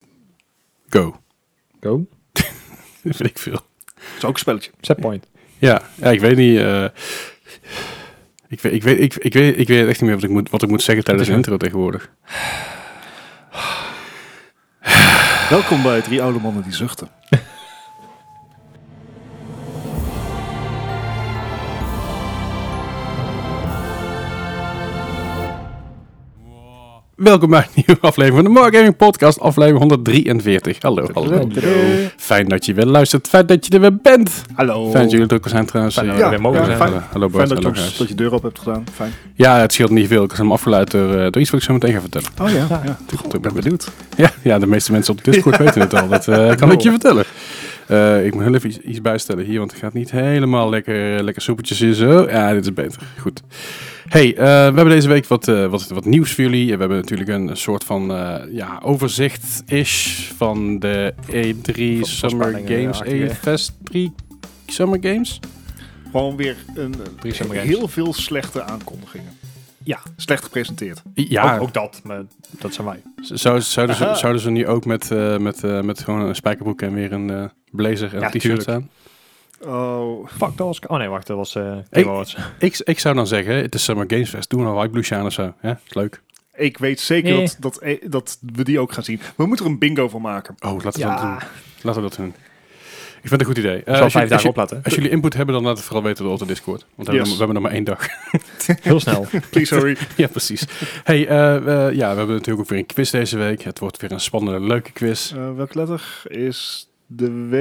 Go. Go. Dat vind ik veel. Dat is ook een spelletje. Setpoint. Ja, ja ik weet niet. eh, ik, weet, ik, weet, ik, ik, weet, ik weet echt niet meer wat ik moet, wat ik moet zeggen tijdens de Het is intro tegenwoordig. Welkom bij Drie Oude Mannen Die Zuchten. Welkom bij een nieuwe aflevering van de More Gaming Podcast, aflevering 143. Hallo, hallo. Fijn dat je weer luistert, fijn dat je er weer bent. Hallo. Fijn dat jullie er ook zijn trouwens. Fijn dat Ja. we weer mogen ja, zijn. fijn. Fijn, Hallo Bart, fijn dat, je hallo ons- Gijs. dat je deur op hebt gedaan. Fijn. Ja, het scheelt niet veel. Ik heb hem afgeleid door, eh, door iets wat ik zo meteen ga vertellen. Oh ja. ja. ik ben benieuwd. Ja, ja, de meeste mensen op Discord weten het al. Dat eh, kan ik je vertellen. Eh, ik moet heel even iets, iets bijstellen hier, want het gaat niet helemaal lekker, lekker soepeltjes hier zo. Ja, dit is beter. Goed. Hey, eh, we hebben deze week wat, eh, wat, wat nieuws voor jullie. We hebben natuurlijk een, een soort van eh, ja, overzicht-ish van de E3 Van Summer spanningen, Games, ja, E ja. Fest 3 Summer Games. Gewoon weer een, een- Drie summer games. heel veel slechte aankondigingen. Ja. Slecht gepresenteerd. Ja, Ook, ook dat, maar dat zijn wij. Zou, zouden, ze, Aha. zouden ze nu ook met, eh, met, eh, met gewoon een spijkerbroek en weer een eh, blazer en Ja, een t-shirt tuurlijk. staan? Oh. Fuck, dat was... Oh nee, wacht, dat was eh Hey. Game Awards. Ik, ik zou dan zeggen, het is Summer Games Fest. Doe een White Blue Shine of zo. Ja, is leuk. Ik weet zeker Nee. dat, dat, eh, dat we die ook gaan zien. We moeten er een bingo van maken. Oh, laten we, dat, Ja. doen. laten we dat doen. Ik vind het een goed idee. Eh, zal als, vijf jullie, als, dagen jullie, oplaten. als jullie input hebben, dan laat het vooral weten door de Discord. Want we, hebben, Yes. we hebben nog maar één dag. Heel snel. Please hurry. ja, precies. Hey, eh, eh, ja, we hebben natuurlijk ook weer een quiz deze week. Het wordt weer een spannende, leuke quiz. Eh welke letter is de W?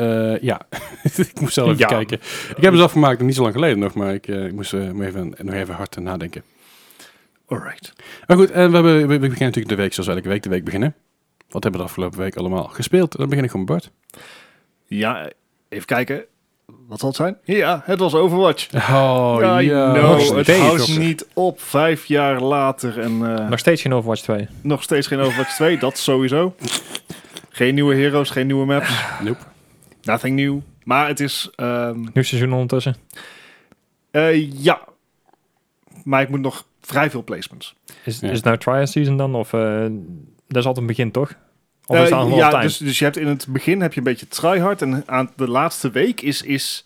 Eh, ja, ik moest zelf even Ja. kijken. Ik heb het afgemaakt, niet zo lang geleden nog, maar ik, eh, ik moest eh, moet even, nog even hard eh, nadenken. Alright. Maar goed, en we, hebben, we, we beginnen natuurlijk de week zoals elke week de week beginnen. Wat hebben we de afgelopen week allemaal gespeeld? Dan begin ik gewoon Bart. Ja, even kijken. Wat zal het zijn? Ja, het was Overwatch. Oh, I nog know, het steeds, houdt joh. niet op. Vijf jaar later en eh, Nog steeds geen Overwatch 2. nog steeds geen Overwatch 2. Dat sowieso. Geen nieuwe heroes, geen nieuwe maps. Nope. Nothing new. Maar het is... ehm, Nieuw seizoen ondertussen. eh, ja. Maar ik moet nog vrij veel placements. Is, Ja. is het nou trial season dan? Of eh, dat is altijd een begin, toch? Of is Eh, het allemaal ja, op tijd? dus, dus je hebt in het begin heb je een beetje tryhard. En aan de laatste week is, is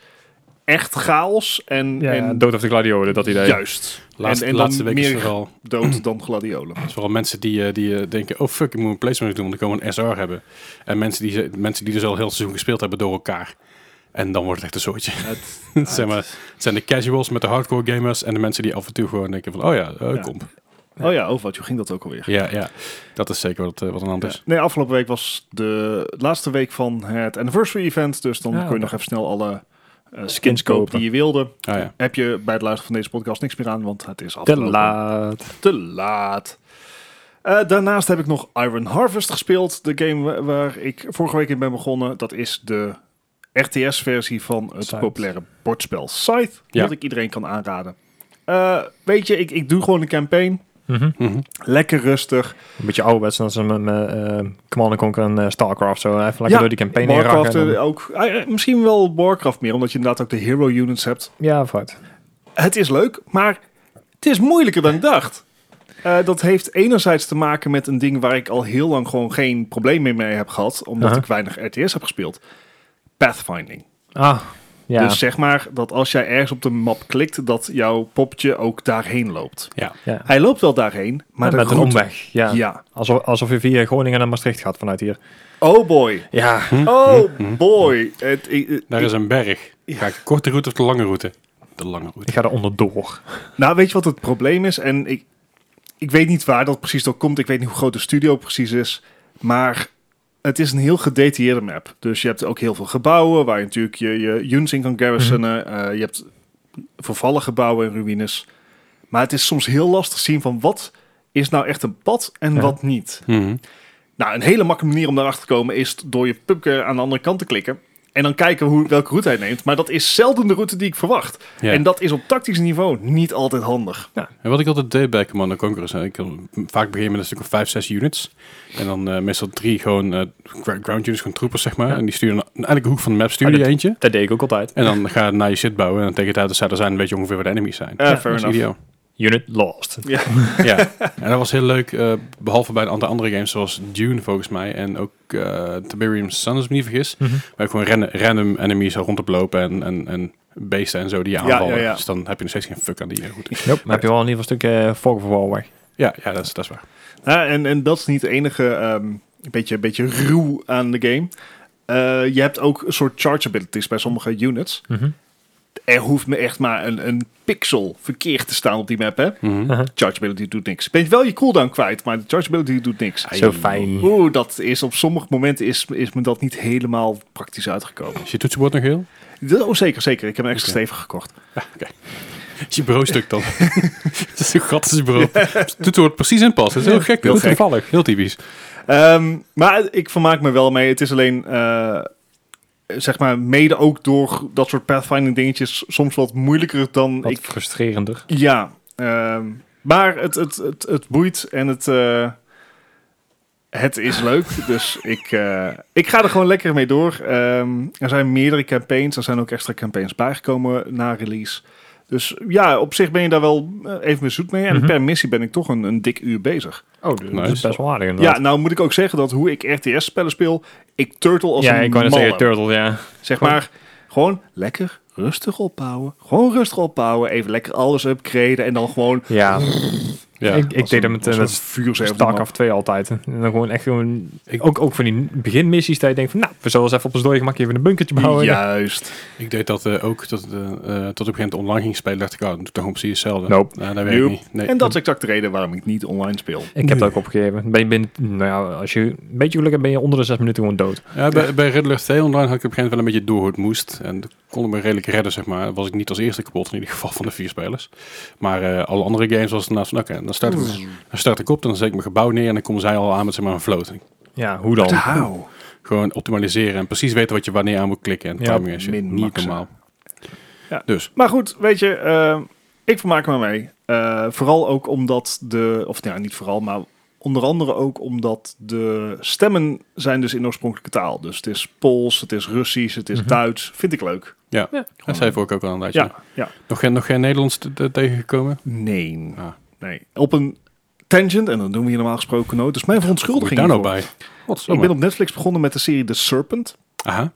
echt chaos. En, Ja, en Dood of the Gladiolen, dat idee. juist. Laatste, en, en laatste dan week is meer vooral, dood dan gladiolen. is vooral mensen die, eh, die eh, denken... oh fuck, ik moet een placement doen, want ik wil een SR hebben. En mensen die, ze- mensen die dus al heel het seizoen gespeeld hebben door elkaar. En dan wordt het echt een soortje. Het, Het zijn, maar, het zijn de casuals met de hardcore gamers... en de mensen die af en toe gewoon denken van... oh ja, eh, Ja. kom. oh ja, Overwatch, hoe ging dat ook alweer? Ja, ja. Dat is zeker wat, eh, wat een hand Dus- is. Nee, afgelopen week was de laatste week van het anniversary event. Dus dan Ah, kon je nog oké. even snel alle eh, skins Skins kopen kopen. die je wilde. Ah ja. Heb je bij het luisteren van deze podcast niks meer aan, want het is Te afgelopen. laat. Te laat. Eh, daarnaast heb ik nog Iron Harvest gespeeld. De game wa- waar ik vorige week in ben begonnen. Dat is de RTS-versie van het Scythe. populaire bordspel Scythe. Ja. Wat ik iedereen kan aanraden. Eh, weet je, ik, ik doe gewoon een campaign. Mhm. Mhm. Lekker rustig. Een beetje ouderwets, dan ze met eh, eh, Command Conquer en eh, Starcraft zo. Even lekker door die campaign heen Warcraft raken. eh, ook. Ah, eh, misschien wel Warcraft meer, omdat je inderdaad ook de hero units hebt. Ja, vooruit. Het is leuk, maar het is moeilijker dan ik dacht. Eh, dat heeft enerzijds te maken met een ding waar ik al heel lang gewoon geen probleem mee, mee heb gehad, omdat Aha. ik weinig RTS heb gespeeld. Pathfinding. Ah, ja. Dus zeg maar dat als jij ergens op de map klikt, dat jouw poppetje ook daarheen loopt. Ja. ja. Hij loopt wel daarheen, Ja, maar de met een route- omweg. Ja. Ja. Alsof, alsof je via Groningen naar Maastricht gaat vanuit hier. Oh boy. Ja. Hm? Oh boy. Het, ik- ik- Daar is een berg. Ja. Ga ik de korte route of de lange route? De lange route. Ik ga er onderdoor. Nou, weet je wat het probleem is? En ik, ik weet niet waar dat precies door komt. Ik weet niet hoe groot de studio precies is. Maar het is een heel gedetailleerde map. Dus je hebt ook heel veel gebouwen waar je natuurlijk je, je units in kan garrisonen. Eh, je hebt vervallen gebouwen en ruïnes. Maar het is soms heel lastig zien van wat is nou echt een pad en Ja. wat niet. Mhm. Nou, een hele makkelijke manier om daarachter te komen is door je pubke aan de andere kant te klikken. En dan kijken hoe, welke route hij neemt. Maar dat is zelden de route die ik verwacht. Ja. En dat is op tactisch niveau niet altijd handig. En wat ik altijd deed bij Command Conquer is, eh, ik kan vaak beginnen met een stuk of 5, 6 units. En dan eh, meestal drie gewoon eh, gra- ground units, gewoon troepers zeg maar. Ja. En die sturen naar elke hoek van de map stuur Oh, je eentje. Dat deed ik ook altijd. En dan ga je naar je shit bouwen. En dan tegen de tijd dat zij er zijn, weet je ongeveer waar de enemies zijn. Eh, Ja, fair dat is enough. ideaal. Unit lost. ja, en dat was heel leuk. eh, behalve bij de andere, andere games zoals Dune volgens mij. En ook eh Tiberium Sun, als ik me niet vergis. Mhm. Waar je gewoon ran- random enemies rond op lopen en, en, en beesten en zo die je Ja, ja, aanvallen. ja. Dus dan heb je nog steeds geen fuck aan die. eh, Goed. Nope. Maar heb je wel in ieder geval een stuk eh Fog of War weg. Ja, ja dat, is, dat is waar. Ja, en, en dat is niet het enige ehm, beetje, beetje ruw aan de game. Eh, je hebt ook een soort charge abilities bij sommige units. Er hoeft me echt maar een, een pixel verkeerd te staan op die map, hè? Mhm. Charge ability doet niks. Ben je wel je cooldown kwijt, maar de charge ability doet niks. Ai. Zo fijn. Oeh, dat is op sommige momenten is, is me dat niet helemaal praktisch uitgekomen. Is je toetsenbord nog heel? Dat- Oh, zeker, zeker. Ik heb een extra Oké. stevig gekocht. Is je bureau stuk dan? Het is een gratis bureau. Het toetsenbord precies in past. Dat is heel gek. Heel Heel gek. toevallig. Heel typisch. Ehm, maar ik vermaak me wel mee. Het is alleen, eh, zeg maar, mede ook door dat soort pathfinding dingetjes soms wat moeilijker dan Wat ik... frustrerender. Ja, ehm, maar het, het, het, het boeit en het, eh, het is leuk. dus ik, eh, ik ga er gewoon lekker mee door. Ehm, er zijn meerdere campaigns. Er zijn ook extra campaigns bijgekomen na release. Dus ja, op zich ben je daar wel eh, even mee zoet mee. En Mhm. per missie ben ik toch een, een dik uur bezig. Oh, dat is Nice. best wel aardig Ja, inderdaad. nou moet ik ook zeggen dat hoe ik RTS-spellen speel, ik turtle als ja een ik wou net malle. zeggen Turtle, ja. Zeg maar, gewoon lekker rustig opbouwen. Gewoon rustig opbouwen. Even lekker alles upgraden en dan gewoon... Ja, Ja. ik, ik als een- deed dat met, als eh, een met vuurzee op de map. StarCraft 2 altijd. En dan gewoon echt gewoon... ook, ook van die beginmissies dat je denkt van... Nou, we zullen eens even op ons dode gemak even een bunkertje bouwen. Juist. Ik deed dat eh, ook tot, eh, eh, tot op een gegeven moment online ging spelen. dacht ik, oh, dan doe ik toch gewoon precies hetzelfde. Nope. Nou, dat werkt Nope. niet. Nee. En dat is exact de reden waarom ik niet online speel. Ik heb dat ook opgegeven. Ben je binnen, nou ja, als je een beetje geluk hebt, ben je onder de zes minuten gewoon dood. Ja, bij, bij Riddler 2 online had ik op een gegeven moment wel een beetje door hoe het moest. En dat kon ik me redelijk redden, zeg maar. Was ik niet als eerste kapot, in ieder geval van de vier spelers. Maar eh, alle andere games was het naast van, oké, dan, start Hmm. ik, dan start ik op, dan zet ik mijn gebouw neer en dan komen zij al aan met zeg maar, een float. Ja, hoe dan? How? Gewoon optimaliseren en precies weten wat je wanneer aan moet klikken. En Ja, timing en shit. min Niet maxen. normaal. Ja. Dus, Maar goed, weet je, eh, ik vermaak me mee. Eh, vooral ook omdat de, of nou ja, niet vooral, maar onder andere ook omdat de stemmen zijn dus in de oorspronkelijke taal. Dus het is Pools, het is Russisch, het is Mhm. Duits. Vind ik leuk. dat zei ik ook al een eh, Ja, tijdje. ja. Nog, geen- nog geen Nederlands te- te- tegengekomen? Nee. Ah. nee. Op een tangent, en dat doen we hier normaal gesproken nooit. Dus mijn Kom ik verontschuldiging daar nou hiervoor. bij? Ik ben op Netflix begonnen met de serie The Serpent. Aha.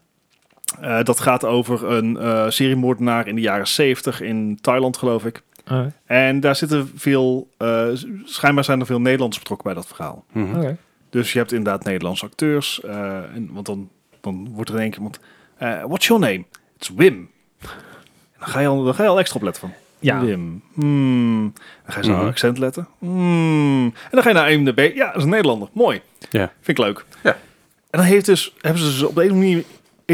Eh, dat gaat over een eh seriemoordenaar in de jaren 70 in Thailand, geloof ik. Eh, En daar zitten veel, eh, s- schijnbaar zijn er veel Nederlanders betrokken bij dat verhaal. Mhm. oké. Dus je hebt inderdaad Nederlandse acteurs. eh, en, want dan, dan wordt er in één keer, want, eh, what's your name? It's Wim. En dan, ga je al, dan ga je al extra op letten van, Ja. Wim. Hmm. Dan ga je zo op Ja. het accent letten. Hmm. En dan ga je naar IMDb. Ja, dat is een Nederlander. Mooi. Ja. Vind ik leuk. Ja. En dan heeft dus, hebben ze dus op de een of andere manier,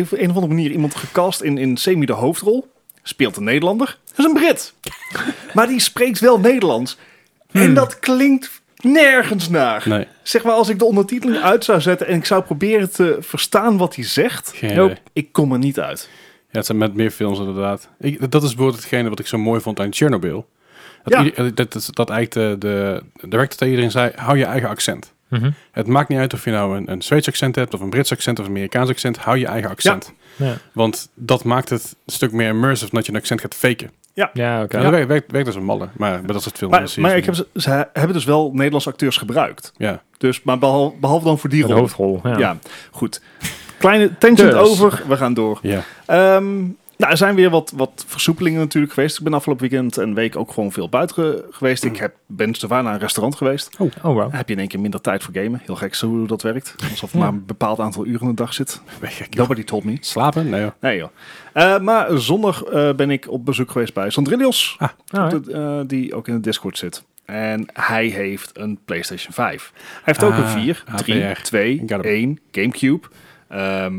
op een of andere manier iemand gecast in, in semi de hoofdrol. Speelt een Nederlander. Dat is een Brit. maar die spreekt wel Nederlands. En dat klinkt nergens naar. Hmm. Nee, Zeg maar, als ik de ondertiteling uit zou zetten en ik zou proberen te verstaan wat hij zegt, geen Nope. idee. ik kom er niet uit. Ja, het zijn met meer films inderdaad. Ik, dat is bijvoorbeeld hetgene wat ik zo mooi vond aan Chernobyl. Dat, Ja. ieder- dat, dat, dat eigenlijk de, de director tegen iedereen zei, hou je eigen accent. Mhm. Het maakt niet uit of je nou een, een Zweeds accent hebt, of een Brits accent, of een Amerikaans accent. Hou je eigen accent. Ja, Want dat maakt het een stuk meer immersive dan dat je een accent gaat faken. ja oké. Ja, dat werkt, werkt, werkt als een malle. Maar bij dat soort films... Maar, is- maar ik heb, ze, ze hebben dus wel Nederlandse acteurs gebruikt. Ja, Dus, maar behalve, behalve dan voor die De rol. hoofdrol. Ja. Ja. goed. Kleine tangent Dus. over, we gaan door. ja. Ehm, nou, er zijn weer wat, wat versoepelingen natuurlijk geweest. Ik ben afgelopen weekend en week ook gewoon veel buiten ge- geweest. Ik heb, ben dus naar een restaurant geweest. Oh, wow. Dan heb je in één keer minder tijd voor gamen. Heel gek zo hoe dat werkt. Alsof er maar een bepaald aantal uren in de dag zit. Weg, gek, joh. Nobody told me. Slapen? Nee, joh. Nee joh. Eh, maar zondag eh, ben ik op bezoek geweest bij Sandrilios. Ah, Op de- eh, die ook in de Discord zit. En hij heeft een PlayStation 5. Hij heeft ook Ah, een 4, APR. 3, 2, Ik got 'em. 1, Gamecube. Ehm,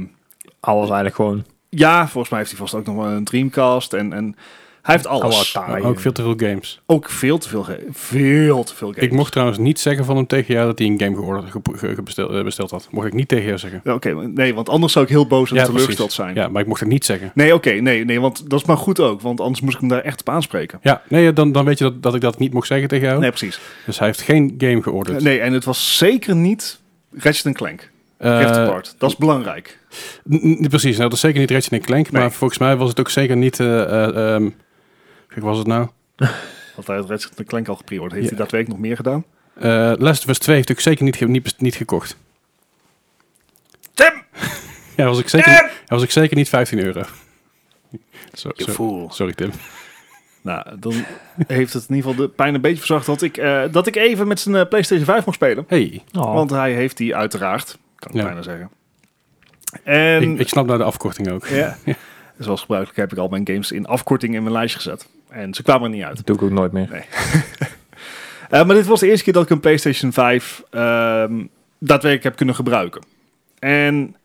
alles eigenlijk gewoon. ja, volgens mij heeft hij vast ook nog wel een Dreamcast. En, en hij heeft alles. Alle taai. ook veel te veel games. Ook veel te veel, ge- veel te veel games. Ik mocht trouwens niet zeggen van hem tegen jou dat hij een game georderd, ge- ge- ge- bestel- eh, besteld had. Mocht ik niet tegen jou zeggen. Ja, Oké, nee, want anders zou ik heel boos en Ja, teleurgesteld precies. zijn. Ja, maar ik mocht het niet zeggen. Nee, oké, nee, nee, want dat is maar goed ook. Want anders moest ik hem daar echt op aanspreken. Ja, nee, dan, dan weet je dat, dat ik dat niet mocht zeggen tegen jou. Nee, precies. Dus hij heeft geen game georderd. Nee, en het was zeker niet Ratchet Clank. Eh, Rift Apart. Dat is belangrijk. n- n- precies, nou, dat is zeker niet Ratchet Clank. Nee. Maar volgens mij was het ook zeker niet... eh eh, ehm, kijk, was het nou? Want hij had Ratchet en Clank al gepreord. Heeft Ja. hij dat week nog meer gedaan? Eh Last of Us 2 heeft ik zeker niet, ge- niet, niet gekocht. Tim! Ja, was ik zeker, Tim! ja, was ik zeker niet 15 euro. Zo, Je zo- fool. sorry Tim. Nou, dan heeft het in ieder geval de pijn een beetje verzacht dat ik, eh, dat ik even met zijn eh, PlayStation 5 mocht spelen. Hey, Oh. Want hij heeft die uiteraard, kan ik Ja. bijna zeggen. En ik, ik snap nou de afkorting ook. ja, zoals gebruikelijk heb ik al mijn games in afkorting in mijn lijstje gezet. En ze kwamen er niet uit. dat doe ik ook nooit meer. Eh, maar dit was de eerste keer dat ik een PlayStation 5 ehm, daadwerkelijk heb kunnen gebruiken. En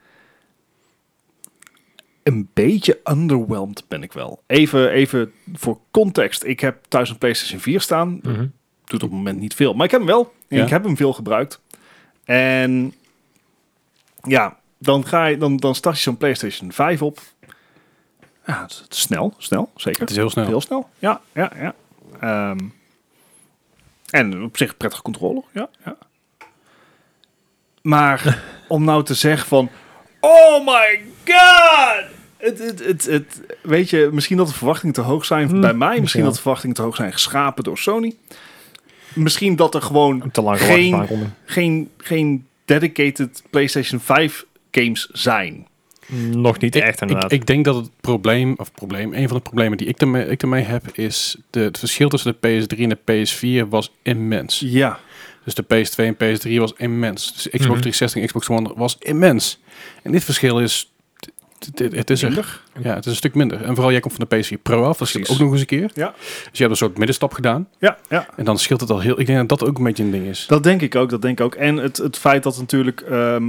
een beetje underwhelmed ben ik wel. Even, even voor context. Ik heb thuis een PlayStation 4 staan. Mhm. Doet op het moment niet veel. Maar ik heb hem wel. En Ja. Ik heb hem veel gebruikt. En ja, dan, ga je, dan, dan start je zo'n PlayStation 5 op. Ja, het is- het is snel, snel, zeker. Het is heel snel. Heel snel. Ja, ja, ja. Ehm, en op zich een prettige controller. Ja, ja. Maar om nou te zeggen van... Oh my god! Het, het, het, het, weet je, misschien dat de verwachtingen te hoog zijn bij mij. Misschien Hm. ja. dat de verwachtingen te hoog zijn geschapen door Sony. Misschien dat er gewoon Te lang Geen- gewacht. waarom? geen, geen dedicated PlayStation 5 games zijn. Nog niet echt Ik, inderdaad. ik denk dat het probleem, of probleem, een van de problemen die ik ermee, ik ermee heb, is de, het verschil tussen de PS3 en de PS4 was immens. Ja. Dus de PS2 en PS3 was immens. Dus Xbox Mhm. 360 en Xbox One was immens. En dit verschil is, t- t- het is er. Ja, het is een stuk minder. En vooral jij komt van de PS4 Pro af, dat scheelt Precies. ook nog eens een keer. Ja. Dus je hebt een soort middenstap gedaan. Ja, ja. En dan scheelt het al heel, ik denk dat dat ook een beetje een ding is. Dat denk ik ook, dat denk ik ook. En het, het feit dat natuurlijk ehm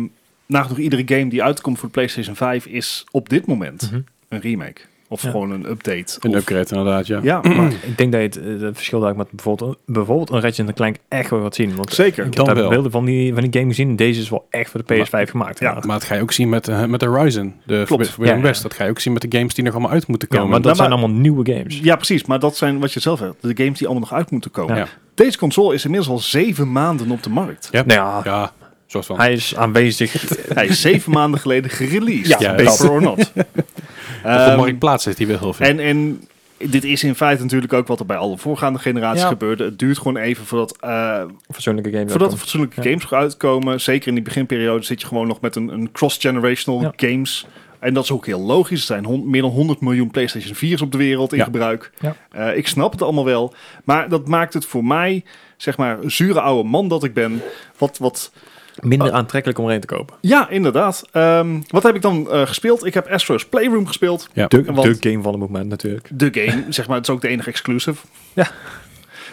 nagenoeg iedere game die uitkomt voor de PlayStation 5 is op dit moment Mhm. een remake. Of Ja. gewoon een update. Een of, upgrade inderdaad, ja. Ja, maar Ik denk dat je het, eh, het verschil daar ook met bijvoorbeeld, bijvoorbeeld een Ratchet Clank echt wel gaat zien. Want zeker. ik Dan heb daar wel. beelden van die, van die game gezien. Deze is wel echt voor de PS5 gemaakt. Ja, inderdaad. Maar dat ga je ook zien met, eh, met de Ryzen, de Forbidden Ja, ja. West. Dat ga je ook zien met de games die nog allemaal uit moeten Ja, komen. maar dat Nou, zijn maar- allemaal nieuwe games. Ja, precies. Maar dat zijn wat je zelf hebt. De games die allemaal nog uit moeten komen. Ja. Deze console is inmiddels al zeven maanden op de markt. Ja. Nou ja, Ja, soort van. hij is aanwezig. Hij is zeven maanden geleden gereleased. Ja, Ja, paper dat. or not. Op de Ehm, marktplaats is die wel heel veel. En, en dit is in feite natuurlijk ook wat er bij alle voorgaande generaties Ja. gebeurde. Het duurt gewoon even voordat eh, Persoonlijke game. Voordat er welkom. fatsoenlijke Ja. games uitkomen, zeker in die beginperiode, zit je gewoon nog met een, een cross-generational Ja. games. En dat is ook heel logisch. Er zijn hon- meer dan 100 miljoen PlayStation 4's op de wereld in Ja. gebruik. Ja. Eh, ik snap het allemaal wel. Maar dat maakt het voor mij, zeg maar, zure oude man dat ik ben. Wat, wat... Minder aantrekkelijk om erin te kopen. Ja, inderdaad. Ehm, wat heb ik dan eh, gespeeld? Ik heb Astro's Playroom gespeeld. ja. De, Want- de game van het moment natuurlijk. De game, zeg maar, het is ook de enige exclusive. Ja.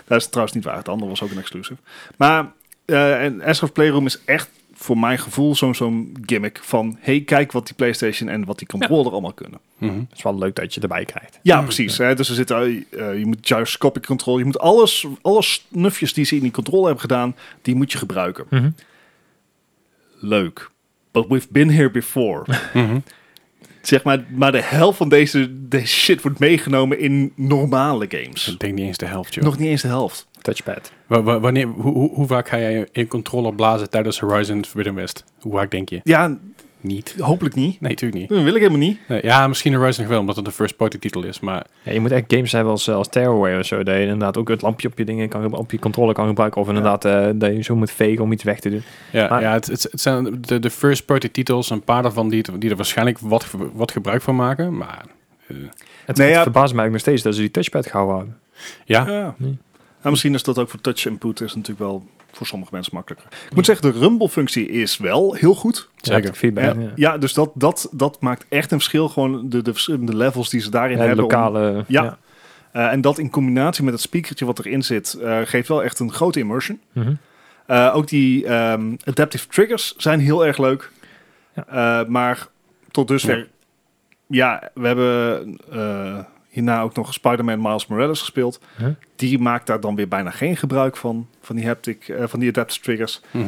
Dat is trouwens niet waar. Het andere was ook een exclusive. Maar eh en Astro's Playroom is echt voor mijn gevoel zo'n zo'n gimmick van... hey, kijk wat die PlayStation en wat die controller allemaal kunnen. Mhm. Het is wel leuk dat je erbij krijgt. Ja, precies. Hè? Dus er zit, eh, eh, je moet gyroscopic control... je moet alles, alle snufjes die ze in die controle hebben gedaan... die moet je gebruiken. Mhm. Leuk. But we've been here before. Mhm. zeg maar, maar de helft van deze, deze shit wordt meegenomen in normale games. Ik denk niet eens de helft, joh. Nog niet eens de helft. Touchpad. Wa- wa- wanneer, hoe, hoe, hoe vaak ga jij in controller blazen tijdens Horizon Forbidden West? Hoe vaak denk je? Ja, Niet. hopelijk niet. Nee, natuurlijk niet. Dat wil ik helemaal niet. Nee, ja, misschien Horizon nog wel, omdat het een first-party titel is. Maar Ja, je moet echt games hebben als, eh, als Tearaway of zo. Dat je inderdaad ook het lampje op je dingen kan gebru- op je controle kan gebruiken. Of inderdaad eh, dat je zo moet vegen om iets weg te doen. ja, Maar- ja het, het, het zijn de, de first-party titels, een paar daarvan die, het- die er waarschijnlijk wat, ge- wat gebruik van maken. Maar Het, Nee, het ja. verbaast mij ook nog steeds dat ze die touchpad gehouden houden. ja, Ja. Nee. Nou, misschien is dat ook voor touch input is natuurlijk wel voor sommige mensen makkelijker. Ik moet zeggen, de rumble-functie is wel heel goed. zeker. Feedback. eh, ja. Ja. ja, dus dat, dat, dat maakt echt een verschil. Gewoon de, de verschillende levels die ze daarin Ja, de hebben. om- lokale. ja. eh, en dat in combinatie met het speakertje wat erin zit, eh, geeft wel echt een grote immersion. Mhm. Eh, ook die ehm, adaptive triggers zijn heel erg leuk. Eh, maar tot dusver... Ja, we hebben eh, hierna ook nog Spider-Man Miles Morales gespeeld. Huh? Die maakt daar dan weer bijna geen gebruik van. Van die, haptic, eh, van die adaptive triggers. Mhm.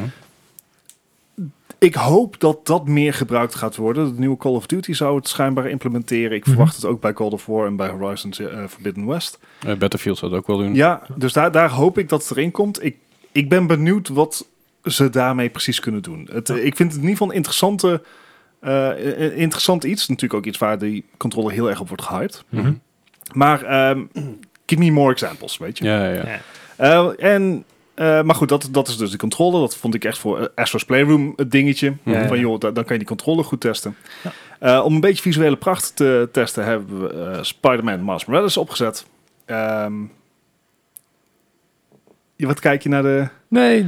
Ik hoop dat dat meer gebruikt gaat worden. De nieuwe Call of Duty zou het schijnbaar implementeren. Ik verwacht het ook bij God of War en bij Horizon eh, Forbidden West. Eh, Battlefield zou dat ook wel doen. Ja, dus daar, daar hoop ik dat het erin komt. Ik, ik ben benieuwd wat ze daarmee precies kunnen doen. Het, eh, Ik vind het in ieder geval een interessante, eh, eh, Mhm. Mhm. interessant iets. Natuurlijk ook iets waar die controle heel erg op wordt gehyped. Mhm. Maar ehm, give me more examples, weet je. Ja, ja, ja. Eh, en, eh, maar goed, dat, dat is dus de controle. Dat vond ik echt voor eh, Astro's Playroom het dingetje. Ja, ja. Van joh, da- dan kan je die controle goed testen. Eh, om een beetje visuele pracht te testen hebben we eh, Spider-Man Miles Morales opgezet. Ehm, je wat kijk je naar de... Nee,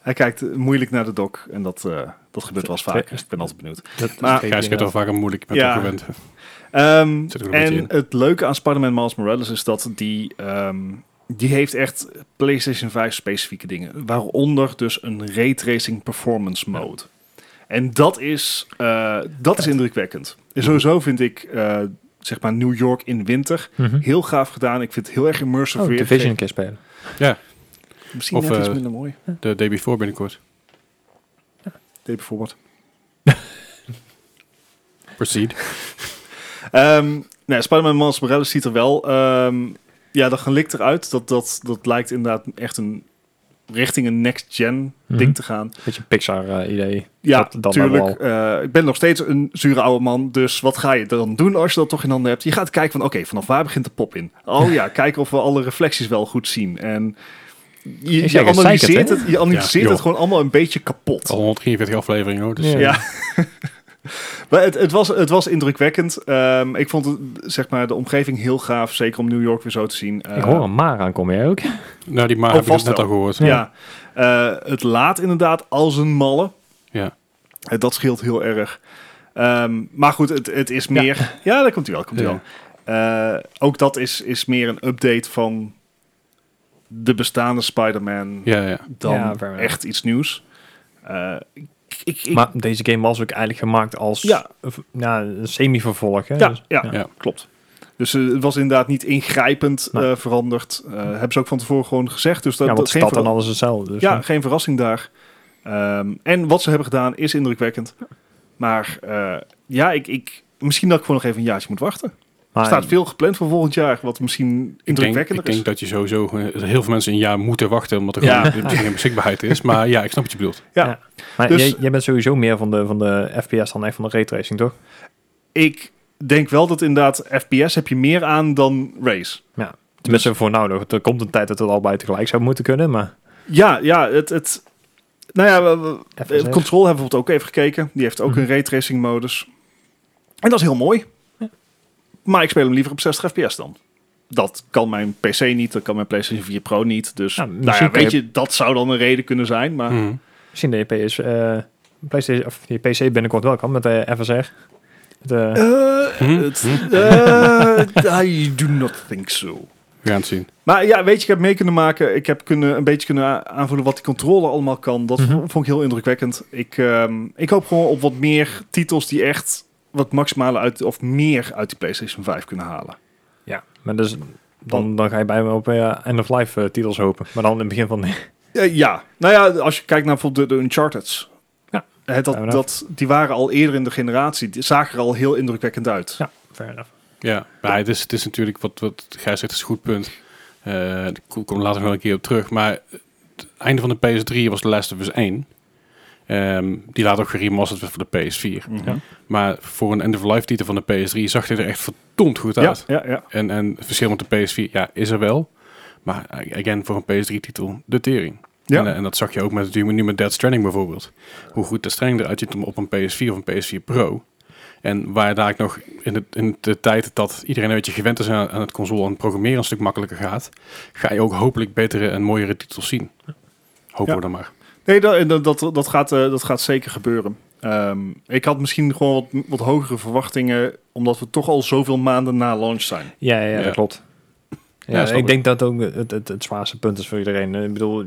Hij kijkt eh, moeilijk naar de doc en dat, eh, dat gebeurt wel eens vaak. Dus ik ben altijd benieuwd. dat Maar- Gijs kent al vaak een moeilijk, ik ben Ja. het ook gewend. Ehm, Zit er een beetje en in. het leuke aan Spider-Man Miles Morales is dat die, ehm, die heeft echt PlayStation 5 specifieke dingen. Waaronder dus een raytracing performance mode. En dat is, eh, dat is indrukwekkend. En sowieso vind ik eh, zeg maar New York in winter heel gaaf gedaan. Ik vind het heel erg immersive. Mhm. Oh, weer. Division keer spelen. Misschien Of, net iets eh, minder mooi. De day before binnenkort. Deed bijvoorbeeld. Proceed. Ehm nou, Spider-Man Miles Morales ziet er wel ehm, ja, dat gelikt eruit. Dat, dat, dat lijkt inderdaad echt een richting een next-gen Mhm. ding te gaan. Beetje eh, Pixar-idee. Ja, Dat- dat natuurlijk. nou eh, ik ben nog steeds een zure oude man. Dus wat ga je er dan doen als je dat toch in handen hebt? Je gaat kijken van, oké, vanaf waar begint de pop in? Oh ja, kijken of we alle reflecties wel goed zien. En je, Ik je zeg, het analyseert, zeikert, hè? Oh. het, je analyseert Ja, het joh. gewoon allemaal een beetje kapot. Al 143 afleveringen hoor. Dus, Ja. eh, Ja. maar het, het, was, het was indrukwekkend. Ehm, ik vond het, zeg maar, de omgeving heel gaaf. Zeker om New York weer zo te zien. Eh, ik hoor een maar aankomen, jij ook? Nou, die maar Oh, heb ik dus vast net al wel. gehoord. Ja. Eh, het laat inderdaad als een malle. Ja. Eh, dat scheelt heel erg. Ehm, maar goed, het, het is meer... Ja, daar komt hij wel. Komt ie Ja. wel. Eh, ook dat is, is meer een update van de bestaande Spider-Man Ja, ja. dan Ja, fair enough. echt iets nieuws. Eh, ik, ik, ik- Maar deze game was ook eigenlijk gemaakt als Ja. eh, ja, een semi-vervolg. Hè? Ja, Dus- ja, ja. klopt. Dus eh, het was inderdaad niet ingrijpend Nee. eh, veranderd. Eh hebben ze ook van tevoren gewoon gezegd. Dus dat, ja, want dat de geen, stad en verra- alles hetzelfde. Dus ja, geen verrassing daar. Ehm, en wat ze hebben gedaan is indrukwekkend. Maar eh, ja, ik, ik, misschien dat ik gewoon nog even een jaartje moet wachten. maar, Er staat veel gepland voor volgend jaar, wat misschien Ik denk, indrukwekkender ik denk dat je sowieso eh, heel veel mensen een jaar moeten wachten, omdat er Ja. gewoon misschien geen beschikbaarheid is. Maar ja, ik snap wat je bedoelt. ja. ja. maar dus- jij, jij bent sowieso meer van de, van de FPS dan echt van de raytracing, toch? Dus- is. Ik denk wel dat inderdaad FPS heb je meer aan dan race. Tenminste, voor nou, nog. er komt een tijd dat het allebei tegelijk zou moeten kunnen, maar... Ja, ja, het... het nou ja, we- we- Even Eh, Control hebben we bijvoorbeeld ook even gekeken. Die heeft ook Mhm. een raytracing modus. En dat is heel mooi. Maar ik speel hem liever op 60 fps dan. Dat kan mijn PC niet, dat kan mijn PlayStation 4 Pro niet. Dus Nou, nou misschien ja, kan weet je- je, dat zou dan een reden kunnen zijn. Maar Mhm. Misschien dat je PS, eh, PlayStation, of je PC binnenkort wel kan met de FSR. De, Eh, Mhm. Hm? het- eh, I do not think so. We gaan het zien. Maar ja, weet je, ik heb mee kunnen maken. Ik heb kunnen, een beetje kunnen a- aanvoelen wat die controle allemaal kan. Dat Mhm. vond ik heel indrukwekkend. Ik, ehm, ik hoop gewoon op wat meer titels die echt wat maximale uit, of meer uit die PlayStation 5 kunnen halen. Ja, maar dus dan, dan ga je bij me op eh, end-of-life eh, titels hopen. Maar dan in het begin van... Eh, ja, nou ja, als je kijkt naar bijvoorbeeld de, de Uncharted's. Ja. Eh, dat, Fair enough. dat, die waren al eerder in de generatie. Die zagen er al heel indrukwekkend uit. Ja, fair enough. Ja, maar het is, het is natuurlijk wat, wat Gijs zegt, is een goed punt. Eh, Daar kom ik later nog wel een keer op terug. Maar het einde van de PS3 was The Last of Us 1. Ehm, die later ook geremasterd werd voor de PS4. Mhm. Ja. Maar voor een end-of-life titel van de PS3 zag dit er echt verdomd goed ja, uit. ja, ja. En, en het verschil met de PS4, ja, is er wel. Maar again, voor een PS3-titel, de tering. Ja. En, eh, en dat zag je ook met, nu met Dead Stranding bijvoorbeeld. Hoe goed de Stranding eruit ziet op een PS4 of een PS4 Pro. En waar daar ik nog in de, in de tijd dat iedereen een beetje gewend is aan, aan het console en het programmeren een stuk makkelijker gaat, ga je ook hopelijk betere en mooiere titels zien. Hopen Ja. we dan maar. Nee, dat, dat, dat, dat gaat, eh, dat gaat zeker gebeuren. Ehm, ik had misschien gewoon wat, wat hogere verwachtingen, omdat we toch al zoveel maanden na launch zijn. Ja, ja, Ja. dat klopt. Ja, Ja, snap ik. ik denk dat ook het, het, het zwaarste punt is voor iedereen. Eh, Ik bedoel,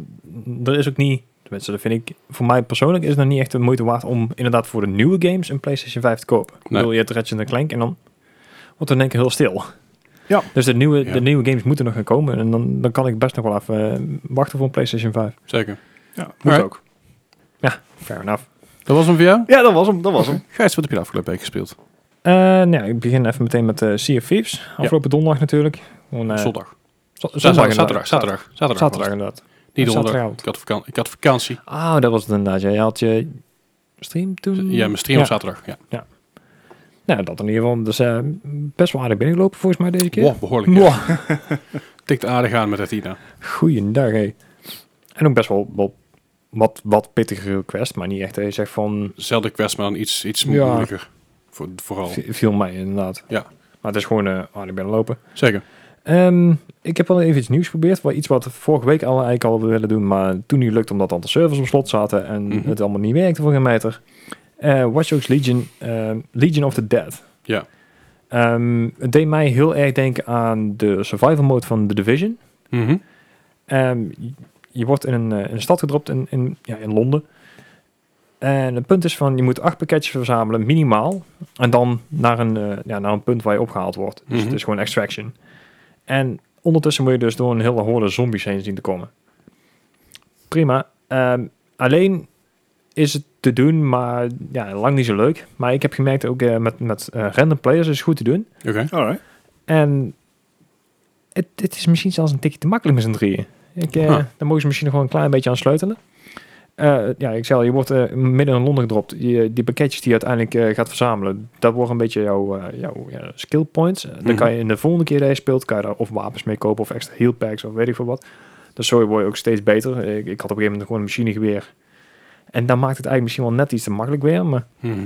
er is ook niet... Tenminste, dat vind ik... Voor mij persoonlijk is het nog niet echt de moeite waard om inderdaad voor de nieuwe games een PlayStation 5 te kopen. Ik Nee. bedoel, je hebt Ratchet Clank en dan wordt het in één keer heel stil. Ja. Dus de nieuwe, Ja. de nieuwe games moeten nog gaan komen. En dan, dan kan ik best nog wel even eh, wachten voor een PlayStation 5. Zeker. Ja, moet Alright. ook. Ja, fair enough. Dat was hem voor jou? Ja, dat was hem, dat was hem. Gijs, wat heb je de afgelopen week gespeeld? Eh, nou, ja, ik begin even meteen met eh Sea of Thieves. Afgelopen donderdag natuurlijk. Gewoon, eh, Zondag. z- zondag Zaterdag. Zaterdag. inderdaad. Zaterdag. Zaterdag. Zaterdag, inderdaad. Niet donderdag. Zaterdagavond. Ik had, vakantie, ik had vakantie. Ah, dat was het inderdaad. Jij had je stream toen? Ja, mijn stream op zaterdag. Ja. Nou, dat in ieder geval. Dus eh, best wel aardig binnengelopen volgens mij deze keer. Wow, behoorlijk. ja. Mwah. tikt aardig aan met Athena. Goeiedag, hé. En ook best wel, wel wat, wat pittigere quest, maar niet echt dat je zegt van... Zelfde quest, maar dan iets, iets Ja. moeilijker. Voor, vooral. vi- Viel mij inderdaad. Oh. Ja. Maar het is gewoon, eh ah, ik ben lopen. Zeker. Ehm, ik heb wel even iets nieuws geprobeerd. Wel iets wat we vorige week al eigenlijk al willen doen. Maar toen niet lukte omdat dan de servers op slot zaten. En Mhm. het allemaal niet werkte voor geen meter. Eh Watch Dogs Legion, ehm, Legion of the Dead. Ja. Ehm, het deed mij heel erg denken aan de survival mode van The Division. Mhm. Ehm, je- je wordt in een, eh, in een stad gedropt in, in, ja, in Londen. En het punt is van, je moet acht pakketjes verzamelen, minimaal. En dan naar een, eh, ja, naar een punt waar je opgehaald wordt. Dus Mhm. het is gewoon extraction. En ondertussen moet je dus door een hele horde zombies heen zien te komen. Prima. Ehm, alleen is het te doen, maar ja, lang niet zo leuk. Maar ik heb gemerkt ook eh, met, met eh, random players is het goed te doen. Oké. Alright. En het, het is misschien zelfs een tikje te makkelijk met z'n drieën. Ik, eh, Huh. Dan mogen ze misschien nog wel een klein beetje aan sleutelen. Eh, ja, ik zei al, je wordt eh, midden in Londen gedropt. Je, die pakketjes die je uiteindelijk eh, gaat verzamelen, dat wordt een beetje jouw, eh, jouw ja, skill points. Eh, Dan kan je in de volgende keer dat je speelt, kan je daar of wapens mee kopen of extra heal packs of weet ik veel wat. Dus zo word je ook steeds beter. Ik, ik had op een gegeven moment gewoon een machinegeweer. En dan maakt het eigenlijk misschien wel net iets te makkelijk weer. Maar Mhm.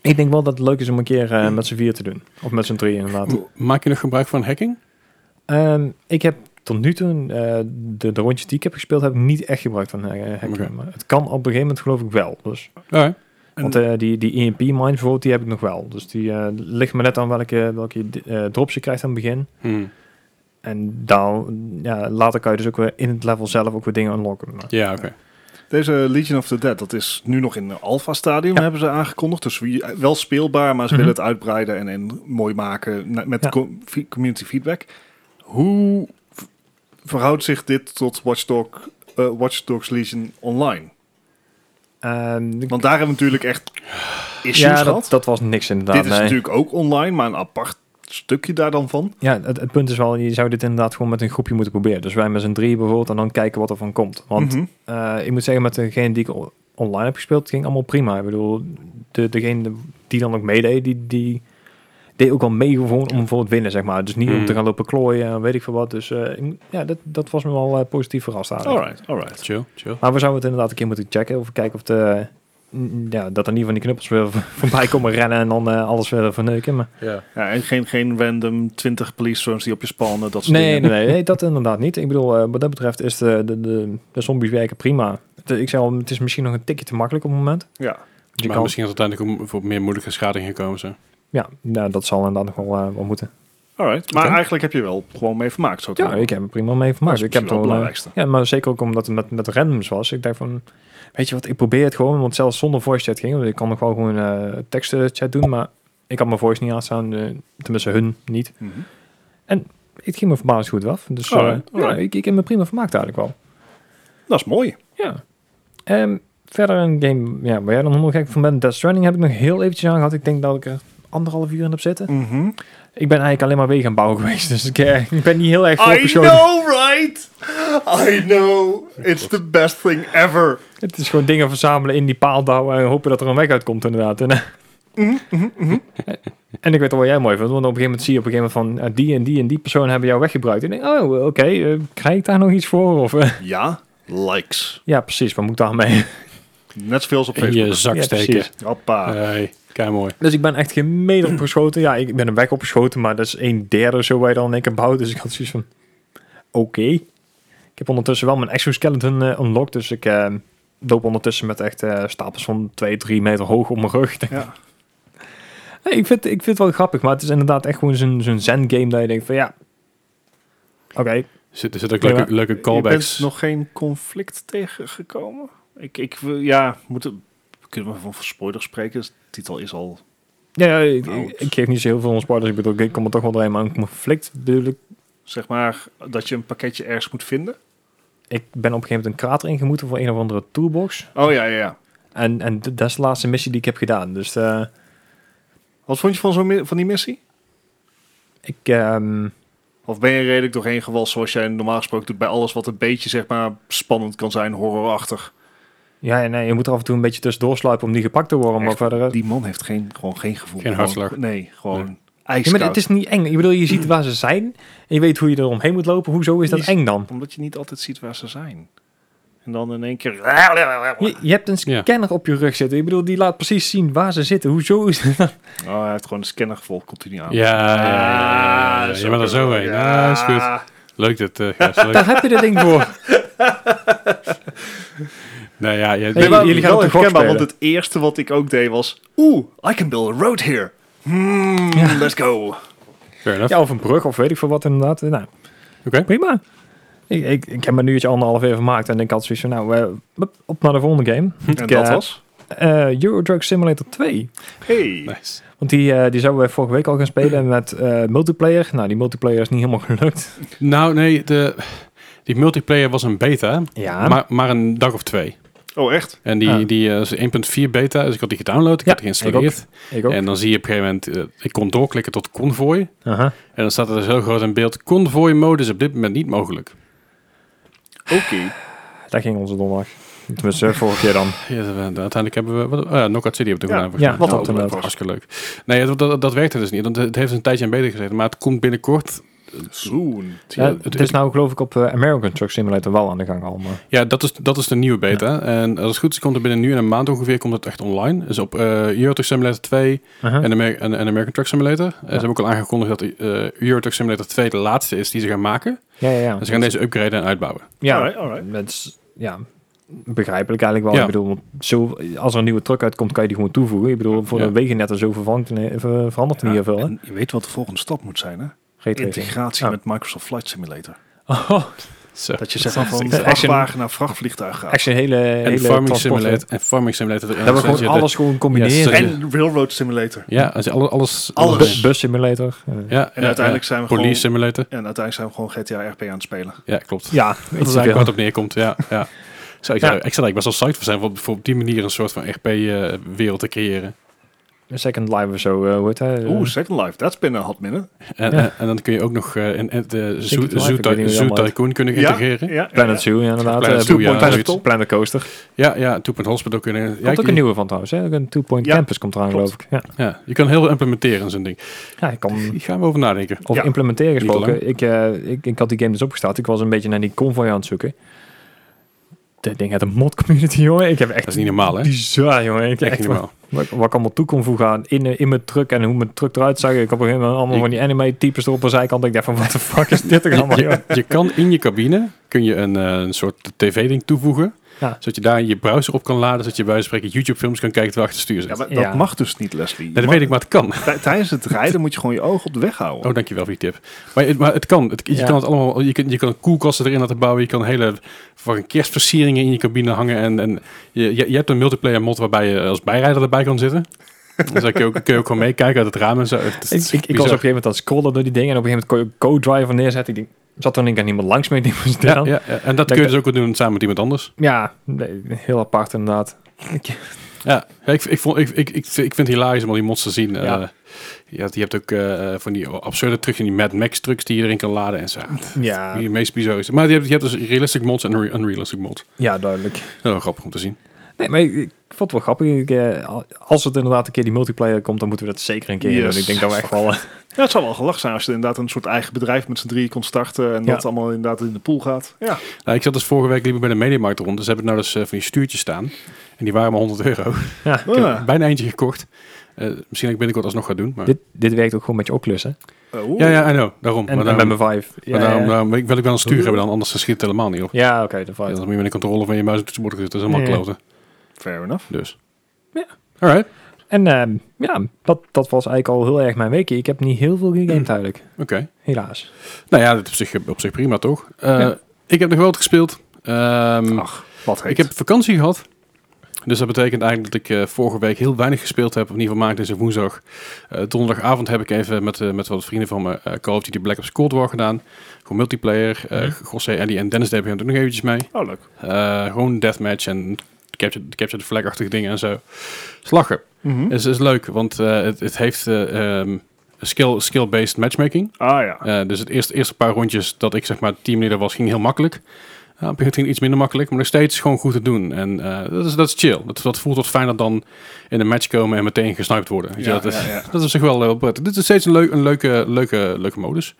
ik denk wel dat het leuk is om een keer eh, met z'n vier te doen. Of met z'n drieën inderdaad. Maak je nog gebruik van hacking? Ehm, ik heb tot nu toe eh, de, de rondjes die ik heb gespeeld, heb ik niet echt gebruikt van eh, hacking. Oké. Maar het kan op een gegeven moment geloof ik wel. Dus. Alright. Want eh, die, die EMP mine bijvoorbeeld, die heb ik nog wel. Dus die eh, ligt me net aan welke, welke eh, drops je krijgt aan het begin. Mhm. En dan, ja, later kan je dus ook weer in het level zelf ook weer dingen unlocken. Maar- Ja, oké. Deze Legion of the Dead, dat is nu nog in een alpha-stadium, Ja. hebben ze aangekondigd. Dus wie- wel speelbaar, maar ze Mhm. willen het uitbreiden en, en mooi maken na- met Ja. com- fi- community feedback. Hoe v- verhoudt zich dit tot Watch, Dog, eh, Watch Dogs Legion Online? Ehm, ik- Want daar hebben we natuurlijk echt issues ja, dat, gehad. dat was niks inderdaad. dit is Nou, nee. natuurlijk ook online, maar een apart stukje daar dan van. Ja, het, het punt is wel, je zou dit inderdaad gewoon met een groepje moeten proberen. Dus wij met z'n drieën bijvoorbeeld en dan kijken wat er van komt. Want Mhm. Eh, ik moet zeggen, met degene die ik o- online heb gespeeld, het ging allemaal prima. Ik bedoel, de, degene die dan ook meedeed, die, die deed ook wel mee gewoon om voor het winnen, zeg maar. Dus niet om Hmm. te gaan lopen klooien en weet ik veel wat. Dus eh, ik moet- ja, dat, dat was me wel eh, positief verrast eigenlijk. Alright, alright. Chill, chill. Maar we zouden het inderdaad een keer moeten checken of kijken of de, mm, ja, dat er niet van die knuppels weer v- voorbij komen rennen en dan eh, alles weer verneuken. Maar Ja. Ja, en geen, geen random 20 police drones die op je spawnen, dat soort nee, dingen. nee, nee, nee, dat inderdaad niet. Ik bedoel, eh, wat dat betreft is de, de, de, de zombies werken prima. De- ik zei al, het is misschien nog een tikje te makkelijk op het moment. Ja. Dus je maar kan- misschien is het uiteindelijk om- voor meer moeilijke schading gekomen. Zo. Ja, nou, dat zal inderdaad nog wel, eh, wel moeten. Alright. Maar Oké. eigenlijk heb je wel gewoon mee vermaakt. Zo te Ja, horen. ik heb er prima mee vermaakt. Dat Ik is heb misschien het wel al, het eh, belangrijkste. Ja, maar zeker ook omdat het met, met randoms was. Ik dacht van, weet je wat, ik probeer het gewoon. Want zelfs zonder voice chat ging. Want ik kan nog wel gewoon eh tekstchat doen. Maar ik had mijn voice niet aanstaan. eh, tenminste, hun niet. Mhm. Het ging me verbazend goed af. Dus eh, Alright, ja, alright. ik, ik heb me prima vermaakt eigenlijk wel. Dat is mooi. Ja. Ehm, verder een game ja, waar jij dan helemaal gek van bent. Death Stranding heb ik nog heel eventjes aan gehad. Ik denk dat ik er anderhalf uur in heb zitten. Mhm. Ik ben eigenlijk alleen maar wegen aan bouwen geweest. Dus ik, eh, ik ben niet heel erg I voorgeschoten. know, right? I know. It's the best thing ever. Het is gewoon dingen verzamelen in die paal douwen en hopen dat er een weg uitkomt inderdaad. En, eh, en ik weet al wat jij mooi vindt, want op een gegeven moment zie je op een gegeven moment van eh, die en die en die persoon hebben jou weggebruikt. En ik denk, oh oké, eh, krijg ik daar nog iets voor? Of, eh, Ja, likes. ja precies, wat moet ik daarmee? Net zoveel op In Facebook. je zak Ja, steken. precies. Hoppa. Eh, Hey, kei mooi. Dus ik ben echt geen meter opgeschoten. Ja, ik ben een weg opgeschoten, maar dat is een derde of zo waar je dan in één keer bouwt. Dus ik had zoiets van, oké. Ik heb ondertussen wel mijn exoskeleton eh, unlocked, dus ik eh, loop ondertussen met echt eh, stapels van 2, 3 meter hoog op mijn rug. Ja. Nee, ik, vind, ik vind het wel grappig, maar het is inderdaad echt gewoon zo'n zo'n zen-game dat je denkt van ja, oké, Er zit- er zitten ook Ja, leuke, leuke Je bent callbacks. nog geen conflict tegengekomen? Ik, ik, wil- ja, moeten, kunnen we van spoiler spreken? De titel is al... ja, ja, ik, Nou, ik- ik geef niet zo heel veel om spoilers, ik bedoel, ik kom er toch wel doorheen, maar een conflict bedoel ik. Zeg maar dat je een pakketje ergens moet vinden. Ik ben op een gegeven moment een krater ingemoeten voor een of andere toolbox. Oh ja, ja, ja. En, en d- dat is de laatste missie die ik heb gedaan. Dus eh, Wat vond je van, zo'n mi- van die missie? ik, ehm, Of ben je redelijk doorheen gewalst zoals jij normaal gesproken doet bij alles wat een beetje zeg maar spannend kan zijn, horrorachtig? ja, nee, je moet er af en toe een beetje tussendoor sluipen om niet gepakt te worden. Maar Echt? verder, eh, Die man heeft geen, gewoon geen gevoel. Geen Gewoon- hartslag. nee, gewoon Ja, ijskoud. maar het is niet eng. Ik bedoel, je ziet waar ze zijn en je weet hoe je er omheen moet lopen. Hoezo is dat Is- eng dan? Omdat je niet altijd ziet waar ze zijn. En dan in één keer... Je, je hebt een Ja. scanner op je rug zitten. Ik bedoel, die laat precies zien waar ze zitten. Hoezo is dat? Oh, hij heeft gewoon de scanner vol continu aan. Ja, ja, ja, ja. Ah, je bent er zo heen. Ja. Ja, is goed. Leuk dit, eh Gijs, leuk. Daar heb je dat ding voor. Nou ja, je- Hey, Nee, maar jullie gaan wel op de gok herkenbaar, want spelen. het eerste wat ik ook deed was... Oeh, I can build a road here. Hmm, let's go. fair enough. Ja, of een brug of weet ik veel wat inderdaad. Nou, Oké. prima. Ik, ik, ik heb me nu iets anderhalf uur gemaakt en ik had zoiets van, nou, eh, hup, op naar de volgende game. Ja. En dat was... Eh Euro Truck Simulator 2. Hey. Nice. Want die, eh, die zouden we vorige week al gaan spelen met eh, multiplayer. Nou, die multiplayer is niet helemaal gelukt. Nou, nee, de, die multiplayer was een beta, Ja. maar, maar een dag of twee. Oh, echt? En die, Ah. die eh, is 1.4 beta, dus ik had die gedownload, ik Ja, had die geïnstalleerd. ik ook. En dan zie je op een gegeven moment, eh, ik kon doorklikken tot convoy. Aha. En dan staat er dus heel groot in beeld, convoy mode is op dit moment niet mogelijk. Oké. Daar ging onze donderdag. Tenminste, vorige keer dan. Ja, dat we- uiteindelijk hebben we, wat, oh ja, Knockout City op de Ja, gedaan. ja, wat ook dat inderdaad. was hartstikke leuk. Nee, dat, dat, dat werkte dus niet, want het heeft een tijdje aan beter gezeten. Maar het komt binnenkort, Soon. Ja, het- het, is nou geloof ik op eh, American Truck Simulator wel aan de gang al. Maar Ja, dat is, dat is de nieuwe beta. En als het goed is, komt er binnen nu en een maand ongeveer komt het echt online. Dus op eh Euro Truck Simulator 2 Aha. en, Amer- en, en American Truck Simulator. En ze hebben ook al aangekondigd dat eh Euro Truck Simulator 2 de laatste is die ze gaan maken. ja, ja, ja. En ze gaan deze upgraden en uitbouwen. ja, Alright, alright. het is- ja, begrijpelijk eigenlijk wel. Ja. Ik bedoel, want zo, als er een nieuwe truck uitkomt, kan je die gewoon toevoegen. Ik bedoel, voor Ja. de wegennetten zo vervangt, eh, ver- verandert er niet heel veel. Hè? En je weet wat de volgende stap moet zijn, hè? Raytracing. Integratie Ja. met Microsoft Flight Simulator. Oh, Zo. Dat je zegt van echt een- vrachtwagen naar vrachtvliegtuig gaat. echt een hele, hele En Farming transport- Simulator. En Farming Simulator. erin. Dat we Dus gewoon je alles gewoon combineren. Ja, En Railroad Simulator. Ja, als je alle- alles... Alles. Bu- bus simulator. eh. Ja, En uiteindelijk zijn we Police gewoon- Simulator. En uiteindelijk zijn we gewoon GTA RP aan het spelen. Ja, klopt. Ja, Dat is iets te eigenlijk veel. wat op neerkomt, ja. ja. Zou ik, Ja. zou- ik zou er eigenlijk best wel psyched voor zijn voor, voor op die manier een soort van RP-wereld te creëren. Second Life of zo, eh hoe heet hij? Oeh, Second Life. That's been a hot minute. En, Ja. en, en dan kun je ook nog eh in, in de Ticket Zoo, Life, zoo, ik weet niet hoe die zoo allemaal Tycoon kunnen ja, integreren. Ja, ja, Planet Zoo, ja, inderdaad. Planet Eh, Zoo, ja, Planet- zoiets. Planet Coaster. ja, Two Point Hospital kunnen... Ja, Komt ook ik- een nieuwe van trouwens. Hè? Ook Een Two Point Ja, Campus komt eraan, klopt. geloof ik. Ja, Ja, je kan heel veel implementeren in zo'n ding. ja ik kan Die gaan we over nadenken. Of Ja. implementeren Niet gesproken. Ik, eh, ik, ik had die game dus opgestart. Ik was een beetje naar die convoy aan het zoeken. Dat ding uit de mod community, jongen. Ik heb echt... Dat is niet normaal, hè? Bizar, jongen. Ik heb Echt echt niet wat, normaal. wat, wat ik allemaal toe kon voegen aan in, eh, in mijn truck en hoe mijn truck eruit zag. Ik had op een gegeven moment allemaal Je- van die anime-types erop aan de zijkant. Ik dacht van, wat de fuck is dit er allemaal, joh? Je, je kan in je cabine kun je een, eh, een soort tv-ding toevoegen. Ja. Zodat je daar je browser op kan laden. Zodat je bij wijze van spreken YouTube-films kan kijken terwijl achter het stuur zit. Ja, maar Ja. dat mag dus niet, Leslie. Nee, dat weet ik, maar het kan. Tij- Tijdens het rijden moet je gewoon je ogen op de weg houden. Oh, dankjewel voor die tip. Maar, het- maar het kan. Het, je Ja. kan het allemaal. Je kan, je kan koelkasten erin laten bouwen. Je kan hele fucking kerstversieringen in je cabine hangen. En, en je, je, je hebt een multiplayer mod waarbij je als bijrijder erbij kan zitten. dus dan kun je ook, kun je ook gewoon meekijken uit het raam en zo. Het is Ik, ik, ik was op een bizar. gegeven moment aan het scrollen door die dingen. En op een gegeven moment kon je co-driver neerzetten. Ik denk, zat er in één keer niemand langs mee. Ik denk, wat is dit Ja, dan? ja, ja. en dat kun je dus ook wel doen samen met iemand anders. Ja, nee, heel apart inderdaad. Ja, Ja, ik, ik, vond, ik, ik, ik, ik vind het hilarisch om al die mods te zien. Ja. Eh, je, hebt, je hebt ook eh, van die absurde trucs, die Mad Max trucks die je erin kan laden en zo. Ja, Die meest bizar is. Maar je hebt, je hebt dus realistic mods en re- unrealistic mods. ja duidelijk. Heel grappig om te zien. Nee, maar ik, ik vond het wel grappig. Ik, eh, al- als het inderdaad een keer die multiplayer komt, dan moeten we dat zeker een keer Yes. doen. Ik denk dat we echt wel... eh, Ja, het zou wel gelach zijn als je inderdaad een soort eigen bedrijf met z'n drieën kon starten. En Ja. dat allemaal inderdaad in de pool gaat. Ja, Nou, ik zat dus vorige week liever bij de Mediamarkt rond. Dus heb ik nou dus eh, van die stuurtjes staan. En die waren maar 100 euro. ja. Ik Ah. heb bijna eentje gekocht. Eh, misschien dat ik binnenkort alsnog ga doen. Maar... dit, dit werkt ook gewoon met je Oculus, hè? Oh. Ja, ja, I know. Daarom. En, maar en met daarom, mijn Vive. Ja, maar daarom, ja. daarom wil ik- wil ik wel een stuur hebben dan, anders schiet het helemaal niet op. Ja, oké, de Ja, dan Vive. moet je met een controle van je muis op het toetsenbord zitten. Dat is helemaal Ja. kloten. Fair enough. Dus. Ja. Alright. En ehm, ja, dat, dat was eigenlijk al heel erg mijn weekje. Ik heb niet heel veel gegamed Mm. eigenlijk, Oké. helaas. Nou ja, dat is op zich, op zich prima toch? Eh, Ja. Ik heb nog wel wat gespeeld. Ehm, Ach, wat heet. ik heb vakantie gehad. Dus dat betekent eigenlijk dat ik eh, vorige week heel weinig gespeeld heb. Of in ieder geval maandag en woensdag. Eh, donderdagavond heb ik even met, eh, met wat vrienden van me eh Call of Duty Black Ops Cold War gedaan. Gewoon multiplayer. Eh Mhm. José, Ellie en Dennis deden er ook nog eventjes mee. Oh, leuk. Eh, gewoon deathmatch en capture, capture the flag-achtige dingen en zo. Slachen. Mhm. is, is leuk, want eh, het, het heeft eh, ehm, skill- skill-based matchmaking. Ah ja. Eh, dus het eerste, eerste paar rondjes dat ik zeg maar teamleader was, ging heel makkelijk. Ja, op een gegeven moment ging het iets minder makkelijk, maar nog steeds gewoon goed te doen. En eh, dat, is, dat is chill. Dat, dat voelt wat fijner dan in een match komen en meteen gesniped worden. Weet je, Ja, dat, is- ja, ja. dat is op zich wel heel prettig. Dit is steeds een, leuk, een leuke, leuke, leuke modus.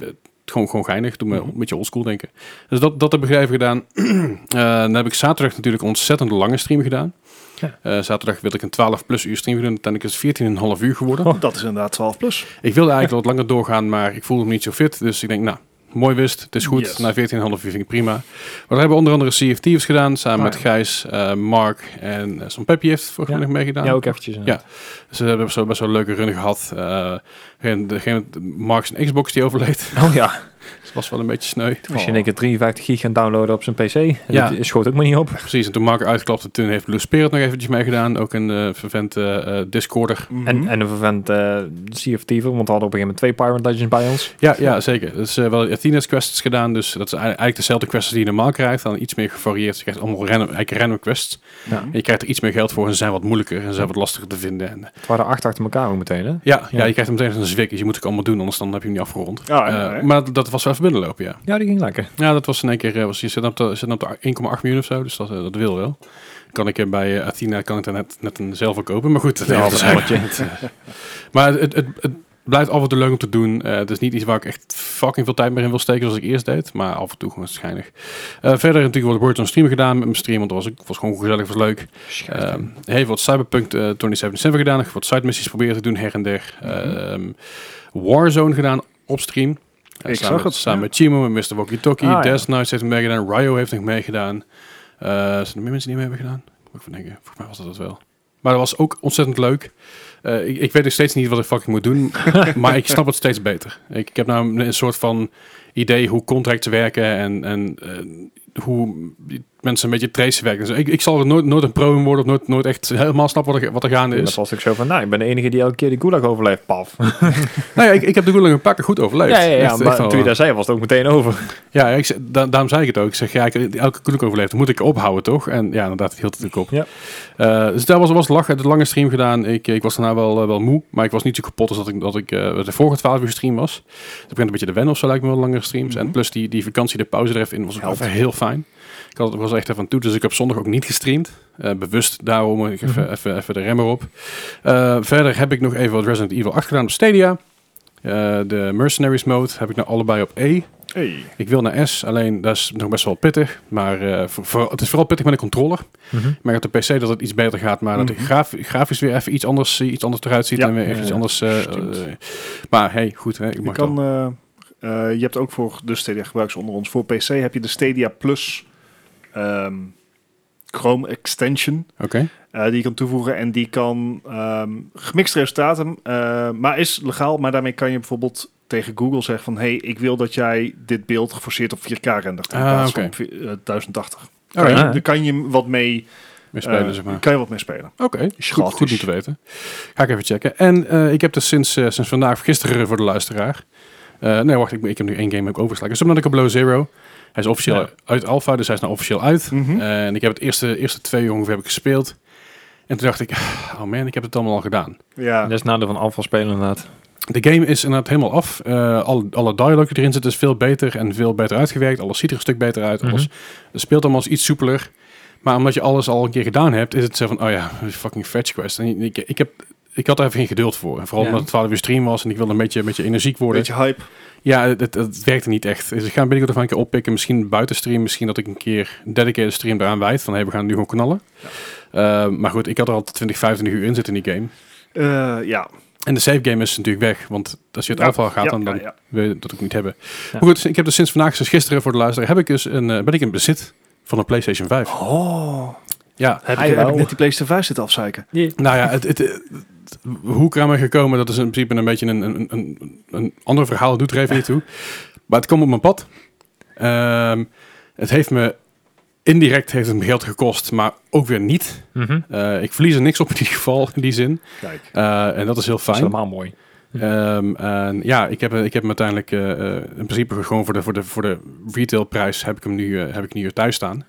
Eh, gewoon, gewoon geinig. Doe me Mhm. een beetje oldschool denken. Dus dat, dat heb ik even gedaan. Eh, dan heb ik zaterdag natuurlijk een ontzettend lange stream gedaan. Ja. Eh, zaterdag wilde ik een 12 plus uur stream doen. Uiteindelijk is het 14,5 uur geworden. Dat is inderdaad 12 plus. Ik wilde eigenlijk wat langer doorgaan, maar ik voelde me niet zo fit. Dus ik denk, nou, mooi wist. Het is goed. Yes. Na 14,5 uur vind ik prima. Maar we hebben onder andere CFT's gedaan. Samen Ah, met ja. Gijs, eh, Mark en eh, Sam Peppy heeft vorige Ja. week nog meegedaan. Ja, ook eventjes. inderdaad. Dus we hebben zo best wel een leuke run gehad. Eh en degene, Mark zijn Xbox die overleed. Oh ja, Dat was wel een beetje sneu. als je in één keer 53 gig gaat downloaden op zijn PC, Ja. Oh. ja. Mhm. dat schoot ook maar niet op. Precies, en toen Mark uitklapte, toen heeft Blue Spirit nog eventjes meegedaan. Ook een eh vervent eh, eh, Discorder. Mhm. En, en een vervent eh Sea of Thieves, want we hadden op een gegeven moment twee Pirate Legends bij ons. Ja, ja zeker. Dus eh, wel Athena's quests gedaan. Dus dat is ei- eigenlijk dezelfde quests die je normaal krijgt. Dan iets meer gevarieerd. Je krijgt allemaal random, eigenlijk random quests. Ja. En je krijgt er iets meer geld voor en ze zijn wat moeilijker en ze zijn wat lastiger te vinden. En, eh, Het waren acht achter elkaar ook meteen, hè? ja, ja. Ja. je krijgt hem meteen als een zwik. Dus je moet het ook allemaal doen, anders dan heb je hem niet afgerond. Ja, Eh, ja, ja. maar dat- dat was wel even binnenlopen, ja. Ja, die ging lekker. Ja, dat was in één keer, eh, was, je zit op de, zit op de 1,8 miljoen of zo, dus dat, eh, dat wil wel. Kan ik eh, bij eh, Athena kan ik daar net, net een zelf kopen, maar goed. dat- Ja, dat dat is is eigenlijk- het, eh, maar het, het, het blijft af en toe leuk om te doen. Eh, het is niet iets waar ik echt fucking veel tijd meer in wil steken zoals ik eerst deed, maar af en toe gewoon schijnig. Eh, verder natuurlijk wat Word on Stream gedaan met mijn stream, want dat was, ook- was gewoon gezellig, was leuk. Ehm heeft wat Cyberpunk eh 2077 gedaan, nog wat side missies proberen te doen her en der. Mhm. Ehm, Warzone gedaan op stream. Eh, samen Ik zag met, het, Samen ja. met Chimo en Mr. Walkie Talkie. Ah, ja. Death Knights heeft hem meegedaan. Ryo heeft nog meegedaan. Eh, zijn er meer mensen die mee hebben gedaan? Moet ik van denken. Volgens mij was dat dat wel. Maar dat was ook ontzettend leuk. Eh, ik, ik weet nog steeds niet wat ik fucking moet doen. maar ik snap het steeds beter. Ik, ik heb nou een, een soort van idee hoe contracts werken. En, en eh, hoe mensen een beetje tracen werken. Dus ik, ik zal er nooit, nooit een pro in worden. Of nooit, nooit echt helemaal snappen wat er, wat er gaande En is. dat was ook zo van, nou, ik ben de enige die elke keer die gulag overleeft, paf. Nou ja, ik, ik heb de goede een pakken goed overleefd. ja, ja, ja, Echt- echt maar wel. toen je daar zei, was het ook meteen over. Ja, ik, ze- da- daarom zei ik het ook. Ik zeg, ja, ik, elke koelk overleeft, moet ik ophouden, toch? En ja, inderdaad, het hield het natuurlijk op. Eh, dus daar was, was lachen, de lange stream gedaan. Ik, ik was daarna wel, eh, wel moe, maar ik was niet zo kapot als dat ik, dat ik eh, de vorige 12 uur stream was. Het begint een beetje de wennen of zo, lijkt me wel, langere streams. En Mhm. plus die, die vakantie, de pauze er even in, was ook Helpt. even heel fijn. Ik had, was er echt even aan toe, dus ik heb zondag ook niet gestreamd. Eh, bewust daarom, ik even, Mhm. even, even de remmer op. Eh, verder heb ik nog even wat Resident Evil 8 gedaan op Stadia. Eh, de Mercenaries mode heb ik nou allebei op E. Hey. Ik wil naar S, alleen dat is nog best wel pittig. Maar eh, voor, voor- het is vooral pittig met een controller. Mhm. Maar op de PC dat het iets beter gaat. Maar dat Mhm. het graf- grafisch weer even iets anders, eh, iets anders eruit ziet. Ja, en weer even ja, iets ja. anders. eh, Stimmt. eh, maar hey, goed. Hè, ik Je, mag kan, wel. eh, eh, je hebt ook voor de Stadia gebruikers onder ons. Voor PC heb je de Stadia Plus ehm, Chrome extension. Oké. eh, die je kan toevoegen en die kan ehm gemixt resultaten, eh, maar is legaal. Maar daarmee kan je bijvoorbeeld tegen Google zeggen van... hey, ik wil dat jij dit beeld geforceerd op 4K rendert in Ah, plaats oké. van vi- eh, 1080. Alright. Ja. Daar kan je wat mee Weer spelen, eh, zeg maar. Kan je wat mee spelen. Oké, goed, Schattig. goed om te weten. Ga ik even checken. En eh, ik heb dus sinds, eh, sinds vandaag, of gisteren voor de luisteraar. eh, nee, wacht, ik, ik heb nu één game ook overgeslagen. Dus omdat ik op Blow Zero. Hij is officieel Ja. uit Alpha, dus hij is nou officieel uit. Mhm. En ik heb het eerste, eerste twee uur ongeveer heb ik gespeeld. En toen dacht ik, oh man, ik heb het allemaal al gedaan. ja. Dat is het nadeel van afval spelen inderdaad. De game is inderdaad helemaal af. Eh, alle, alle dialogue die erin zit is veel beter en veel beter uitgewerkt. Alles ziet er een stuk beter uit. Alles het speelt allemaal als iets soepeler. Maar omdat je alles al een keer gedaan hebt, is het zo van, oh ja, fucking fetch quest. En ik, ik, heb, ik had daar even geen geduld voor. En vooral Ja. omdat het 12 uur stream was en ik wilde een beetje, een beetje energiek worden. Beetje hype. Ja, het, het, het werkte niet echt. Dus ik ga hem binnenkort nog een keer oppikken. Misschien buiten stream. Misschien dat ik een keer een dedicated stream eraan wijd. Van, hey, we gaan nu gewoon knallen. Eh, maar goed, ik had er al 20, 25 uur in zitten in die game. Eh, ja. En de save game is natuurlijk weg. Want als je het Ja, alpha gaat, ja, dan, dan ja, ja. wil je dat ook niet hebben. Ja. Maar goed, ik heb dus sinds vandaag, sinds gisteren voor de luisteraar, heb ik dus een, eh, ben ik in bezit van een PlayStation 5. Oh, Ja, heb Hij ik, heb wel. ik net die PlayStation 5 zitten afzeiken. nou ja, het, het, het- het- hoe ik er aan ben gekomen, dat is in principe een beetje een, een, een, een ander verhaal. Doet er even niet toe. Maar het kwam op mijn pad. Ehm, het heeft me indirect heeft het me geld gekost, maar ook weer niet. Mhm. Eh, ik verlies er niks op in ieder geval, in die zin. Kijk. Eh, en dat is heel Dat is fijn. helemaal mooi. Ehm, en ja, ik heb, ik heb hem uiteindelijk eh, eh, in principe gewoon voor de, voor de, voor de retailprijs heb ik hem Mhm. nu, eh, heb ik nu hier thuis staan.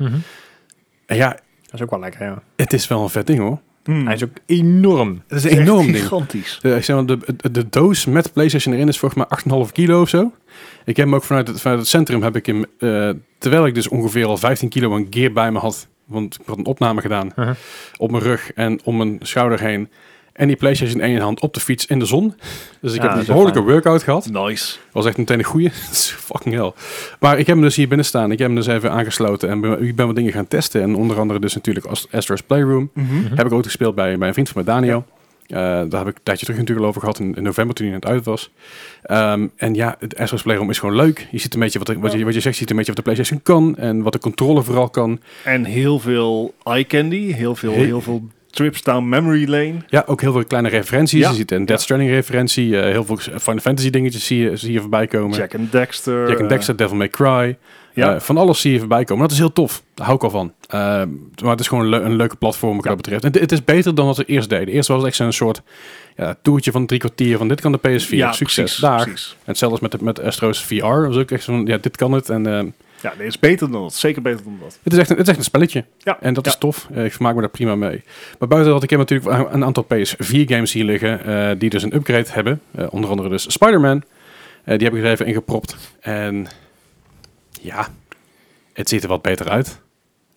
En ja, Dat is ook wel lekker, ja. het is wel een vet ding hoor. Hmm. Hij is ook enorm. Dat is Het een echt enorm ding. gigantisch. Eh, ik zeg maar, de, de, de doos met PlayStation erin is volgens mij 8,5 kilo of zo. Ik heb hem ook vanuit het, vanuit het centrum, heb ik hem, eh, terwijl ik dus ongeveer al 15 kilo aan gear bij me had, want ik had een opname gedaan Uh-huh. op mijn rug en om mijn schouder heen. En die PlayStation in één hand op de fiets in de zon. Dus ik heb Ja, dat een is behoorlijke fijn. workout gehad. Nice. was echt meteen een goeie. Dat is fucking hell. Maar ik heb hem dus hier binnen staan. Ik heb hem dus even aangesloten en ben- ik ben wat dingen gaan testen. En onder andere dus natuurlijk Ast- Astro's Playroom. Mhm. Heb ik ook gespeeld bij, bij een vriend van mij, Daniel. Eh, daar heb ik een tijdje terug natuurlijk al over gehad, in, in november toen hij net uit was. Ehm, en ja, het Astro's Playroom is gewoon leuk. Je ziet een beetje wat, er- wat, je, wat je zegt, je ziet een beetje wat de PlayStation kan en wat de controller vooral kan. En heel veel eye candy, heel veel, Heel- heel veel trips down memory lane. Ja, ook heel veel kleine referenties. Ja. Je ziet een Death Stranding referentie, eh, heel veel Final Fantasy dingetjes zie je, zie je voorbij komen. Jack and Dexter. Jack and Dexter, Devil May Cry. eh, ja. Eh, van alles zie je voorbij komen. Dat is heel tof. Daar hou ik al van. Eh, maar het is gewoon een, leu- een leuke platform wat Ja. dat betreft. En dit- het is beter dan wat ze eerst deden. Eerst was het echt zo'n soort ja, toertje van drie kwartier van dit kan de PS4. ja, Succes. precies, Daar. precies. En zelfs met, de- met Astro's VR was ook echt zo'n, ja, dit kan het. En eh, Ja, nee, is beter dan dat. Zeker beter dan dat. het, is echt een, het is echt een spelletje. Ja. En dat Ja. is tof. Eh, ik vermaak me daar prima mee. Maar buiten dat, ik heb natuurlijk een- een aantal PS4-games hier liggen. eh, die dus een upgrade hebben. Eh, onder andere dus Spider-Man. Eh, die heb ik er even in gepropt. En ja, het ziet er wat beter uit.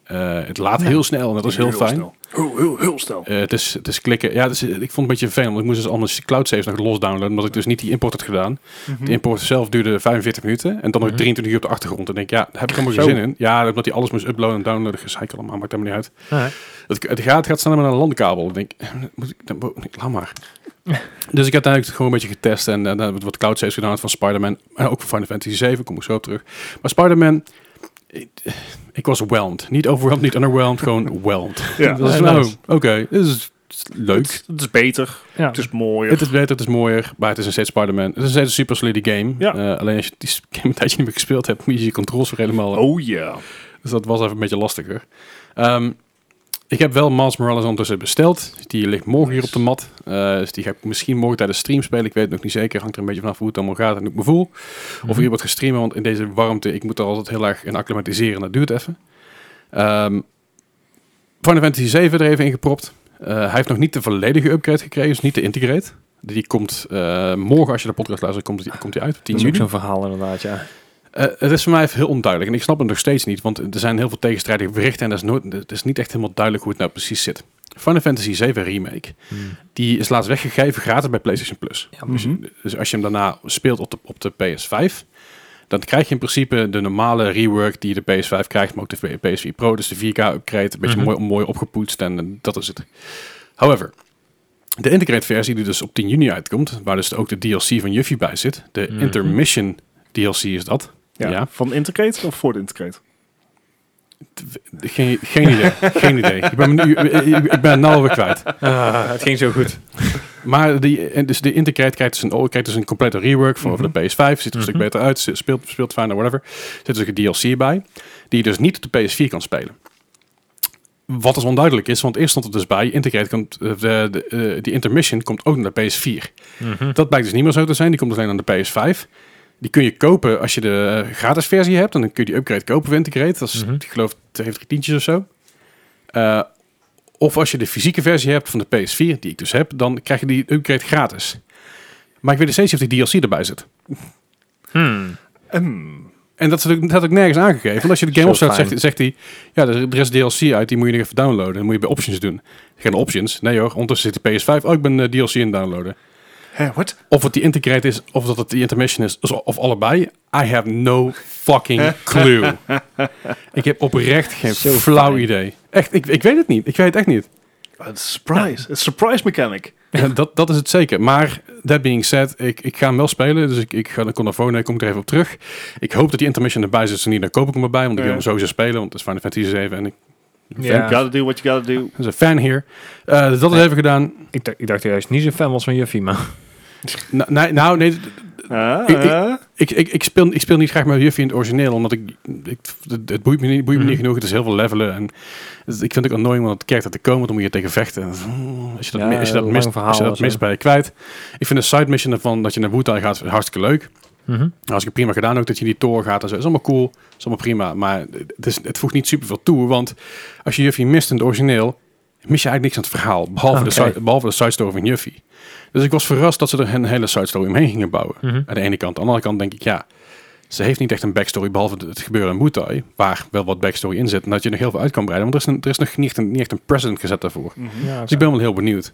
Eh, het laat heel snel en dat is heel, fijn. snel. Heel, heel, heel snel. Eh, het, is, het is klikken. Ja, het is- ik vond het een beetje vervelend. want Ik moest dus anders cloud saves nog los downloaden. Omdat ik dus niet die import had gedaan. Mhm. De import zelf duurde 45 minuten. En dan nog Mhm. 23 uur op de achtergrond. En ik denk, ja, daar heb ik helemaal geen Zo. zin in. Ja, omdat hij alles moest uploaden en downloaden. Gezeik allemaal, maakt helemaal niet uit. Het, het gaat, het gaat sneller met een landkabel. Ik denk, eh, moet ik, dan, moet ik- laat maar. dus ik heb uiteindelijk het gewoon een beetje getest. En eh, dan heb ik wat cloud saves gedaan van Spider-Man. En ook van Final Fantasy 7, kom ik zo op terug. Maar Spider-Man... Ik, eh, ik was whelmed. Niet overwhelmed, niet underwhelmed. gewoon whelmed. Ja. Dat is Ja, nou, nice. oké. Dit is leuk. Het, het is beter. Ja. Het is mooier. Het is beter, het is mooier, maar het is een steeds Spider-Man. Het is een steeds een super solide game. Ja. Eh, alleen als je die game een tijdje niet meer gespeeld hebt, moet je je controls weer helemaal... oh ja. Dus dat was even een beetje lastiger. Ehm, ik heb wel Miles Morales ondertussen besteld. Die ligt morgen hier op de mat. Eh, dus die ga ik misschien morgen tijdens stream spelen. Ik weet het nog niet zeker. Hangt er een beetje vanaf hoe het allemaal gaat en hoe ik me voel. Mhm. Of ik hier wat gestreamen, want in deze warmte, ik moet er altijd heel erg in acclimatiseren. Dat duurt even. Ehm Final Fantasy 7 er even in gepropt. Eh, hij heeft nog niet de volledige upgrade gekregen, dus niet de integrate. Die komt eh, morgen, als je de podcast luistert, komt die, komt die uit. op 10 Dat is ook juli. zo'n verhaal inderdaad, ja. Eh, het is voor mij even heel onduidelijk en ik snap het nog steeds niet, want er zijn heel veel tegenstrijdige berichten en dat is nooit, het is niet echt helemaal duidelijk hoe het nou precies zit. Final Fantasy 7 Remake, Mhm. die is laatst weggegeven gratis bij PlayStation Plus. Ja, dus, dus als je hem daarna speelt op de, op de PS5, dan krijg je in principe de normale rework die de PS5 krijgt, maar ook de PS4 Pro, dus de 4K upgrade, een beetje Mhm. mooi, mooi opgepoetst en, eh, dat is het. However, de integrate versie die dus op 10 juni uitkomt, waar dus ook de DLC van Juffie bij zit, de Mhm. Intermission DLC is dat. Ja. Ja. Van Intercrate of voor de Intercrate? Geen, geen idee. geen idee. Ik ben, me nu, ik, ik ben het nou alweer kwijt. Ah, het ging zo goed. Maar die, en dus de Intercrate krijgt dus een, oh, krijgt dus een complete rework van over de PS5. Ziet er een stuk Mhm. beter uit. ze- Speelt, speelt fijner, whatever. Zit dus een DLC bij. Die je dus niet op de PS4 kan spelen. Wat dus onduidelijk is, want eerst stond het dus bij. Intercrate komt, eh, de, de, eh, die Intermission komt ook naar de PS4. Mhm. Dat blijkt dus niet meer zo te zijn. Die komt dus alleen aan de PS5. Die kun je kopen als je de eh, gratis versie hebt. En dan kun je die upgrade kopen voor Integrate. Dat is, Mhm. ik geloof, twee of drie tientjes of zo. Eh, of als je de fysieke versie hebt van de PS4, die ik dus heb, dan krijg je die upgrade gratis. Maar ik weet nog steeds niet of die DLC erbij zit. Mhm. Mm. En dat is natuurlijk- dat had ik nergens aangegeven. Want als je de game Zo opstart, fijn. zegt, zegt hij... Ja, er er is DLC uit, die moet je nog even downloaden. Dan moet je bij options doen. Geen options. Nee hoor, ondertussen zit de PS5. Oh, ik ben eh, DLC in downloaden. Hé, wat? Of het die integrate is, of dat het die intermission is, zo- of allebei. I have no fucking clue. ik heb oprecht geen Zo flauw fijn. idee. Echt, ik, ik weet het niet. Ik weet het echt niet. Een surprise. Een surprise mechanic. Ja, dat, dat is het zeker. Maar, that being said, ik, ik ga hem wel spelen. Dus ik, ik ga naar Conafone, ik kom ik er even op terug. Ik hoop dat die intermission erbij zit. Zo niet, dan koop ik hem erbij. Want ik wil Ja. hem sowieso spelen. Want het is Final Fantasy 7 en ik Ja. You gotta do what you gotta do. ben een fan hier. Eh, dus dat is even gedaan. Ik, dacht- ik dacht juist niet zo'n fan was van Juffie, maar... Nou, nee, nou nee, Ah, Ik- ik- ah. Ik, ik, ik, speel, ik speel niet graag met Juffie in het origineel, omdat ik, ik het, het boeit me niet, boeit me niet Mhm. genoeg. Het is heel veel levelen en het- ik vind het ook annoying want het kerk dat te komen, want dan moet je tegen vechten. En Als je dat, Ja, mi- als je dat lang mist, verhaal als je en dat zo. mist ben je kwijt. Ik vind de side mission ervan dat je naar Wu-Tai gaat hartstikke leuk. Mhm. Nou, Als ik prima gedaan ook dat je in die toren gaat en zo, is allemaal cool, is allemaal prima. Maar het, is, het voegt niet super veel toe, want als je Juffie mist in het origineel, mis je eigenlijk niks aan het verhaal. Behalve, de, Oké. side- behalve de side story van Juffy. Dus ik was verrast dat ze er een hele side story omheen gingen bouwen. Mhm. Aan de ene kant. Aan de andere kant denk ik, ja, ze heeft niet echt een backstory. Behalve het gebeuren in Muay waar wel wat backstory in zit. En dat je nog heel veel uit kan breiden. Want er is, een- er is nog niet echt, een, niet echt een precedent gezet daarvoor. Mhm. Ja, oké. Dus ik ben wel heel benieuwd.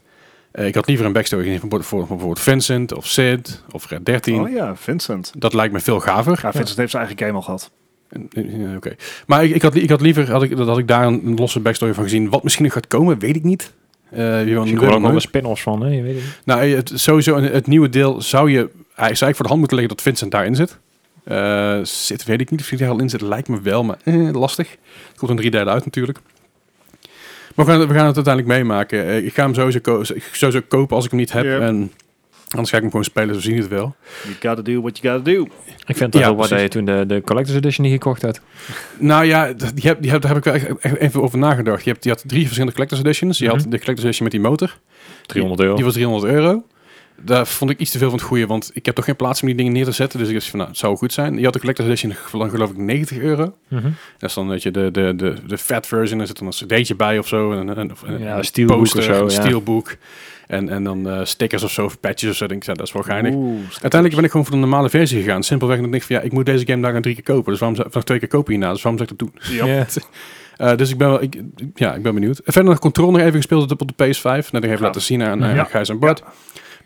Eh, ik had liever een backstory gezien van bijvoorbeeld- van bijvoorbeeld Vincent of Sid of Red 13. Oh ja, Vincent. Dat lijkt me veel gaver. Ja, Vincent heeft zijn eigen game al gehad. En- en- ja, Oké. Maar ik, ik, had, li- ik had liever had ik, dat had ik daar een, een losse backstory van gezien. Wat misschien nog gaat komen, weet ik niet. Eh, je Misschien weet komen het er ook nog nooit. wel spin-offs van, hè? Je weet het niet. Nou, het, sowieso een- het nieuwe deel zou je eigenlijk, zou eigenlijk voor de hand moeten leggen dat Vincent daarin zit. Eh, zit, weet ik niet of hij daar al in zit. Lijkt me wel, maar eh, lastig. Het komt een drie derde uit natuurlijk. Maar we gaan, we gaan het uiteindelijk meemaken. Eh, ik ga hem sowieso, ko- sowieso kopen als ik hem niet heb. Ja. En anders ga ik hem gewoon spelen, zo zien we het wel. You gotta do what you gotta do. Ik vind het Ja, wel wat precies. je toen de, de Collector's Edition niet gekocht had. Nou ja, d- die heb, die heb, daar heb ik wel echt, echt even over nagedacht. Je, hebt, je had drie verschillende collector's editions. Je Mhm. had de collector's edition met die motor. 300 euro. Die was 300 euro. Daar vond ik iets te veel van het goede, want ik heb toch geen plaats om die dingen neer te zetten. Dus ik dacht van, nou, het zou goed zijn. Je had de collector's edition van geloof ik 90 euro. Mhm. Dat is dan weet je, de, de, de, de fat version. Er zit dan een cd'tje bij of zo. En, een- een- of een- Ja, een een steelboek poster, of zo, een ja. steelboek. En, en dan eh, stickers of zo, of patches of zo. Ik Denk, ik, ja, dat is wel geinig. Oeh, stickers. Uiteindelijk ben ik gewoon voor de normale versie gegaan. Simpelweg omdat ik denk van ja, ik moet deze game daar gaan drie keer kopen. Dus waarom zou nog twee keer kopen hierna? Dus waarom zou ik dat doen? Ja. Ja. Eh, dus ik ben wel, ik, ja, ik ben benieuwd. En Verder nog Control nog even gespeeld op de PS5. Net even Ja. laten zien aan, aan Ja. Gijs en Bart.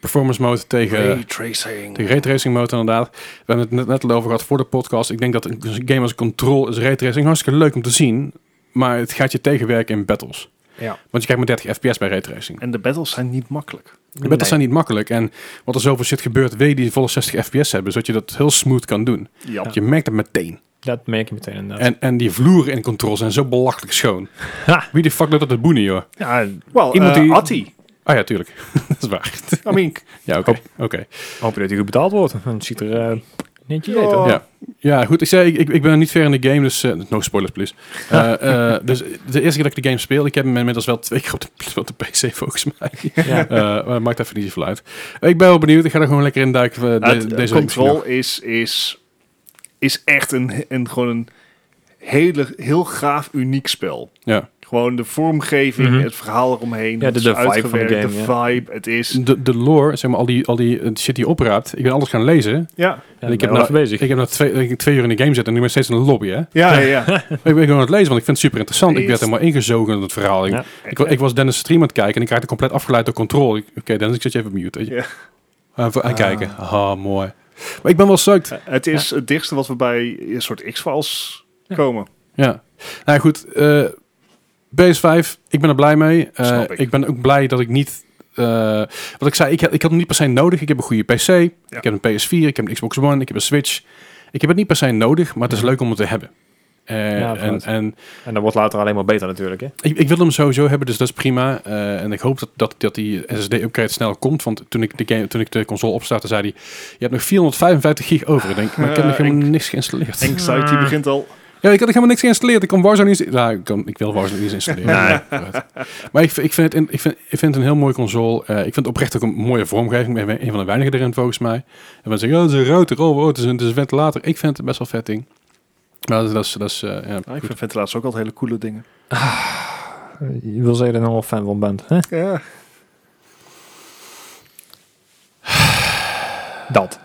Performance mode tegen, Ray tracing. tegen raytracing mode inderdaad. We hebben het net, net al over gehad voor de podcast. Ik denk dat een een game als Control is raytracing hartstikke leuk om te zien. Maar het gaat je tegenwerken in battles. Ja. Want je krijgt maar 30 fps bij raytracing. En de battles zijn niet makkelijk. De battles zijn niet makkelijk. En wat er zoveel shit gebeurt, weet je die volle 60 fps hebben. Zodat je dat heel smooth kan doen. Ja. Je merkt het meteen. Dat merk je meteen inderdaad. En, en die vloeren in control zijn zo belachelijk schoon. Ha. Wie de fuck doet dat het boenen, joh? ja well, iemand iemand die- die... Atti. Ah ja, tuurlijk. dat is waar. I mean, ja, oké. oké. Hoop je dat hij goed betaald wordt. Want Het ziet er eh, netjes uit. Ja. hoor. Ja. ja, goed. Ik zei, ik, ik ben niet ver in de game, dus... eh, no spoilers, please. Eh, eh, dus de eerste keer dat ik de game speel... Ik heb hem inmiddels wel twee keer op de, op de PC, volgens mij. Ja. Eh, maar het maakt even niet zoveel uit. Ik ben wel benieuwd. Ik ga er gewoon lekker in duiken. eh, de- het eh, deze week control is, is, is echt een, een, gewoon een hele, heel gaaf, uniek spel. Ja. Gewoon de vormgeving, Mhm. het verhaal eromheen. Ja, het de- is de vibe van de uitgewerkt, game, De vibe, het is... De, de lore, zeg maar, al die, al die eh, shit die je opraapt. Ik ben alles gaan lezen. Ja, Ja, en ik ben heb wel nou, even bezig. ik heb nou twee, ik heb twee uur in de game zitten en nu ben ik steeds in de lobby, hè? ja, ja. ja. Ik ben gewoon aan het lezen, want ik vind het super interessant. Ik werd Eerst. helemaal ingezogen in het verhaal. Ik, Ja. ik, wa- ik was Dennis stream aan het kijken en ik raakte compleet afgeleid door controle. Ik- Oké, Dennis, ik zet je even op mute. Weet je. Ja. Even Ah. aankijken. Ah, mooi. Maar ik ben wel psyched. het is het dichtste wat we bij een soort X-Files Ja. komen. Ja. Nou goed, eh PS5, ik ben er blij mee. Eh, Snap ik. ben ook blij dat ik niet... eh, wat ik zei, ik, had- ik had hem niet per se nodig. Ik heb een goede PC, ik heb een PS4, ik heb een Xbox One, ik heb een Switch. Ik heb het niet per se nodig, maar het is leuk om het te hebben. Eh, Ja, en, vanuit. en En dat wordt later alleen maar beter natuurlijk. Hè? Ik, ik wil hem sowieso hebben, dus dat is prima. Eh, en ik hoop dat, dat, dat die SSD-upgrade snel komt. Want toen ik, de game, toen ik de console opstartte, zei hij... Je hebt nog 455 gig over. Ik denk, maar ik heb nog Eh, helemaal niks geïnstalleerd. Anxiety Mm. begint al. Ja, ik had nog helemaal niks geïnstalleerd. Ik kon Warzone niet... insta- Nou, ik, kan, ik wil Warzone niet eens installeren. Right. Maar ik, vind- ik, vind het, in- ik, vind, ik vind het een heel mooie console. Eh, ik vind het oprecht ook een mooie vormgeving. Ik ben een van de weinigen erin, volgens mij. En mensen zeggen, oh, het is een router. Oh, wow, het, is een, het is een ventilator. Ik vind het best wel vet ding. Maar dat is... Dat is, dat is eh, ja, ik goed. vind ventilatie ook altijd hele coole dingen. Je wil zeggen dat je er nog fan van bent. Hè? Ja. Dat.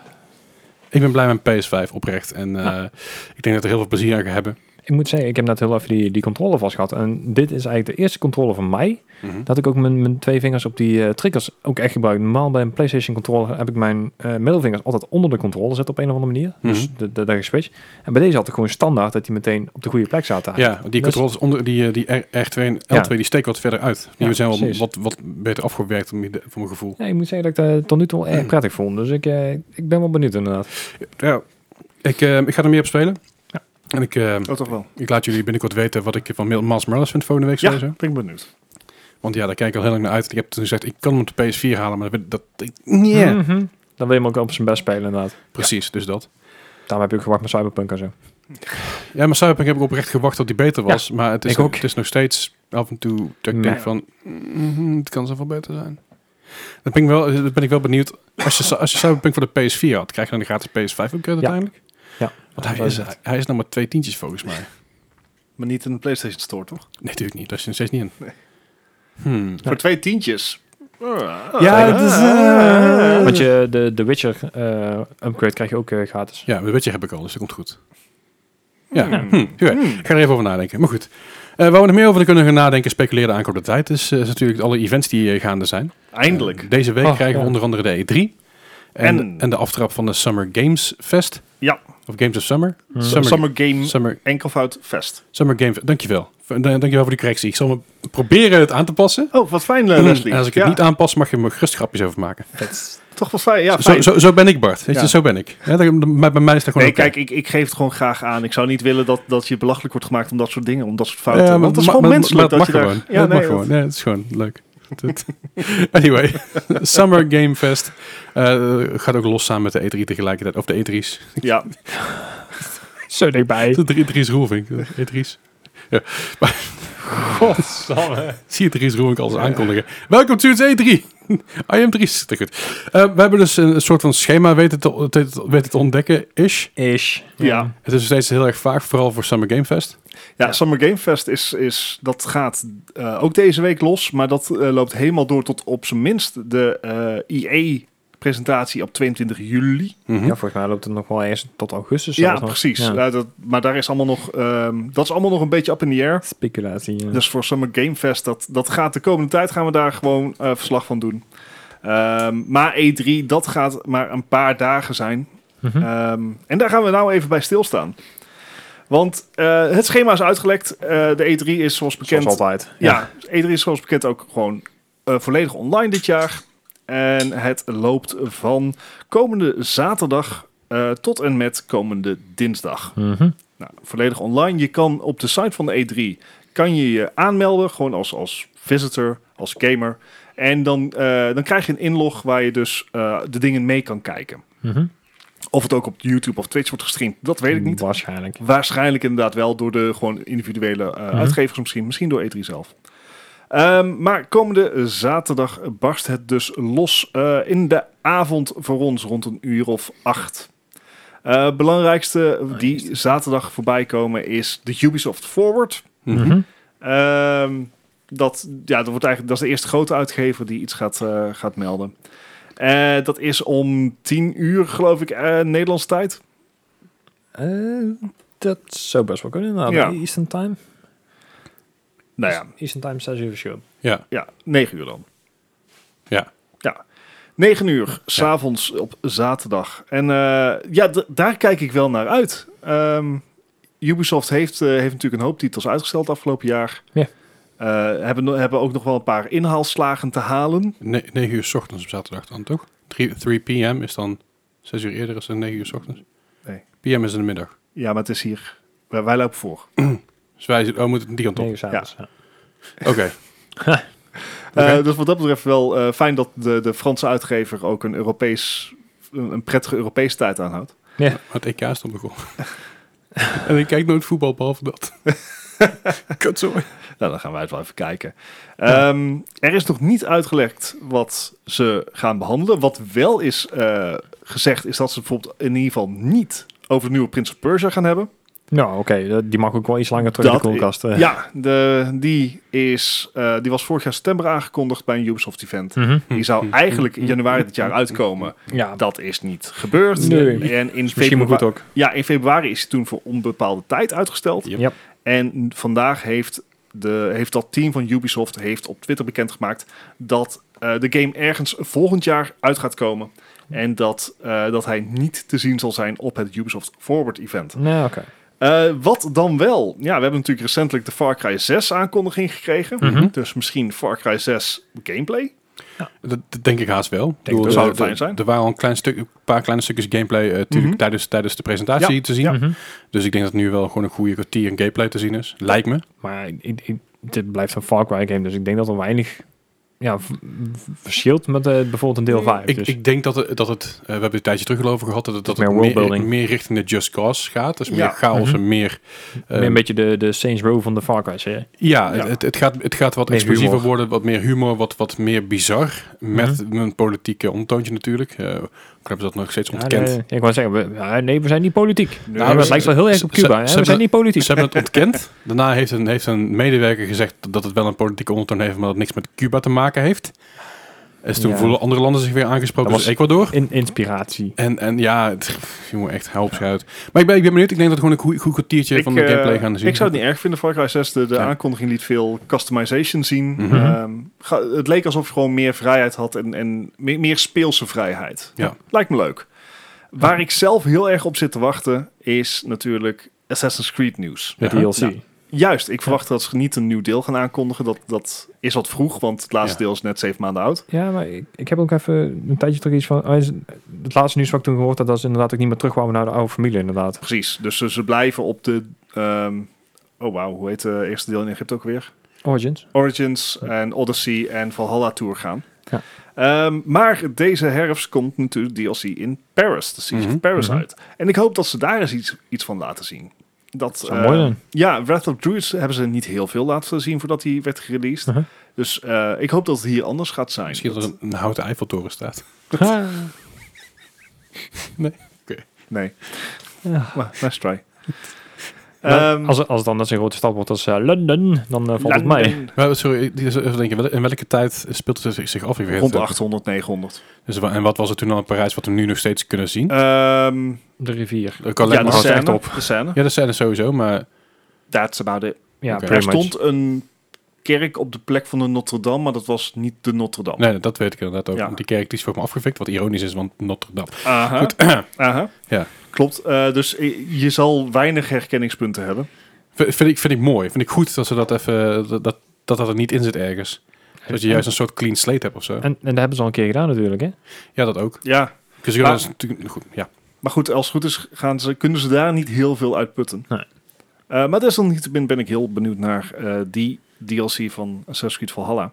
Ik ben blij met mijn PS5, oprecht. En eh, Ja. ik denk dat er heel veel plezier aan gaan hebben. Ik moet zeggen, ik heb net heel even die, die controle vast gehad. En dit is eigenlijk de eerste controle van mij. Dat ik ook mijn, mijn twee vingers op die eh, triggers ook echt gebruik. Normaal bij een PlayStation controller heb ik mijn eh, middelvingers altijd onder de controle zitten op een of andere manier. Dus Mhm. de, de, daar geswitcht. En bij deze had ik gewoon standaard dat die meteen op de goede plek zaten. Ja, want die Dus- controles onder die, eh, die R, 2 en L2, Ja. die steken wat verder uit. Die Ja, zijn wel precies. wat, wat beter afgewerkt om je de- voor mijn gevoel. Ja, ik moet zeggen dat ik dat tot nu toe wel erg prettig vond. Dus ik, eh, ik ben wel benieuwd inderdaad. Ja. Ik, eh, ik ga er meer op spelen. Ja. En ik, eh, Oh, toch wel. ik laat jullie binnenkort weten wat ik van Mil- Miles Morales vind volgende week Ja, sowieso. ben ik benieuwd. Want ja, daar kijk ik al heel lang naar uit. Ik heb toen gezegd, ik kan hem op de PS4 halen, maar dat... dat nee. Mhm. Dan wil je hem ook op zijn best spelen inderdaad. Precies, dus dat. Daarom heb je ook gewacht met Cyberpunk en zo. Ja, maar Cyberpunk heb ik oprecht gewacht tot die beter was. maar het is, ik ook. het is nog steeds af en toe dat ik Nee. denk van... mm, het kan zoveel beter zijn. Dan ben ik wel, eh, dan ben ik wel benieuwd. Als je, als je Cyberpunk voor de PS4 had, krijg je dan de gratis PS5 upgrade Ja. eh, uiteindelijk? Ja. Want hij Dat is, is hij, hij is nog maar twee tientjes volgens mij. Maar niet in de PlayStation Store, toch? Nee, natuurlijk niet. Dat is nog steeds niet in. Nee. Hmm. Voor twee tientjes. Oh, Ja, het is, eh, Want je, de, de Witcher eh, upgrade krijg je ook eh, gratis. Ja, dat weet je heb ik al, dus dat komt goed. Ja, Hmm. hm, oké. ik ga er even over nadenken. Maar goed, Eh waar we nog meer over kunnen gaan nadenken, speculeren de aankomende tijd, is, eh, is natuurlijk alle events die eh, gaande zijn. Eindelijk. Eh, deze week Oh, krijgen we ja. onder andere de E3 en, en, En- de aftrap van de Summer Games Fest. Ja. Hm. Of Games of Summer. Hmm. Summer, Summer Game Summer, Enkelvoud Fest. Summer Games. Dankjewel. V- eh, Dankjewel voor die correctie. Ik zal me proberen het aan te passen. Oh, wat fijn, eh, En Leslie. als ik het Ja, niet aanpas, mag je me gerust grapjes over maken. Toch wel fijn. Ja, zo, fijn. zo, zo ben ik, Bart. Weet je, Ja. Zo ben ik. Ja, dat- bij, bij mij is dat gewoon Nee, oké. kijk, ik, ik geef het gewoon graag aan. Ik zou niet willen dat, dat je belachelijk wordt gemaakt om dat soort dingen, om dat soort fouten. maar- Want het is maar- gewoon maar- menselijk maar dat het je mag daar... gewoon. Ja, mag nee, gewoon. dat- Nee, het is gewoon leuk. Dat- anyway, Summer Game Fest eh, gaat ook los samen met de E3 tegelijkertijd. Of de E E3's. Ja, Zo dichtbij. De drie- E3's Roelvink. De E3's. Ja. Maar, zie je Dries Roelvink alles aankondigen. Welkom to het E3. I am Dries. Te goed. Eh, we hebben dus een soort van schema weten te, te- weten te ontdekken. Ish. Ish. Ja. Het is nog steeds heel erg vaag, vooral voor Summer Game Fest. ja, Ja. Summer Game Fest is, is, dat gaat eh, ook deze week los, maar dat eh, loopt helemaal door tot op zijn minst de eh, IE-presentatie op 22 juli. Mhm. Ja, volgens mij loopt het nog wel eens tot augustus. Ja, zelfs nog. precies. Eh, Ja. Ja, dat, maar daar is allemaal nog, ehm, dat is allemaal nog een beetje up in the air. Speculatie. ja. Dus voor Summer Game Fest, dat, dat gaat de komende tijd gaan we daar gewoon eh, verslag van doen. Ehm, maar E3, dat gaat maar een paar dagen zijn. Mhm. Ehm, en daar gaan we nou even bij stilstaan. Want eh, het schema is uitgelekt. Eh, de E3 is zoals bekend. Zoals altijd. ja, E3 is zoals bekend ook gewoon eh, volledig online dit jaar. En het loopt van komende zaterdag eh, tot en met komende dinsdag. Mhm. Nou, volledig online. Je kan op de site van de E3 kan je je aanmelden, gewoon als, als visitor, als gamer. En dan, eh, dan krijg je een inlog waar je dus eh, de dingen mee kan kijken. Mhm. Of het ook op YouTube of Twitch wordt gestreamd, dat weet ik Hmm. niet. Waarschijnlijk. Waarschijnlijk inderdaad wel door de gewoon individuele eh, Mhm. uitgevers misschien. Misschien door E3 zelf. Ehm, maar komende zaterdag barst het dus los eh, in de avond voor ons rond een uur of acht. Eh belangrijkste die zaterdag voorbij komen is de Ubisoft Forward. Mhm. Mhm. Ehm, dat, ja, dat, wordt eigenlijk, dat is de eerste grote uitgever die iets gaat, eh, gaat melden. Eh, dat is om 10 uur, geloof ik, eh Nederlands tijd. Eh, dat zou best wel kunnen. Nou, Ja. Eastern Time. Nou ja, Eastern Time 6 uur verschil. Ja. Ja, 9 uur dan. Ja. Ja. 9 uur, s'avonds op zaterdag. En eh, ja, d- daar kijk ik wel naar uit. Ehm, Ubisoft heeft, eh, heeft natuurlijk een hoop titels uitgesteld afgelopen jaar. Ja. Eh, hebben, no- hebben ook nog wel een paar inhaalslagen te halen. 9 uur 's ochtends op zaterdag dan, toch? 3, 3 p.m. is dan 6 uur eerder is dan 9 uur 's ochtends. Nee. PM is in de middag. Ja, maar het is hier. Wij, wij lopen voor. Dus wij oh, we moeten die kant op. 9 uur s'avonds. Ja. Oké. Eh, dus wat dat betreft wel eh, fijn dat de, de Franse uitgever ook een Europees, een een prettige Europese tijd aanhoudt. Maar het EK is dan begonnen. en ik kijk nooit voetbal behalve dat. Kutzooi. Nou, dan gaan wij het wel even kijken. Ehm, er is nog niet uitgelegd wat ze gaan behandelen. Wat wel is eh, gezegd, is dat ze bijvoorbeeld in ieder geval niet over de nieuwe Prince of Persia gaan hebben. Nou, oké. dat- Die mag ook wel iets langer terug Dat in de koelkast. eh. Ja, de, die, is, eh, die was vorig jaar september aangekondigd bij een Ubisoft-event. Mhm. Die Hm. zou eigenlijk in januari dit jaar uitkomen. Ja, Dat is niet gebeurd. Hm. Nee. En in misschien maar februari, goed ook. ja, in februari is hij toen voor onbepaalde tijd uitgesteld. Ja. Ja. En vandaag heeft, de, heeft dat team van Ubisoft heeft op Twitter bekendgemaakt dat eh, de game ergens volgend jaar uit gaat komen. En dat, eh, dat hij niet te zien zal zijn op het Ubisoft Forward event. Nou, oké. Eh, wat dan wel? Ja, we hebben natuurlijk recentelijk de Far Cry 6 aankondiging gekregen. Mhm. Dus misschien Far Cry 6 gameplay. Dat, dat denk ik haast wel. Ik bedoel, dat er- zou het er- fijn zijn. Er waren al een, klein stuk, een paar kleine stukjes gameplay eh, natuurlijk Mhm. tijdens, tijdens de presentatie te zien. Mhm. Dus ik denk dat nu wel gewoon een goede kwartier in gameplay te zien is. Lijkt me. Maar ik- ik- dit blijft een Far Cry game, dus ik denk dat er weinig ja, v- v- verschilt met eh, bijvoorbeeld een deel 5. Ik, dus ik denk dat het, dat het eh, we hebben het een tijdje terug al over gehad, dat het, dat Meer het meer, worldbuilding. meer richting de Just Cause gaat. Dus meer Ja. chaos Mhm. en meer... eh, meer een beetje de, de Saints Row van de Far Cry's. Hè? ja, Ja. Het, het, gaat, het gaat wat Meer explosiever humor. worden, wat meer humor, wat, wat meer bizar. Met een politieke omtoontje natuurlijk. Eh ik heb dat nog steeds Ja, ontkend. nee, ik wou zeggen, we, ja, nee, we zijn niet politiek. Nee, Nou, dat we- lijkt wel heel erg op ze- ze- Cuba. ze Hè? We hebben- zijn niet politiek. Ze hebben het ontkend. Daarna heeft een, heeft een medewerker gezegd dat het wel een politieke ondertoon heeft, maar dat het niks met Cuba te maken heeft. En toen Ja. voelen andere landen zich weer aangesproken, Dat was Ecuador. In, inspiratie. En, en ja, het, jongen, echt, hou op ze uit. Maar ik ben, ik ben benieuwd. Ik denk dat we gewoon een goed, goed kwartiertje van de eh, gameplay gaan zien. Ik zou het niet erg vinden. Far Cry 6, de, de Ja. aankondiging liet veel customization zien. Mhm. Ehm, ga- het leek alsof je gewoon meer vrijheid had en, en meer, meer speelse vrijheid. Ja. Lijkt me leuk. Waar ik zelf heel erg op zit te wachten is natuurlijk Assassin's Creed nieuws. De Ja. DLC. Ja. Juist, ik verwacht dat ze niet een nieuw deel gaan aankondigen. Dat, dat is wat vroeg, want het laatste Ja. deel is net zeven maanden oud. Ja, maar ik, ik heb ook even een tijdje terug iets van... ah, is- het laatste nieuws wat ik toen gehoord had, dat ze inderdaad ook niet meer terugkwamen naar de oude familie, inderdaad. Precies, dus ze, ze blijven op de... ehm, oh wauw, hoe heet het eerste deel in Egypte ook weer? Eh, Origins. Origins en Odyssey en Valhalla Tour gaan. Ja. Ehm, maar deze herfst komt natuurlijk DLC in Paris, de Siege Mhm. of Paris Mhm. uit. En ik hoop dat ze daar eens iets, iets van laten zien. Dat Dat zou eh, mooi zijn. Ja, Wrath of Druids hebben ze niet heel veel laten zien voordat hij werd gereleased. Mhm. Dus eh, ik hoop dat het hier anders gaat zijn. Misschien dat er een, een houten Eiffeltoren staat. Ah, Nee, ja. maar nice try. Maar Ehm, Nou, als, als het dan net zo'n grote stad wordt als eh, London, dan eh, valt het mee. Landen Maar, sorry, ik- even denken, wel- in welke tijd speelt het zich- zich af? Ik weet Rond de het. 800, 900. Dus, wa- en wat was het toen al in Parijs, wat we nu nog steeds kunnen zien? Eh, Ehm, De rivier. Ik kan ja, de maar houdt echt scène, op. de scène. ja, dat zijn er sowieso, maar That's about it. Ja, Oké. okay. Er stond een kerk op de plek van de Notre Dame, maar dat was niet de Notre Dame. nee, dat weet ik inderdaad ook. Oh. Ja. Want Die kerk die is voor me afgevikt, wat ironisch is, want Notre Dame. Aha. Aha. Ja. Klopt. Eh, dus eh, je zal weinig herkenningspunten hebben. Vind, vind ik, vind ik mooi. Vind ik goed dat ze dat even, dat dat, dat er niet in zit ergens. Dat je juist een soort clean slate hebt of zo. En, en dat hebben ze al een keer gedaan natuurlijk, hè? Ja, dat ook. Ja. Dus ik Maar- dat is natuurlijk goed. Ja. Maar goed, als het goed is, gaan ze, kunnen ze daar niet heel veel uitputten. Nee. Eh, maar desalniettemin ben ik heel benieuwd naar eh, die DLC van Assassin's Creed Valhalla.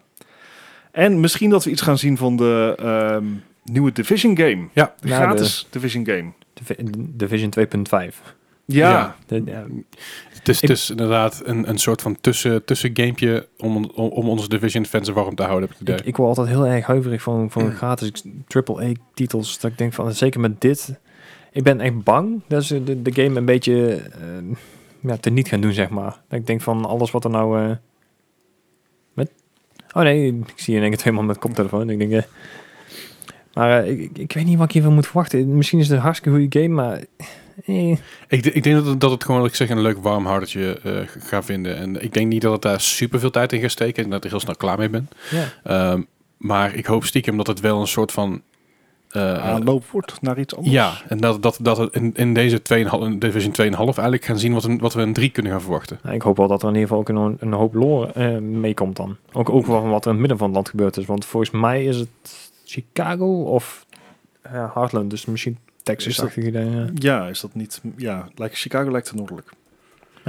En misschien dat we iets gaan zien van de ehm, nieuwe Division game. Ja. De Ja, gratis Division game. Divi- Division 2.5. Ja. Ja. De- ja, Het is, Ik- het is inderdaad een, een soort van tussen, tussengamepje om, om, om onze Division fans warm te houden, heb ik het Ik, idee. ik word altijd heel erg huiverig van, van gratis AAA-titels. Dat ik denk van, zeker met dit. Ik ben echt bang dat ze de, de game een beetje eh ja, teniet gaan doen, zeg maar. Dat ik denk van, alles wat er nou... eh, met? Oh nee, ik zie in één keer twee man met koptelefoon. Ik denk, eh, maar eh, ik- ik, ik weet niet wat ik hiervan moet verwachten. Misschien is het een hartstikke goede game, maar... eh, Ik, d- ik denk dat het, dat het gewoon, wat ik zeg, een leuk warmhoudertje eh g- gaat vinden. En ik denk niet dat het daar super veel tijd in gaat steken en dat ik er heel snel klaar mee ben. ja. Ehm, maar ik hoop stiekem dat het wel een soort van... eh, Aanloop wordt naar iets anders. Ja, en dat, dat, dat we in, in deze 2,5, Division 2,5 eigenlijk gaan zien wat, een, wat we in 3 kunnen gaan verwachten. Nou, ik hoop wel dat er in ieder geval ook een, een hoop lore eh, meekomt dan. Ook, ook van wat er in het midden van het land gebeurd is. Want volgens mij is het Chicago of ja, Heartland. Dus misschien Texas-achtige dingen. Ja, is dat niet... Ja, lijkt, Chicago lijkt te noordelijk.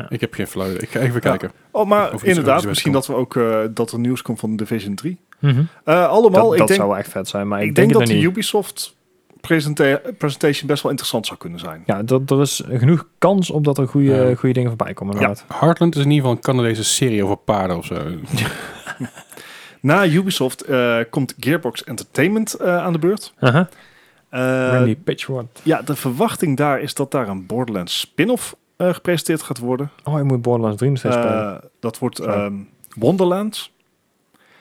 Ik heb geen flauw idee. Ik ga even kijken. Oh, Of maar iets inderdaad, anders misschien dat, we ook, eh, dat er nieuws komt van Division 3. Mhm. Eh, allemaal, Dat, ik, dat denk, zou wel echt vet zijn, maar ik, ik, denk, dat het de niet. Ubisoft presenta- presentation best wel interessant zou kunnen zijn. Ja, dat, er is genoeg kans op dat er goede, Ja. goede dingen voorbij komen. Ja. Heartland is in ieder geval een Canadese serie over paarden of zo. Na Ubisoft eh, komt Gearbox Entertainment eh, aan de beurt. Eh, Randy Pitchford. ja, de verwachting daar is dat daar een Borderlands spin-off eh, gepresenteerd gaat worden. Oh, je moet Borderlands 3 nog steeds spelen. Eh, dat wordt Sorry. ehm Wonderlands.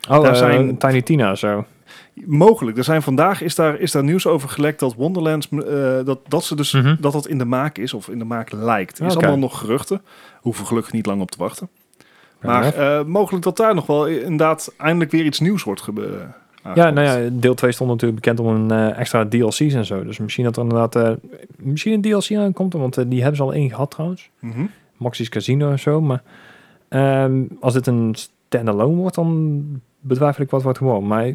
Oh, daar eh, zijn- Tiny Tina of zo. Mogelijk. Er zijn vandaag is daar, is daar nieuws over gelekt dat Wonderlands eh, dat, dat ze dus Mhm. dat dat in de maak is of in de maak lijkt. Is Oké. allemaal nog geruchten. Hoeven gelukkig niet lang op te wachten. Maar enough. eh, mogelijk dat daar nog wel inderdaad eindelijk weer iets nieuws wordt eh, gebeuren. Ja, nou ja, deel 2 stond natuurlijk bekend om een eh, extra DLC's en zo. Dus misschien dat er inderdaad eh, misschien een DLC aankomt. Want eh, die hebben ze al één gehad trouwens. Mhm. Moxie's Casino en zo. Maar ehm, als dit een standalone wordt, dan betwijfel ik wat wordt gewoon. Maar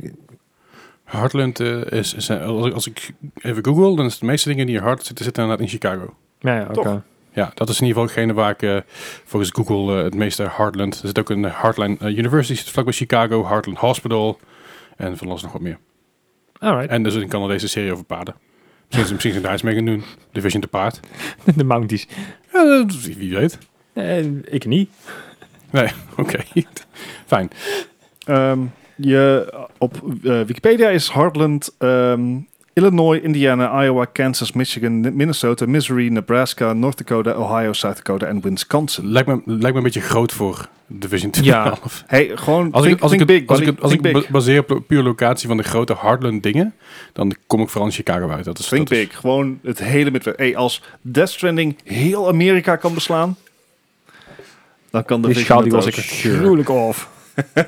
Heartland eh, is, is- als, ik, als ik even google, dan is de meeste dingen die in Heartland zitten, zitten inderdaad in Chicago. ja, ja, oké. Toch. Ja, dat is in ieder geval degene waar ik eh, volgens eh, Google eh, het meeste Heartland... Er zit ook een Heartland eh, University, zit vlakbij Chicago, Heartland Hospital. En van alles nog wat meer. Alright. En dus een Canadese serie over paarden. Misschien ze misschien zijn daar iets mee gaan doen. Division te paard. de Mounties. Ja, dat- wie weet. Nee, ik niet. Nee, oké. Fijn. Ehm, je, op eh, Wikipedia is Heartland ehm, Illinois, Indiana, Iowa, Kansas, Michigan, Minnesota, Missouri, Nebraska, North Dakota, Ohio, South Dakota en Wisconsin. Lijkt me, lijkt me een beetje groot voor Division 12. Ja. Hey, gewoon Als think, ik, als ik, think het- big, als ik, buddy. het- als ik Think ba- big. baseer op puur locatie van de grote Heartland dingen, dan kom ik vooral in Chicago uit. Dat is, Think dat is- big. Gewoon het hele midwesten. Hey, als Death Stranding heel Amerika kan beslaan, dan kan de Die Vision schaal die het was ook. ik gruwelijk off. Ja.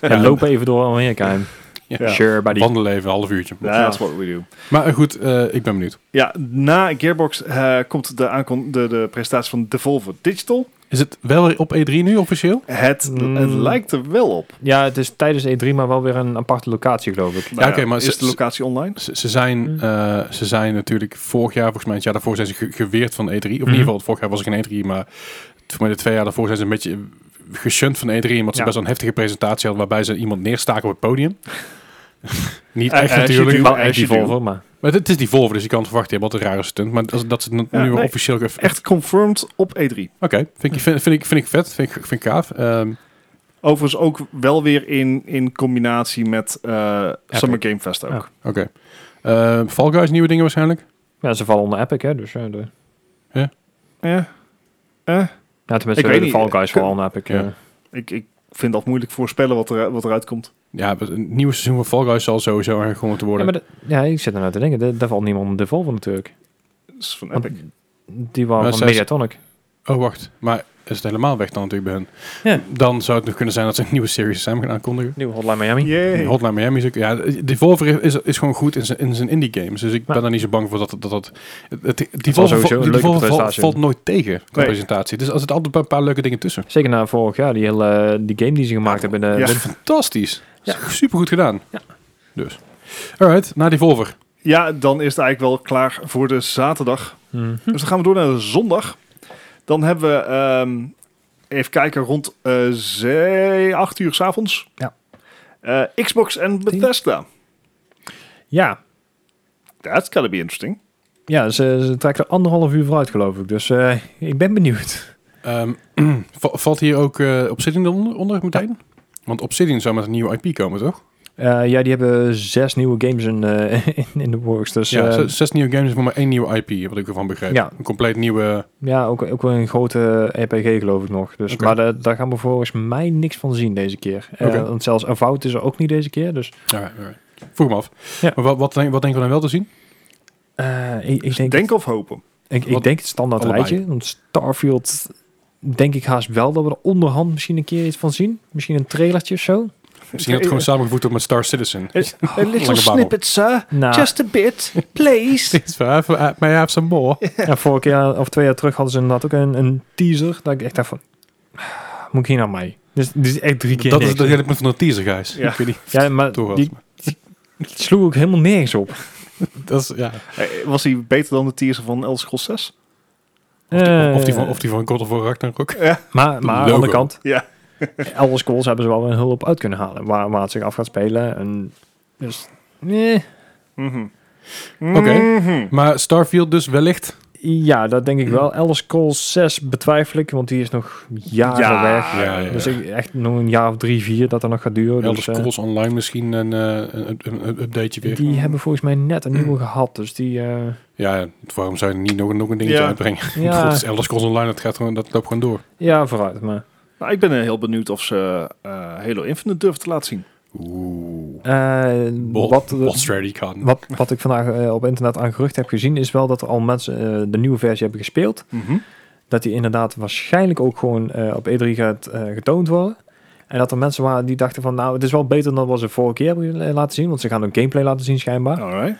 En loop even door Amerika heen. Ja. Sure, buddy. Wandelen even, een half uurtje. That's what we do. Maar eh, goed, eh, ik ben benieuwd. Ja, na Gearbox eh, komt de, aankon- de, de presentatie van Devolver Digital. Is het wel weer op E3 nu officieel? Het, Mm. het lijkt er wel op. Ja, het is tijdens E3, maar wel weer een aparte locatie, geloof ik. Ja, oké, maar Nou is ze- de locatie online? Ze, ze zijn, Mm. Hmm. eh, ze zijn natuurlijk vorig jaar, volgens mij het jaar daarvoor zijn ze ge- geweerd van E3. Of in ieder Mm-hmm. Mhm. geval, vorig jaar was ik in E3, maar volgens mij de twee jaar daarvoor zijn ze een beetje geshunt van E3, omdat ze Ja. best wel een heftige presentatie hadden, waarbij ze iemand neerstaken op het podium. Niet echt Eh, eh, natuurlijk. shit, Wel Ja, echt die als je Volvo, maar... Maar het is die Volvo, dus je kan het verwachten. Je hebt altijd een rare stunt. Maar dat, dat ze het nu Ja, wel nee. officieel... Echt, Echt confirmed op E E3. Oké, vind, ik, vind, vind ik, vind ik vet. Vind ik, vind ik gaaf. Ehm, Overigens ook wel weer in, in combinatie met eh, Summer Game Fest ook. Ja. Oké. Eh, Fall Guys, nieuwe dingen waarschijnlijk? Ja, ze vallen onder Epic, hè. Dus, eh, de... Ja. Eh, Ja, tenminste, Ik weet de niet. Fall Guys vallen onder Epic. Ja. eh. ik, ik vind dat moeilijk voorspellen wat, er, wat eruit komt. Ja, het nieuwe seizoen van Fall Guys zal sowieso aangekondigd Ja, worden. maar dat- ja, ik zit ernaar te denken. dat- Daar valt niemand onder Devolver natuurlijk. Dat is van Want Epic. Die Maar waren van zij- Mediatonic. Oh, wacht. Maar is het helemaal weg dan natuurlijk bij hen? Ja. Dan zou het nog kunnen zijn dat ze een nieuwe series samen gaan aankondigen. Nieuwe Hotline Miami. Yay. Hotline Miami is ook... Ja, Devolver is, is gewoon goed in zijn, in zijn indie games. Dus ik Ja. ben daar niet zo bang voor dat... dat, dat het, het, zal Devolver, sowieso val- een die leuke Devolver val- presentatie valt doen. nooit tegen qua Nee. presentatie. Dus er zitten altijd een paar leuke dingen tussen. Zeker na vorig jaar, die hele eh, die game die ze gemaakt hebben. in eh, de- Ja. Dat is fantastisch. Ja. Super goed gedaan. Ja. Dus. Alright, naar Devolver. Ja, dan is het eigenlijk wel klaar voor de zaterdag. Mhm. Dus dan gaan we door naar de zondag. Dan hebben we, ehm, even kijken, rond eh 8 uur s'avonds. Ja. Eh, Xbox en Bethesda. Ja, That's gotta be interesting. ja ze, ze trekken er anderhalf uur vooruit, geloof ik. Dus eh, ik ben benieuwd. Ehm, va- valt hier ook eh, Obsidian onder, onder meteen? Want Obsidian zou met een nieuwe IP komen, toch? Eh, ja, die hebben zes nieuwe games in, eh, in, in de works. Dus Ja, eh, zes, zes nieuwe games en voor maar één nieuwe IP, wat ik ervan begreep. Ja. Een compleet nieuwe... ja ook, ook wel een grote RPG, geloof ik nog. Dus, Oké. Maar da- daar gaan we volgens mij niks van zien deze keer. Eh, Oké. Want zelfs Avowed is er ook niet deze keer. Dus Alright, alright. Vroeg me af. Ja. Maar wat, wat, denk, wat denken we dan wel te zien? eh, Dus ik, ik denk, Oh, Dus Denk, of hopen. ik, wat- ik denk het standaard allebei. rijtje. Want Starfield denk ik haast wel dat we er onderhand misschien een keer iets van zien. Misschien een trailertje of zo. Misschien dat het gewoon samengevoegd wordt met Star Citizen. A little Lekker babbel. snippet, sir. Nou, Just a bit, please. It's five, uh, may I have some more? Ja, vorige keer of twee jaar terug hadden ze inderdaad ook een, een teaser. Dat ik echt dacht van, "Ah, moet ik hier nou mee? Dus dit is echt drie keer dat is niks. het hele punt van de teaser, guys. Ja. Ik weet niet of Ja, het maar toch was, die maar sloeg ook helemaal nergens op. dat is, ja. Eh, Was hij beter dan de teaser van Elder Scrolls 6? Of, die Eh, van, of die van God of War Ragnarok. maar maar aan de Logo. andere kant, Ja. Elder Scrolls hebben ze wel een hulp uit kunnen halen. Waar, waar het zich af gaat spelen. En, dus, eh, Mhm. Oké. Maar Starfield dus Oh, wellicht. ja, dat denk ik wel. Elder Scrolls 6 betwijfel ik, want die is nog jaren Ja. weg. Ja, ja, ja. Dus ik, echt nog een jaar of drie, vier dat er nog gaat duren. Elder dus, eh, Scrolls Online misschien een, eh, een, een- een updateje weer. Mm. die hebben volgens mij net een nieuwe gehad. Dus die... eh, Ja, waarom zou je niet nog, nog een dingetje Ja. uitbrengen? Ja. God, het is Elder Scrolls Online, dat, gaat gewoon, dat loopt gewoon door. Ja, vooruit. Maar Nou, ik ben eh, heel benieuwd of ze eh, Halo Infinite durven te laten zien. Oeh. eh, Bot, wat, bot strategy kan. wat, wat ik vandaag eh, op internet aan gerucht heb gezien, is wel dat er al mensen eh, de nieuwe versie hebben gespeeld. Dat die inderdaad waarschijnlijk ook gewoon eh, op E3 gaat eh, getoond worden. En dat er mensen waren die dachten van, nou, het is wel beter dan wat ze vorige keer hebben eh, laten zien. Want ze gaan ook gameplay laten zien schijnbaar. Alright.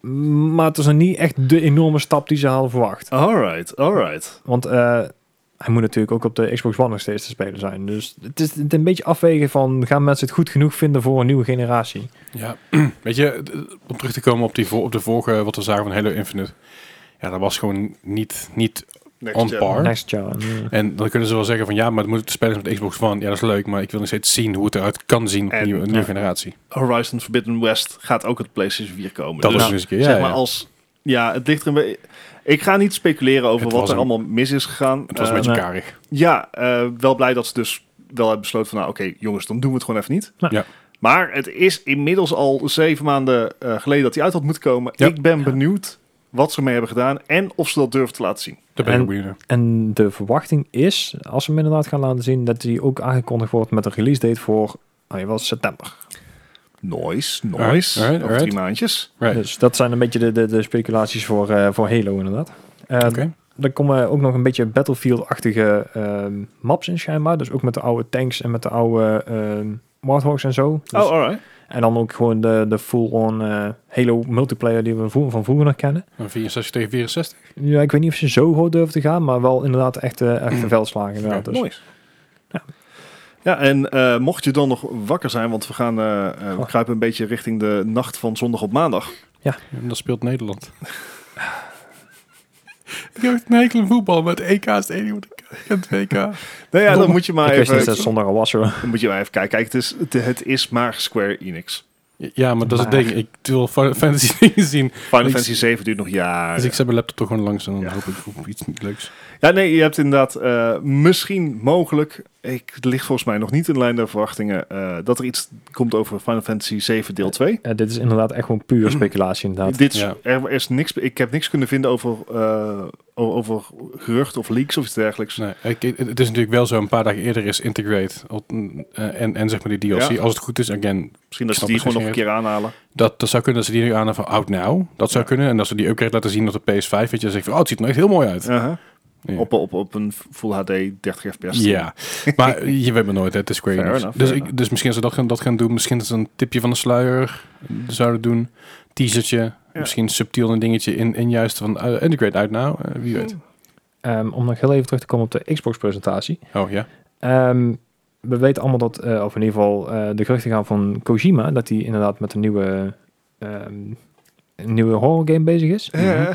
Maar het is nog niet echt de enorme stap die ze hadden verwacht. Alright, alright. Want eh, hij moet natuurlijk ook op de Xbox One nog steeds te spelen zijn. Dus het is een beetje afwegen van, gaan mensen het goed genoeg vinden voor een nieuwe generatie? Ja, weet je, d- om terug te komen op, die, vo- op de vorige, wat we zagen van Halo Infinite. Ja, dat was gewoon niet, niet Next on gen. par. Next gen. ja. En dan kunnen ze wel zeggen van ja, maar het moet spelers met Xbox One. Ja, dat is leuk, maar ik wil nog steeds zien hoe het eruit kan zien op een En- Dus nieuwe, nieuwe ja. generatie. Horizon Forbidden West gaat ook uit PlayStation 4 komen. Dat Dus is nou, nog eens een keer. Ja, zeg maar ja. als... Ja, het ligt er een be- Ik ga niet speculeren over Het wat was er een- allemaal mis is gegaan. Het was Eh, een beetje nee. karig. Ja, eh, wel blij dat ze dus wel hebben besloten van... nou oké, jongens, dan doen we het gewoon even niet. Nou. Ja. Maar het is inmiddels al zeven maanden eh, geleden dat hij uit had moeten komen. Ja. Ik ben benieuwd wat ze ermee hebben gedaan en of ze dat durven te laten zien. Daar ben ik En- ook benieuwd naar. En de verwachting is, als we hem inderdaad gaan laten zien, dat die ook aangekondigd wordt met een release date voor nou, wel september. Nice, nice. Alright, alright, Over drie alright. maandjes. Right. Dus dat zijn een beetje de, de, de speculaties voor, eh, voor Halo inderdaad. Eh, Oké. Dan komen ook nog een beetje Battlefield-achtige ehm, maps in schijnbaar. Dus ook met de oude tanks en met de oude ehm, Warthogs en zo. Dus- oh, alright. En dan ook gewoon de, de full-on eh, Halo multiplayer die we vroeger- van vroeger nog kennen. Een 64 tegen 64. Ja, ik weet niet of ze zo groot durven te gaan, maar wel inderdaad echt, eh Mm. echt veldslagen. inderdaad. Oké, dus. Nice. Ja, ja en eh, mocht je dan nog wakker zijn, want we gaan eh, eh, we Goh. kruipen een beetje richting de nacht van zondag op maandag. En dat speelt Nederland. ik heb echt een hekel aan voetbal, maar het EK is het enige wat ik kijk. En het WK. Nou ja, Dom. dan moet je maar ik wist even, niet dat het zondag al was hoor. dan moet je maar even kijken. Kijk, het is, het, het is maar Square Enix. Ja, maar dat is het Maar- ding. Ik wil Final Fantasy dingen zien. Final Ik- Fantasy 7 duurt nog jaren. Dus ik zet mijn laptop toch gewoon langs en dan Ah, Ja. hoop ik op iets leuks. Ja, nee, je hebt inderdaad eh, misschien mogelijk, ik het ligt volgens mij nog niet in lijn der verwachtingen, eh, dat er iets komt over Final Fantasy 7 deel 2. Eh, dit is inderdaad echt gewoon puur speculatie inderdaad. Dit, is- ja. er is niks, ik heb niks kunnen vinden over, eh, o- over gerucht of leaks of iets dergelijks. Nee, ik, het het is natuurlijk wel zo, een paar dagen eerder is Integrate al- eh, en, en zeg maar die DLC. Ja. Als het goed is, again, Misschien dat Ik ze snap die het gewoon nog een niet. keer aanhalen. dat, dat zou kunnen dat ze die nu aan van Out Now, dat zou Ja. kunnen. En dat ze die upgrade laten zien op de PS5, weet je, dan zeg je van, oh, het ziet er echt heel mooi uit. Uh-huh. Ja. op, op, op een Full HD 30 fps. Ja, maar je weet me nooit, hè, het is Square Fair Enix. enough, dus, fair ik, enough. dus misschien ze dat gaan, dat gaan doen. Misschien dat ze een tipje van de sluier zouden doen. Teasertje. Ja. Misschien subtiel een dingetje in, in juist van eh, Integrate Out Now. eh, wie weet. Ehm, om nog heel even terug te komen op de Xbox-presentatie. Oh ja. Ehm, we weten allemaal dat, eh, of in ieder geval eh, de geruchten gaan van Kojima, dat hij inderdaad met een nieuwe, ehm, een nieuwe horror game bezig is. Eh,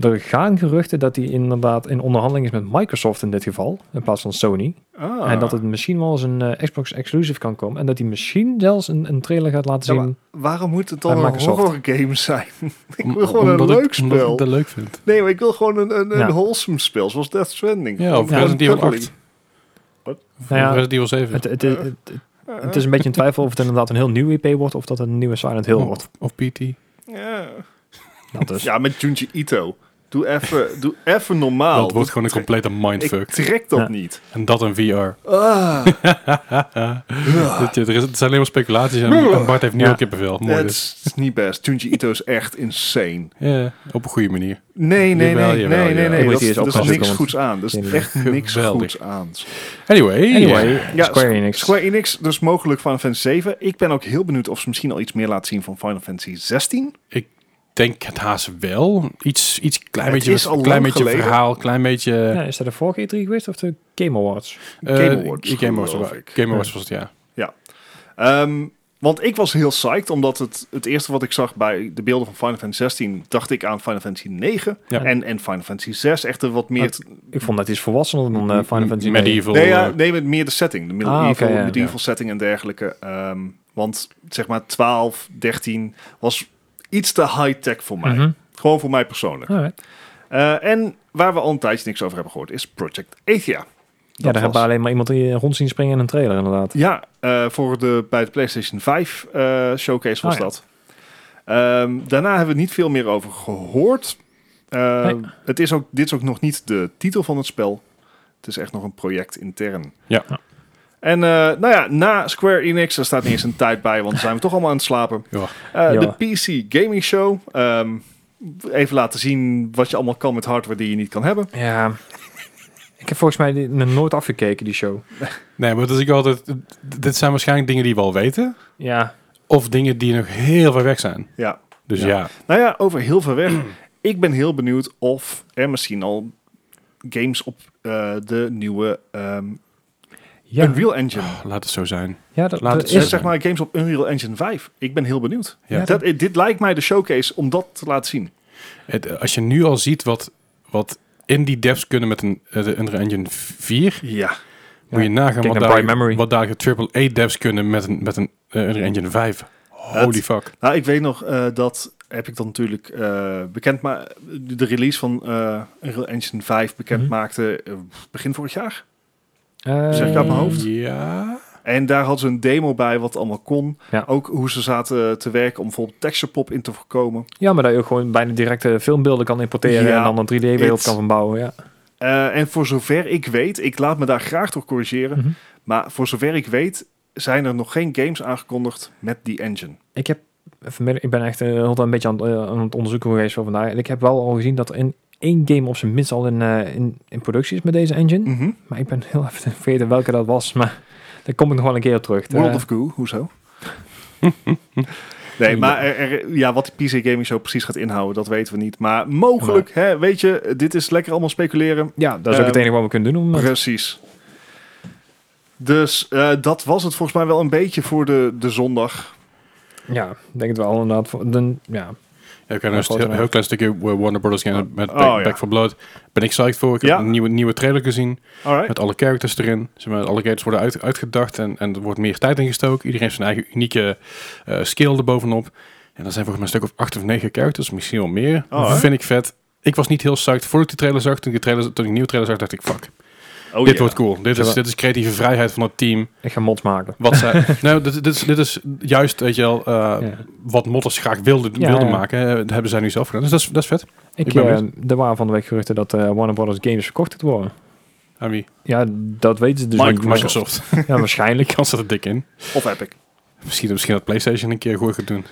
Er gaan geruchten dat hij inderdaad in onderhandeling is met Microsoft in dit geval, in plaats van Sony. Mhm. ah. En dat het misschien wel eens een eh, Xbox exclusive kan komen. En dat hij misschien zelfs een, een trailer gaat laten Ja, zien. Waarom moet het dan Bij een Microsoft. horror game zijn? ik Om- wil gewoon een omdat ik- Omdat leuk ik spel. het wel leuk vind. Nee, maar ik wil gewoon een, een, een Ja. wholesome spel, zoals Death Stranding. Ja, Gewoon of Resident Evil cuddly. 8. Of Nou ja, Resident Evil 7. Het, het, het, het, Eh, het is een beetje in twijfel of het inderdaad een heel nieuw IP wordt of dat het een nieuwe Silent Hill wordt. of, of PT. ja. Dat is. Oh. Ja, met Junji Ito. Doe even doe even normaal. dat wordt gewoon een Trek- complete Ik mindfuck. trek dat Ja. niet. En dat een VR. Ah, dus. Dat je- er, is, het zijn alleen maar speculaties. En, en Bart heeft nu Ja. ook kippenvel. Mooi dat dus. is niet best. Junji Ito is echt insane. Ja, op een goede manier. Nee, nee, Jawel, nee, jawel, nee, nee, jawel. nee. Je moet Dat, die eens dat is oppassen, niks want- goeds aan. Dat is Nee, echt niks geweldig. goeds aan. Anyway. Anyway, Ja, Square Enix. Square Enix, dus mogelijk Final Fantasy 7. Ik ben ook heel benieuwd of ze misschien al iets meer laten zien van Final Fantasy 16. denk het haast wel. Iets, iets klein Het beetje, is al klein lang beetje geleden. verhaal, klein beetje... Ja, is dat de vorige E3 geweest of de Game Awards? eh, Game Awards, Game Awards, geloof wa- ik. Game Awards was het, ja. Ehm, want ik was heel psyched, omdat het, het eerste wat ik zag bij de beelden van Final Fantasy 16, dacht ik aan Final Fantasy 9 Ja. en, en Final Fantasy 6. Echt een wat meer... Maar- Ik vond dat iets volwassener dan eh, Final Fantasy. Medieval. nee, ja, eh, nee, met meer de setting. De medieval, Ah, oké, ja. medieval setting en dergelijke. Ehm, want zeg maar 12, 13 was iets te high-tech voor mij. Mhm. Gewoon voor mij persoonlijk. Alright. Eh, en waar we al een tijdje niks over hebben gehoord is Project Athia. Ja, daar was- hebben we alleen maar iemand die eh, rond zien springen in een trailer inderdaad. Ja, eh, voor de, bij de PlayStation 5 eh, showcase was Ah, ja. dat. Ehm, daarna hebben we niet veel meer over gehoord. Eh, Nee. het is ook, dit is ook nog niet de titel van het spel. Het is echt nog een project intern. Ja. Ja. En eh, nou ja, na Square Enix, daar staat niet eens een tijd bij, want dan zijn we toch allemaal aan het slapen. Ja. Eh, Ja. De PC Gaming Show. Ehm, even laten zien wat je allemaal kan met hardware die je niet kan hebben. Ja. Ik heb volgens mij die- nog nooit afgekeken, die show. Nee, maar dat is ik altijd... Dit zijn waarschijnlijk dingen die we al weten. Ja. Of dingen die nog heel ver weg zijn. Ja. Dus Ja. ja. Nou ja, over heel ver weg. ik ben heel benieuwd of er misschien al games op eh, de nieuwe ehm, Ja, Ah, Unreal Engine. Oh, laat het zo zijn. ja dat, Laat het dat Eh, zeggen. is... zeg maar games op Unreal Engine 5. Ik ben heel benieuwd. Ja. Ja, Dat, eh, dit lijkt mij de showcase om dat te laten zien. Het, eh, als je nu al ziet wat, wat in die depths kunnen met een eh, de Unreal Engine 4. Ja. Moet je nagaan Kijk wat naar daar, Bright Memory. wat daar AAA devs kunnen met een, met een eh, Unreal Engine 5. Holy Dat- fuck. Nou, ik weet nog eh, dat heb ik dan natuurlijk eh, bekend, maar de release van eh Unreal Engine 5 bekend Mhm. maakte eh, begin vorig jaar. Eh, Zeg ik uit mijn hoofd? Ja. En daar hadden ze een demo bij wat allemaal kon. Ja. Ook hoe ze zaten eh, te werken om bijvoorbeeld texture pop in te voorkomen. Ja, maar dat je ook gewoon bijna directe filmbeelden kan importeren Ja, en dan een 3D-wereld it's- kan van bouwen. Ja. Eh, en voor zover ik weet, ik laat me daar graag door corrigeren, Mhm. maar voor zover ik weet zijn er nog geen games aangekondigd met die engine. Ik heb vanmiddag, ik ben echt eh, altijd een beetje aan, het, eh, aan het onderzoeken geweest voor vandaag. En ik heb wel al gezien dat er in één game op zijn minst al in, eh, in, in productie is met deze engine. Mhm. Maar ik ben heel even vergeten welke dat was. Maar daar kom ik nog wel een keer op terug. World Eh, of Goo, hoezo? nee, maar er- er- ja, wat die PC Gaming zo precies gaat inhouden, dat weten we niet. Maar mogelijk, hè, weet je, dit is lekker allemaal speculeren. ja, dat is ook eh, het enige wat we kunnen doen. Om dat- Precies. Dus eh, dat was het volgens mij wel een beetje voor de, de zondag. ja, ik denk het wel inderdaad. Voor, dan, ja. Ja, ik heb een grote heel, naam. heel klein stukje eh, Warner Brothers game met Oh, Back, ja. Back for Blood. Ben ik psyched voor. Ik heb Ja. een nieuwe, nieuwe trailer gezien. Alright. Met alle characters erin. Zeg maar, alle characters worden uit, uitgedacht en, en er wordt meer tijd ingestoken. Iedereen heeft zijn eigen unieke eh skill erbovenop. En dat zijn volgens mij een stuk of acht of negen characters, misschien wel meer. Oh, hè? Vind ik vet. Ik was niet heel psyched voordat ik de trailer zag. Toen ik de, trailer, toen ik de nieuwe trailer zag, dacht ik, fuck, Oh, dit ja. wordt cool. Dit Zeg is, maar- dit is creatieve vrijheid van het team. Ik ga mods maken. Wat zij, nou, dit, dit, is, dit is juist, weet je wel, eh, Ja. wat modders graag wilden, Ja, wilden ja. maken. eh, Dat hebben zij nu zelf gedaan. Dus dat is, dat is vet. Ik, Ik ben eh, er waren van de week geruchten dat eh, Warner Brothers Games verkocht gaat worden. Aan wie? Ja, dat weten ze dus Mike- niet. maar- Microsoft. Ja, waarschijnlijk. Kan ze er dik in. Of Epic. Misschien, misschien dat PlayStation een keer goed gaat doen.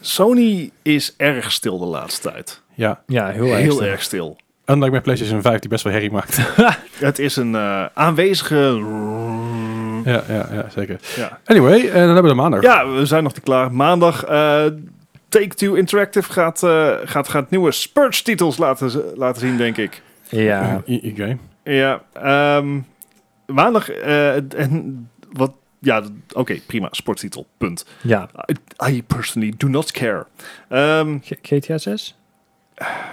Sony is erg stil de laatste tijd. Ja, Ja, heel Heel, erg. stil. erg stil. unlike mijn PlayStation 5 die best wel herrie maakt. Het is een eh, aanwezige... ja, ja, ja, zeker. Ja. Anyway, eh, dan hebben we de maandag. Mhm. Ja, we zijn nog niet klaar. Maandag eh Take-Two Interactive gaat, eh, gaat, gaat nieuwe Spurge-titels laten, z- laten zien, denk ik. Ja. Eh, I- I- game. Ja, ehm, maandag... eh, en wat... Ja, d- oké, prima. Sporttitel, punt. ja. I, I personally do not care. Ehm, G- GTA 6?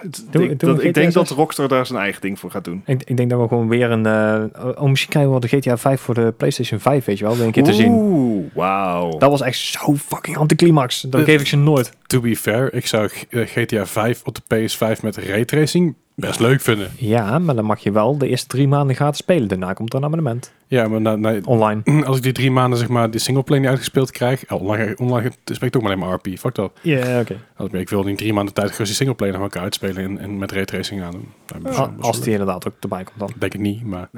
het- Doe- ik, doe dat, een ik denk GTA dat zes. Rockstar daar zijn eigen ding voor gaat doen. Ik, ik denk dat we gewoon weer een... eh oh, misschien krijgen we wel de GTA 5 voor de PlayStation 5, weet je wel, weer een keer te zien. Oeh, wauw. Dat was echt zo fucking anticlimax. Dat Eh. geef ik ze nooit. To be fair, ik zou G- eh, GTA 5 op de PS5 met raytracing best leuk vinden. Ja, maar dan mag je wel de eerste drie maanden gratis spelen. Daarna komt er een abonnement. Ja, maar na, na- Online. als ik die drie maanden zeg maar die singleplay niet uitgespeeld krijg, oh, online, online spreekt ook maar alleen maar RP. Fuck dat. Ja, oké. Als ik- Ik wil in drie maanden tijd gerust die singleplay nog elkaar uitspelen en, en met raytracing aan doen. Nou, best- Al- best Als leuk. die inderdaad ook erbij komt dan. Denk ik niet, maar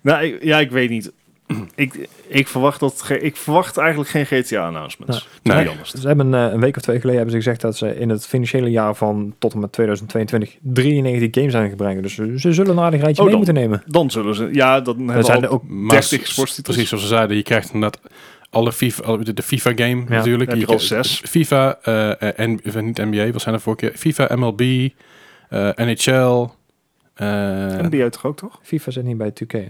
Nou, ik- ja, ik weet niet. Ik, ik, verwacht dat ge- ik verwacht eigenlijk geen GTA-announcements. Nee. Nee, anders. Ze hebben eh, een week of twee geleden hebben ze gezegd dat ze in het financiële jaar van tot en met 2022 93 games aan gaan brengen. Dus ze, ze zullen een aardig rijtje Oh, mee dan. moeten nemen. Dan zullen ze... Ja, dan hebben Er we zijn al- er ook Maar 30 s- sportstitels. Precies zoals ze zeiden, je krijgt inderdaad alle FIFA, alle- de- de FIFA game natuurlijk. heb Je je er al krijgt zes. FIFA, eh, eh, en, of niet NBA, wat zijn er vorige keer? FIFA, MLB, eh, NHL. eh, NBA toch ook, toch? FIFA zit niet bij 2K. hè?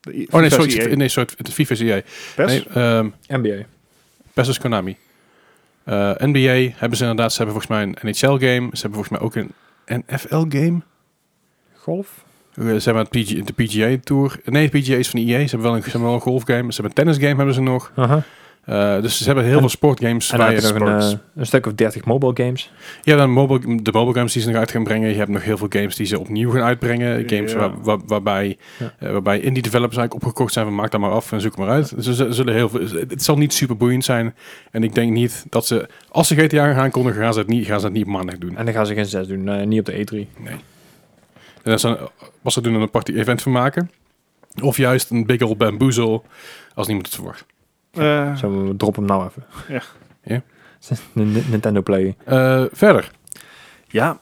De- oh nee, FIFA sorry, CA. nee, sorry, het- FIFA is EA. PES? Nee, ehm, NBA. PES is Konami. Eh, NBA hebben ze inderdaad, ze hebben volgens mij een NHL game. Ze hebben volgens mij ook een NFL game. Golf? Eh, Ze hebben het PG, de PGA Tour. Nee, de PGA is van EA. Ze hebben wel een, ze hebben wel een golfgame. Ze hebben een tennisgame hebben ze nog. Aha. Eh, dus ze hebben heel En- veel sportgames. En waar dan je heb je nog een, sports. eh, een stuk of 30 mobile games. Ja, dan mobile, de mobile games die ze nog uit gaan brengen. Je hebt nog heel veel games die ze opnieuw gaan uitbrengen. Games Ja. waar, waar- waarbij, Ja. eh, waarbij indie developers eigenlijk opgekocht zijn van maak dat maar af en zoek maar uit. Dus ze zullen heel veel, het zal niet super boeiend zijn. En ik denk niet dat ze, als ze GTA gaan aankondigen, gaan ze het niet, gaan ze het niet op maandag doen. En dan gaan ze geen 6 doen, eh, niet op de E3. En dat ze, als ze er doen, een party event van maken. Of juist een big old bamboozle, als niemand het verwacht. Eh, Zo, we drop hem nou even. Ja. Ja. N- N- Nintendo Play. Eh, verder. ja.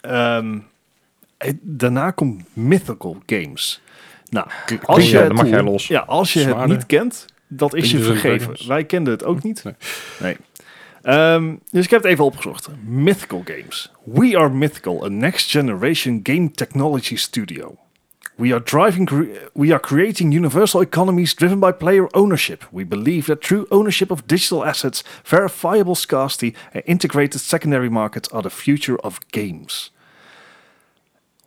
Ehm, eh, daarna komt Mythical Games. Nou, als Klinkt- je, ja, het, dan mag jij los. ja, als je het Zwaarder. niet kent, dat is je Dungeons and vergeven. Dragons. Wij kenden het ook niet. Nee. Nee. Ehm, dus ik heb het even opgezocht. Mythical Games. We are Mythical, a next generation game technology studio. We are driving cre- we are creating universal economies driven by player ownership. We believe that true ownership of digital assets, verifiable scarcity and integrated secondary markets are the future of games.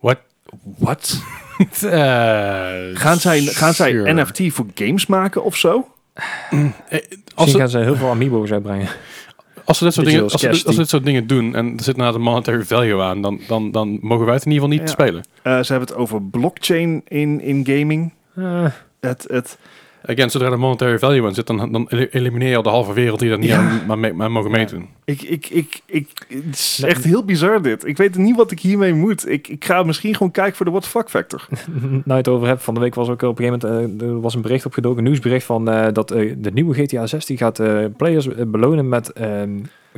Wat? Eh, Gaan zij, gaan zij NFT voor games maken of zo? Als Misschien ze, gaan ze heel veel amiibo's uitbrengen. als ze, dit, soort dingen, Digital als ze, dit- scarcity. als ze dit soort dingen doen en er zit na de monetary value aan, dan, dan, dan mogen wij het in ieder geval niet Ja. spelen. Eh, ze hebben het over blockchain in, in gaming. Eh, Het, het, Again, zodra er monetary value aan zit, dan, dan el- elimineer je al de halve wereld die daar niet Ja. aan maar mee, maar mogen Ja. meedoen. ik, ik, ik, ik, het is echt heel bizar dit. Ik weet niet wat ik hiermee moet. Ik, ik ga misschien gewoon kijken voor de what the fuck factor. nou, je het over hebt, van de week was ook op een gegeven moment eh, er was een bericht opgedoken, een nieuwsbericht van eh, dat eh, de nieuwe GTA 6 die gaat eh, players eh, belonen met ehm,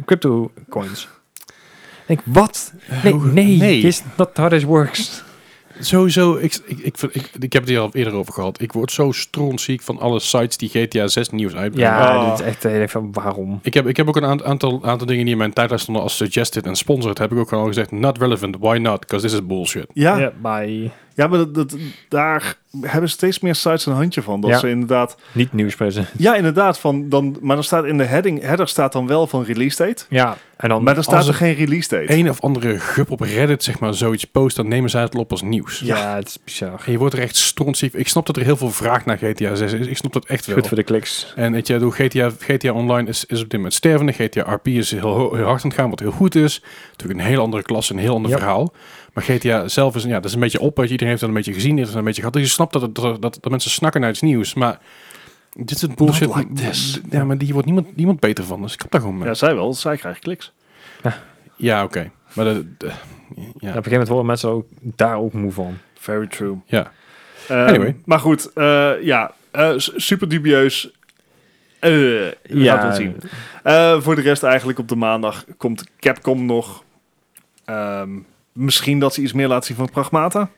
crypto coins. Ik denk, wat? Nee, nee, nee. is not how this works. Sowieso, ik, ik, ik, vind- ik, ik heb het hier al eerder over gehad. Ik word zo strontziek van alle sites die GTA 6 nieuws uitbrengen. Ja, Oh. dit is echt eh, ik denk van waarom? Ik heb, ik heb ook een aant- aantal, aantal dingen die in mijn tijdlijn stonden als suggested en sponsored. Heb ik ook gewoon al gezegd, not relevant, why not? Because this is bullshit. Ja, ja. bij maar dat, dat, daar hebben steeds meer sites een handje van. Dat Ja. ze inderdaad... niet nieuwsprezen. Ja, inderdaad. Van, dan, maar dan staat in de heading, header staat dan wel van release date. Ja, en dan Maar dan staat als er er- geen release date. Een of andere gup op Reddit, zeg maar, zoiets post, dan nemen zij het al op als nieuws. ja, het is bizar. En je wordt er echt strontziek. Ik snap dat er heel veel vraag naar GTA 6 is. Ik snap dat echt wel. Goed voor de kliks. En weet je, door GTA, GTA Online is, is op dit moment stervende. GTA RP is heel, ho- heel hard aan het gaan, wat heel goed is. Natuurlijk een heel andere klasse, een heel ander Ja. verhaal. Maar GTA zelf is, ja, dat is een beetje op. weet je. Iedereen heeft dat een beetje gezien, heeft dat een beetje gehad. Dus je snapt dat, het- dat, dat, dat mensen snakken naar iets nieuws. Maar dit soort bullshit. like this. Ja, maar die wordt niemand, niemand beter van. Dus ik heb daar gewoon mee. Ja, Ja, zij wel. Zij krijgen kliks. oké. Maar dat, dat- Op ja. een gegeven moment worden mensen ook, daar ook moe van. Very true. ja. Ehm, Anyway. Maar goed, eh, ja, eh, s- super dubieus. Eh, we gaan het wel zien. Eh, voor de rest eigenlijk op de maandag komt Capcom nog. Ehm, misschien dat ze iets meer laten zien van Pragmata.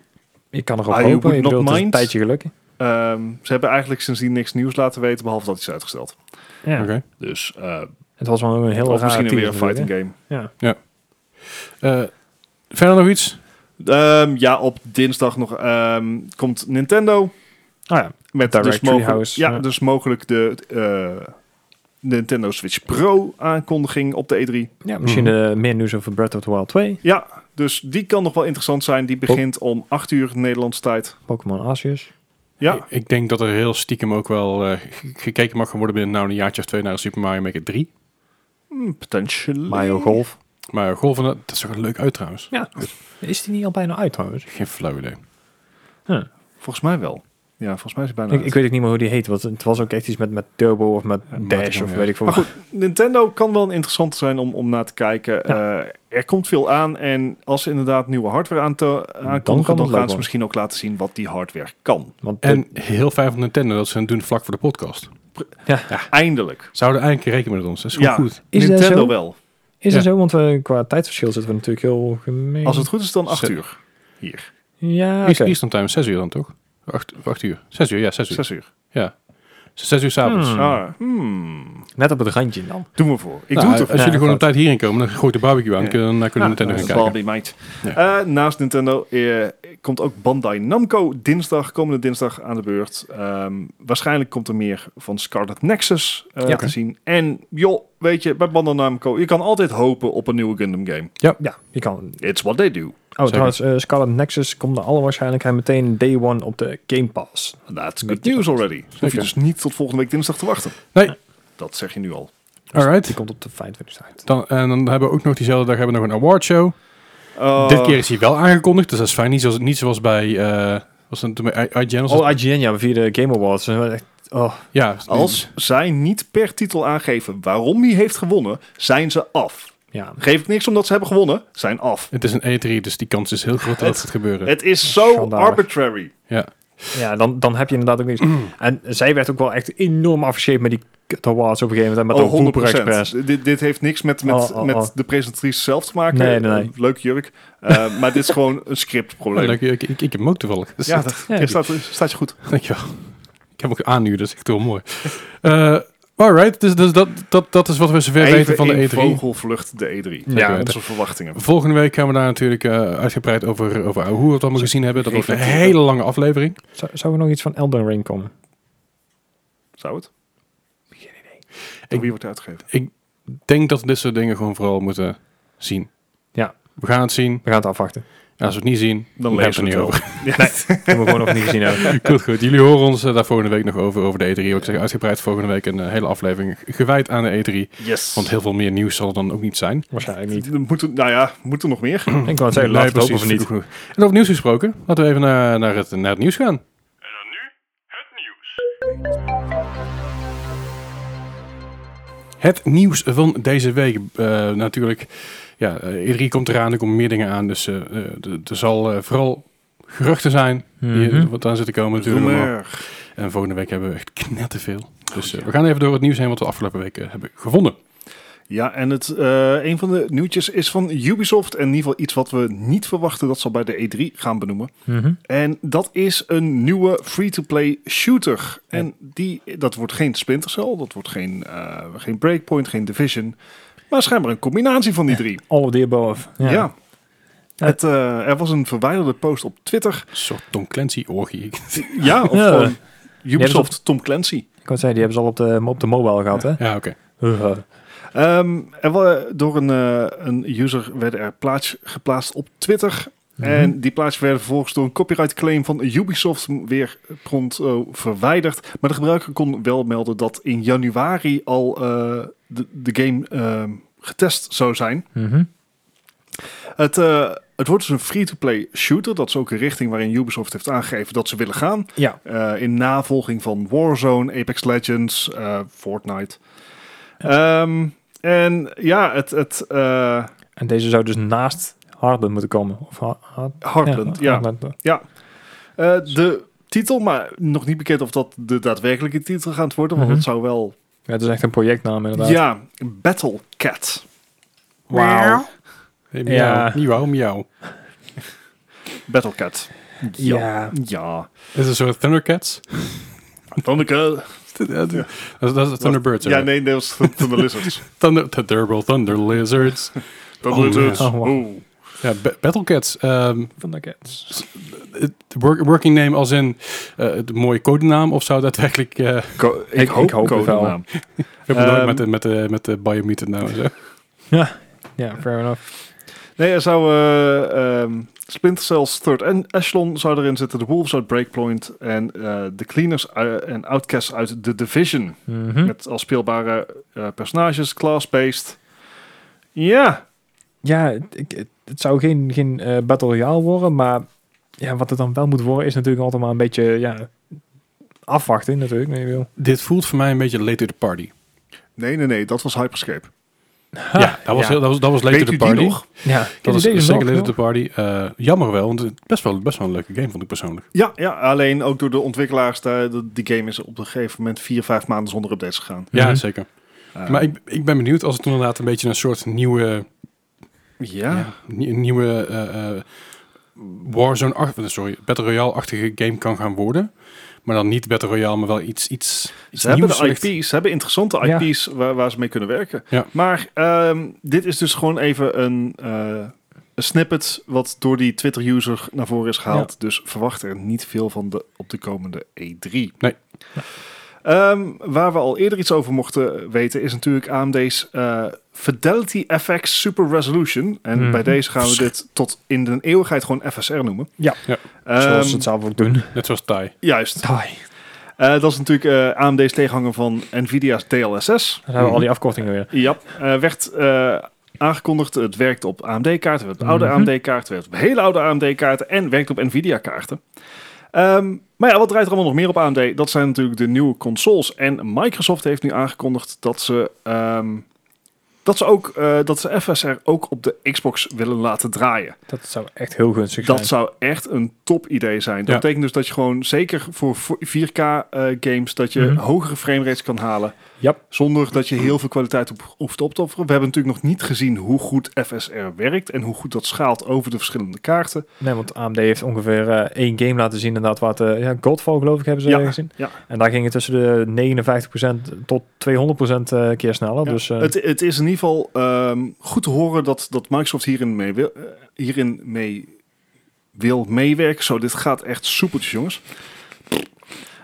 Je kan erop I hopen. Ik Ah, would not bedoel, het is een mind. tijdje gelukkig. Ehm, ze hebben eigenlijk sindsdien niks nieuws laten weten, behalve dat iets uitgesteld. Ja. oké. Dus, eh Het was wel een heel of raar misschien weer teaser een fighting natuurlijk, game. hè? Ja. Eh, verder nog iets? Ehm, ja, op dinsdag nog ehm, komt Nintendo. Ah ja, Met Direct dus mogelijk, Treehouse, ja, ja. dus mogelijk de eh, Nintendo Switch Pro aankondiging op de E3. ja misschien Mhm. eh, meer nieuws over Breath of the Wild 2. Ja, dus die kan nog wel interessant zijn. Die begint om 8 uur Nederlandse tijd. Pokémon Arceus. Ik, Ja, ik denk dat er heel stiekem ook wel eh, ge- gekeken mag gaan worden binnen nou een jaartje of twee naar Super Mario Maker 3. hmm, potentially. Mario Golf. Maar golven, dat dat is toch leuk uit trouwens? Ja. Is die niet al bijna uit trouwens? Geen flauw idee. Volgens mij wel. Ja, volgens mij is het bijna Ik, uit. ik weet ook niet meer hoe die heet. Want het was ook echt iets met, met Turbo of met Ja, Dash of ja. weet ik veel. Maar goed, Nintendo kan wel interessant zijn om, om naar te kijken. Eh, er komt veel aan en als ze inderdaad nieuwe hardware aan te, kan het aankondigen, dan leuk gaan ze worden. misschien ook laten zien wat die hardware kan. Want de- En heel fijn van Nintendo dat ze het doen vlak voor de podcast. Eindelijk. Zouden eigenlijk rekening met ons. Dat is gewoon Ja. goed. Is dat Nintendo zo? wel. is dat ja. zo? Want we, qua tijdverschil zitten we natuurlijk heel gemeen. Als het goed is, dan 8 Zet- uur. Hier, Ja, East- oké. Eastern Time, 6 uur dan toch? 8, uur. 6 uur, ja, 6 uur. 6 uur. Ja. 6 uur s'avonds. Hmm. Ah, hmm. Net op het randje dan. Doe me voor. Ik Nou, doe het als ervoor. Ja, jullie gewoon op goed. tijd hierin komen, dan gooi ik de barbecue aan. Ja. Dan kunnen we Nintendo Ah, gaan dat Dat is kijken. zal might. Ja. Eh, naast Nintendo eh, komt ook Bandai Namco dinsdag, komende dinsdag aan de beurt. Ehm, waarschijnlijk komt er meer van Scarlet Nexus eh, Ja. te zien. En joh, weet je, bij Bandai Namco, je kan altijd hopen op een nieuwe Gundam game. Ja, je kan. It's what they do. Oh, trouwens, eh, Scarlet Nexus komt naar alle waarschijnlijkheid meteen day one op de Game Pass. That's good news already. Hoef je Zeker. dus niet tot volgende week dinsdag te wachten. Nee, Dat zeg je nu al. Die alright. komt op de 25 uit. Dan, en dan hebben we ook nog diezelfde dag hebben we nog een awardshow. Eh, Dit keer is hij wel aangekondigd, dus dat is fijn. Niet zoals, niet zoals bij... eh, was het toen bij I- IGN? Was het- Oh, IGN, ja, via de Game Awards. En we echt- Oh, ja, Als zij niet per titel aangeven waarom die heeft gewonnen, zijn ze af. ja. Geef ik niks omdat ze hebben gewonnen, zijn af. Het is een E3, dus die kans is heel groot dat het gaat gebeuren. Het is zo Schandalig. arbitrary. ja. Ja, dan, dan heb je inderdaad ook niks. Mm. en zij werd ook wel echt enorm afgescheept met die kut awards op een gegeven moment. En Oh, met de 100 Hooper Express. Dit, dit heeft niks met, met, Oh, oh, met oh. de presentatrice zelf te maken. Nee, nee, nee. Eh, Leuk jurk. Eh, maar dit is gewoon een scriptprobleem. Ja, leuk. ik, ik, ik heb hem ook toevallig. Dus Ja, ja, dat, Ja, hier staat, staat je goed. dankjewel. Ik heb hem ook aan nu, dat is echt heel mooi. Eh alright, dus, dus dat, dat, dat is wat we zover Even weten van in de E3. vogelvlucht de E3. Ja, Ja, dat- onze verwachtingen. Volgende week gaan we daar natuurlijk eh, uitgebreid over, over hoe we het allemaal gezien hebben. Dat wordt een Reflecteren. hele lange aflevering. Zou, zou er nog iets van Elden Ring komen? Zou het? Geen idee. Door Ik- wie wordt het uitgegeven? Ik denk dat we dit soort dingen gewoon vooral moeten zien. Ja. We gaan het zien. We gaan het afwachten. Als we het niet zien, Dan hebben we lezen het niet we het over. Ik heb hem gewoon nog niet gezien. hebben. Goed, goed. Jullie horen ons eh, daar volgende week nog over, over de E3. Wat Ik zeg uitgebreid volgende week een eh, hele aflevering gewijd aan de E3. Yes. Want heel veel meer nieuws zal er dan ook niet zijn. Waarschijnlijk niet. Er Moet er- nou ja, moet er nog meer? Ik wou het zeggen, Nee, laat het hopen precies, of niet. goed, goed. En over nieuws gesproken, laten we even naar, naar, het, naar het nieuws gaan. Het nieuws van deze week eh, natuurlijk. Ja, eh, E3 komt eraan, er komen meer dingen aan. Dus eh, eh, d- er zal eh, vooral geruchten zijn die Mhm. wat aan zitten komen natuurlijk. allemaal. Rumor. En volgende week hebben we echt knetterveel. Dus eh, we gaan even door het nieuws heen wat we afgelopen weken hebben gevonden. Ja, en het, eh, een van de nieuwtjes is van Ubisoft. En in ieder geval iets wat we niet verwachten dat ze al bij de E3 gaan benoemen. Mhm. En dat is een nieuwe free-to-play shooter. En die, dat wordt geen Splinter Cell, dat wordt geen, eh, geen Breakpoint, geen Division. Maar schijnbaar een combinatie van die drie. All of the above. Ja. Ja. Het, eh, er was een verwijderde post op Twitter. Een soort Tom Clancy-orgie. Ja, of Ja. gewoon hebt Ubisoft Tom Clancy. Ik wou zeggen, die hebben ze al op de, op de mobile gehad, hè? ja, oké. Haha. Ehm, er wa- door een, eh, een user werden er plaats, geplaatst op Twitter. En die plaatsen werden vervolgens door een copyright claim van Ubisoft weer prompt eh, verwijderd. Maar de gebruiker kon wel melden dat in januari al eh, de, de game ehm, getest zou zijn. Mhm. Het, eh, het wordt dus een free-to-play shooter. Dat is ook een richting waarin Ubisoft heeft aangegeven dat ze willen gaan. Ja. Eh, in navolging van Warzone, Apex Legends, eh, Fortnite. Ehm, en ja, het, het eh, En deze zou dus naast Hardland moeten komen. Of ha Hard- Heartland, ja. Heartland. Eh, de titel, maar nog niet bekend of dat de daadwerkelijke titel gaat worden, want Mhm. het zou wel... Ja, Het is echt een projectnaam, inderdaad. Ja, Battle Cat. Wauw. Hey, miauw. Ja. Miauw, miauw. Battle Cat. Ja. Ja. Is het een soort Thundercats? Thundercat. dat, dat, dat, dat is Thunderbirds. Ja, Ja, nee, dat was Thunder Lizards. Thunder, Thunderbolt, Thunder Lizards. Thunder Oh, ja. Lizards. Oh, wow. Oeh. ja, Ba- Battlecats. ehm, Van de Cats. het work- working name als in eh, de mooie codenaam? Of zou daadwerkelijk... eh Ko- ik, ik hoop, hoop het wel. codenaam. ik bedoel, Ehm, met, de, met, de, met de Biomutant nou en zo. Ja, fair enough. Nee, er zou eh, ehm, Splinter Cell's Third en Echelon zou erin zitten. De Wolves uit Breakpoint. En eh, de Cleaners eh, en Outcasts uit The Division. Mhm. Hm. Met als speelbare eh, personages, class-based. Ja, Ja, het- ik, het, het zou geen, geen eh, Battle Royale worden, maar ja, wat het dan wel moet worden is natuurlijk altijd maar een beetje ja, afwachten natuurlijk. Nee, ik bedoel. Dit voelt voor mij een beetje late to the party. nee, nee, nee, dat was Hyperscape. ja, dat was, ja. Heel, dat was, dat was late Weet to the u die party. nog? Ja, Dat was deze zeker nog, late to joh. the party. Eh, jammer wel, want het is best wel, best wel een leuke game vond ik persoonlijk. Ja, ja, alleen ook door de ontwikkelaars. daar- de- die game is op een gegeven moment vier, vijf maanden zonder updates gegaan. Ja, Mhm. zeker. Eh, Maar ik, ik ben benieuwd als het inderdaad een beetje een soort nieuwe... ja. ja, nie- een nieuwe eh, eh, Warzone, eh, sorry, Battle Royale-achtige game kan gaan worden. Maar dan niet Battle Royale, maar wel iets, iets, iets Ze hebben nieuws. de wellicht. IP's, ze hebben interessante Ja. IP's waar, waar ze mee kunnen werken. Ja. Maar ehm, dit is dus gewoon even een, eh, een snippet wat door die Twitter-user naar voren is gehaald. Dus verwacht er niet veel van de, op de komende E3. Nee. Ehm, waar we al eerder iets over mochten weten is natuurlijk AMD's eh, Fidelity FX Super Resolution. En Mhm. bij deze gaan we dit tot in de eeuwigheid gewoon FSR noemen. Ja. Ja. Ehm, Zoals ze het zelf ook doen. Net zoals Tai. Juist. Taai. Eh, dat is natuurlijk eh, AMD's tegenhanger van NVIDIA's DLSS. Dan hebben we al die afkortingen weer. Ja, eh, werd eh, aangekondigd. Het werkt op AMD-kaarten, werd op oude Mhm. AMD-kaarten, werd op hele oude AMD-kaarten en werkt op NVIDIA-kaarten. Ehm, maar ja, wat draait er allemaal nog meer op AMD? Dat zijn natuurlijk de nieuwe consoles. En Microsoft heeft nu aangekondigd dat ze, ehm, dat ze, ook, eh, dat ze FSR ook op de Xbox willen laten draaien. Dat zou echt heel gunstig zijn. Dat zou echt een top idee zijn. Dat Ja. betekent dus dat je gewoon zeker voor 4K eh, games dat je Mhm. hogere framerates kan halen. Yep. Zonder dat je heel veel kwaliteit op, hoeft op te offeren. We hebben natuurlijk nog niet gezien hoe goed FSR werkt en hoe goed dat schaalt over de verschillende kaarten. Nee, want AMD heeft ongeveer eh, één game laten zien inderdaad. Wat, eh ja, Godfall geloof ik hebben ze Ja, gezien. ja. En daar ging het tussen de 59% tot 200% eh, keer sneller. Ja, Dus eh, het, het is in ieder geval ehm, goed te horen dat, dat Microsoft hierin mee, wil, eh, hierin mee wil meewerken. Zo, dit gaat echt soepeltjes, jongens.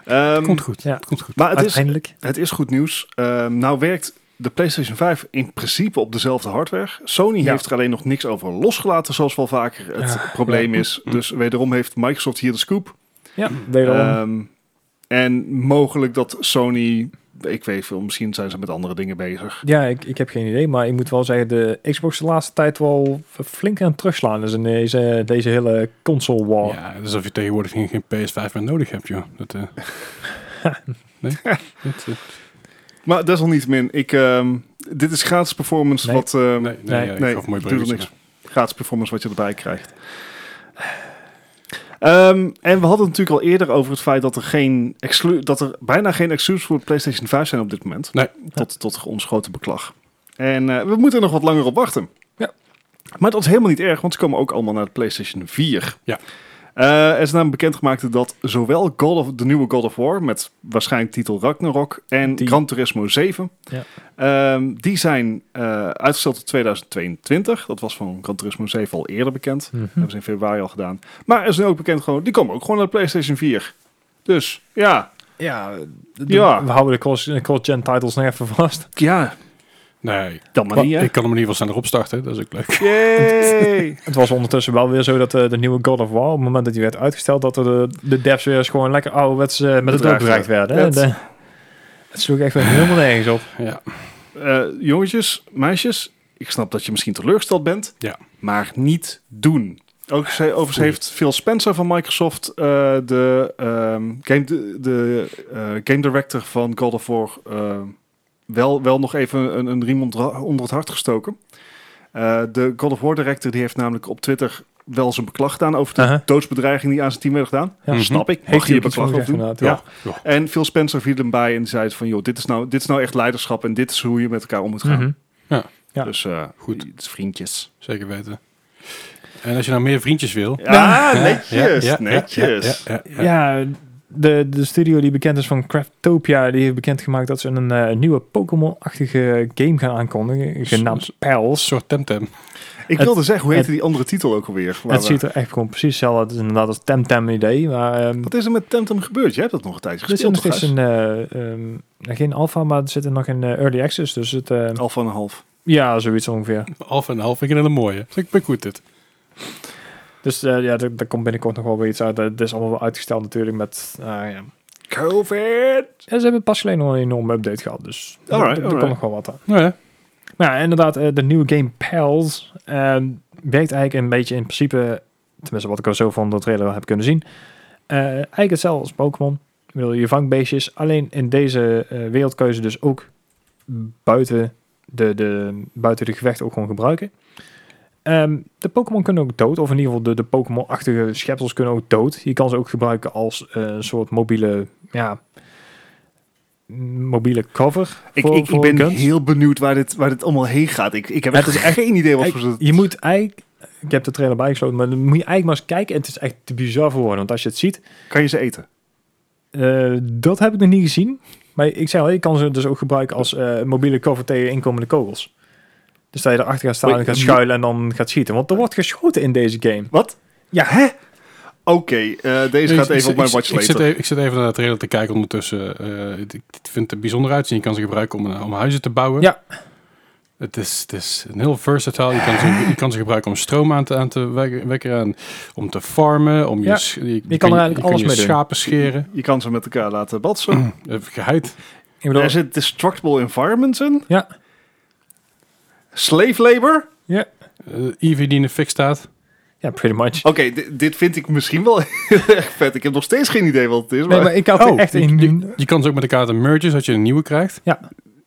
Ehm, Komt goed. ja. Het komt goed. maar het is, uiteindelijk... Het is goed nieuws. Ehm, nou werkt de PlayStation 5 in principe op dezelfde hardware. Sony Ja. heeft er alleen nog niks over losgelaten, zoals wel vaker het Ja, probleem ja. is. Dus wederom heeft Microsoft hier de scoop. Ja, wederom. Ehm, en mogelijk dat Sony, ik weet veel, misschien zijn ze met andere dingen bezig. ja, ik, ik heb geen idee, maar ik moet wel zeggen, de Xbox de laatste tijd wel flink aan het terugslaan is in deze, deze hele console war. oh. Ja, dus of je tegenwoordig geen, geen PS5 meer nodig hebt, joh. Dat, eh, Ehm, nee? Dat, eh, Maar desalniettemin, ik, ehm, dit is gratis performance Nee. wat... ehm, nee, nee, Nee, ja, eh, ik nee, gaf mooi doet er bruggetje, niks. gratis performance wat je erbij krijgt. Ehm, en we hadden het natuurlijk al eerder over het feit dat er, geen exclu- dat er bijna geen exclusives voor de PlayStation 5 zijn op dit moment. Nee. Tot, tot ons grote beklag. En eh, we moeten er nog wat langer op wachten. Ja. Maar dat is helemaal niet erg, want ze komen ook allemaal naar de PlayStation 4. Ja. Eh, er is namelijk bekendgemaakt dat zowel God of, de nieuwe God of War, met waarschijnlijk titel Ragnarok, en Die- Gran Turismo 7, Ja. Ehm, die zijn eh, uitgesteld tot 2022. Dat was van Gran Turismo 7 al eerder bekend. Mhm. Dat hebben ze in februari al gedaan. Maar er is nu ook bekend gewoon, die komen ook gewoon naar de PlayStation 4. Dus ja, Ja, Ja. we houden de cross- de cross-gen titles nog even vast. ja, Nee, dan maar niet hè. ik kan hem in ieder geval sneller opstarten. Dat is ook leuk. Yay! Het was ondertussen wel weer zo dat eh, de nieuwe God of War, op het moment dat die werd uitgesteld, dat er de, de devs weer eens gewoon lekker ouderwets eh, met het Bedreigd dood bereikt werden. hè. werd. De- Het sloeg echt weer helemaal nergens op. Ja. Eh, jongetjes, meisjes, ik snap dat je misschien teleurgesteld bent. Ja. Maar niet doen. Ook ze, overigens heeft Phil Spencer van Microsoft, eh, de, ehm, game, de, de, eh, game director van God of War, eh, wel, wel nog even een, een riem onder, onder het hart gestoken. Eh, de God of War director die heeft namelijk op Twitter wel zijn beklag gedaan over de Uh-huh. doodsbedreiging die aan zijn team werd gedaan. Ja. Mhm. Snap ik, mag Heeft je hij je ook iets van beklag over gezegd doen. inderdaad. Ja. Ja. Ja. En Phil Spencer viel hem bij en zei het van, joh, dit is, nou, dit is nou echt leiderschap en dit is hoe je met elkaar om moet gaan. Mhm. Ja. Dus eh, Goed. het is vriendjes. zeker weten. En als je nou meer vriendjes wil... Ja, netjes, ja, ja, netjes. ja, ja, ja, ja. Ja, de, de studio die bekend is van Craftopia, die heeft bekendgemaakt dat ze een eh, nieuwe Pokémon-achtige game gaan aankondigen, genaamd Een Pals. soort Temtem. Ik Het- wilde zeggen, hoe heette het- die andere titel ook alweer? Waar Het we- ziet er echt gewoon precies hetzelfde uit. Het is inderdaad als Temtem idee, maar... ehm, Wat is er met Temtem gebeurd? Jij hebt dat nog een tijdje Er zit gespeeld, nog toch? steeds Gijs? een, eh, ehm, geen alpha, maar er zit er nog in eh, early access. Dus het, eh, Al van een half. ja, zoiets ongeveer. Half en half. Ik vind het een mooie. Dus ik ben goed dit. Dus eh, ja, er, er komt binnenkort nog wel weer iets uit. Het is allemaal wel uitgesteld natuurlijk met... ah, ja. COVID! En ze hebben pas geleden nog een enorme update gehad, dus er- Alright, er- er alright. komt nog wel wat aan. Nou ja. Nou, ja, inderdaad, eh, de nieuwe game Pals ehm, werkt eigenlijk een beetje in principe, tenminste wat ik al zo van de trailer heb kunnen zien, eh, eigenlijk hetzelfde als Pokémon. Ik bedoel, je vangt beestjes, alleen in deze eh, wereldkeuze dus ook buiten de, de, buiten de gevechten ook gewoon gebruiken. Ehm, de Pokémon kunnen ook dood, of in ieder geval de, de Pokémon-achtige schepsels kunnen ook dood. Je kan ze ook gebruiken als eh, een soort mobiele, ja, mobiele cover. Ik, voor- ik, ik voor ben guns. heel benieuwd waar dit, waar dit allemaal heen gaat. Ik, ik heb Het echt is echt- geen idee wat Kijk, voor ze... je moet eigenlijk... Ik heb de trailer bijgesloten, maar dan moet je eigenlijk maar eens kijken. Het is echt te bizar voor woorden. Want als je het ziet... Kan je ze eten? eh, dat heb ik nog niet gezien. Maar ik zei al, je kan ze dus ook gebruiken als eh, mobiele cover tegen inkomende kogels. Dus dat je erachter gaat staan Wait, en gaat moet- schuilen en dan gaat schieten. Want er wordt geschoten in deze game. Wat? Ja, hè? Oké, eh, deze Ik- gaat ik- even op mijn ik- watch ik zit, later. even, ik zit even naar de trailer te kijken ondertussen. Eh, ik, ik vind het er bijzonder uitzien. Je kan ze gebruiken om, eh, om huizen te bouwen. Ja. Het is, het is een heel versatile. Je kan, ze, je kan ze gebruiken om stroom aan te, aan te wek- wekken, aan, om te farmen, om Ja. je, sch- je, je er kan je- eigenlijk je alles je mee doen. schapen scheren. Je kan ze met elkaar laten batsen. Eh, Geheid. Ik bedoel, Er zit destructible environments in. Ja. Slave labor. Eh Eevee die in de fik staat. ja, pretty Oh, much. Oké, di- dit vind ik misschien wel heel erg vet. Ik heb nog steeds geen idee wat het is. Nee, maar- maar ik had er Oh, echt ik- een... Je kan ze ook met elkaar te mergen, zodat je een nieuwe krijgt. Ja,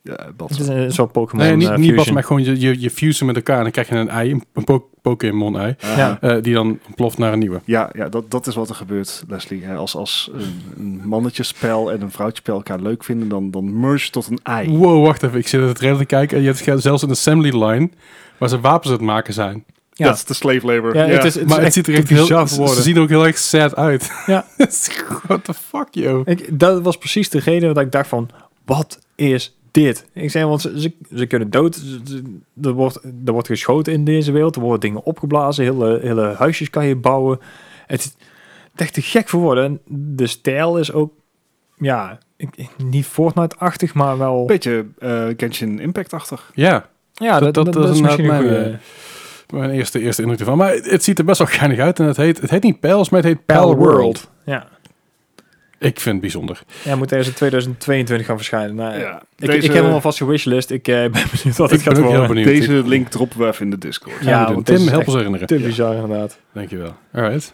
Het batsen. is een soort Pokémon Nee, niet, eh, niet pas, fusion. maar gewoon je, je, je fusen met elkaar en dan krijg je een ei, een, po- Pokémon-ei, Ja. eh, die dan ontploft naar een nieuwe. Ja, ja dat, dat is wat er gebeurt, Leslie. Hè, Als, als een, een mannetjespel en een vrouwtjespel elkaar leuk vinden, dan, dan merge tot een ei. Wow, wacht even. Ik zit naar de trailer te kijken en je hebt zelfs een assembly line waar ze wapens aan het maken zijn. Ja. Dat is de slave labor. Ja, het is, maar het echt ziet er te echt heel, bizar ze voor woorden. ze zien er ook heel erg sad uit. Ja. What the fuck, joh. Ik, dat was precies de reden dat ik dacht van, wat is dit? Ik zei, want ze, ze, ze kunnen dood. Ze- ze- er, wordt, er wordt geschoten in deze wereld. Er worden dingen opgeblazen. Hele, hele huisjes kan je bouwen. Het is echt te gek voor woorden. En de stijl is ook, ja, ik- niet Fortnite-achtig, maar wel... Beetje eh Genshin Impact-achtig. Ja, Ja, dat, dat, dat is misschien een inderdaad goede... mijn, eh, mijn eerste, eerste indruk ervan. Maar het, het ziet er best wel geinig uit. En het heet, het heet niet Pals, maar het heet Pal, Pal World. World. ja. Ik vind het bijzonder. ja, moet ergens in 2022 gaan verschijnen. Nou, Ja, ik, deze- ik heb hem alvast een wishlist. Ik eh, ben benieuwd wat het ik ben gaat ook heel worden. benieuwd. Deze link droppen we even in de Discord. Gaan we Ja, doen. want Tim, deze is help echt ons herinneren. Te bizar inderdaad. Dankjewel. All right.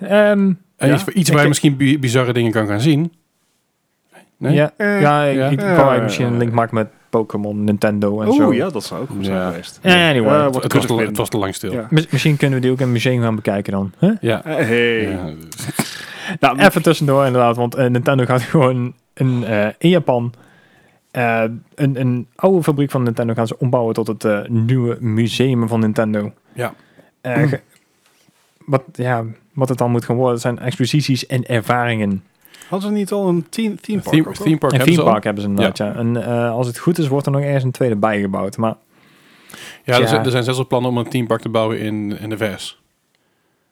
Ehm, En Ja. iets, iets Ik- waar je misschien bi- bizarre dingen kan gaan zien. Nee? Ja, Eh, ja, ik, ja. ik wou eigenlijk misschien een link maken met Pokémon, Nintendo en zo. Oh ja, dat zou ook goed zijn Ja. geweest. Anyway. Eh, Het, wordt was kort te, binnen. het was te lang stil. Ja. Mis- misschien kunnen we die ook in het museum gaan bekijken dan. Huh? Ja. Eh, hey. Ja. Nou, Even tussendoor inderdaad, want eh, Nintendo gaat gewoon een, eh, in Japan eh, een, een oude fabriek van Nintendo gaan ze ombouwen tot het eh, nieuwe museum van Nintendo. Ja. Eh, ge- wat, ja, wat het dan moet gaan worden zijn exposities en ervaringen. hadden ze niet al een theme, theme park? Theme, ook al? theme park Een hebben ze theme al. park hebben ze inderdaad, ja. En eh, als het goed is, wordt er nog ergens een tweede bijgebouwd. Maar Ja, er Ja. zijn, er zijn zelfs al plannen om een teampark te bouwen in, in de VS.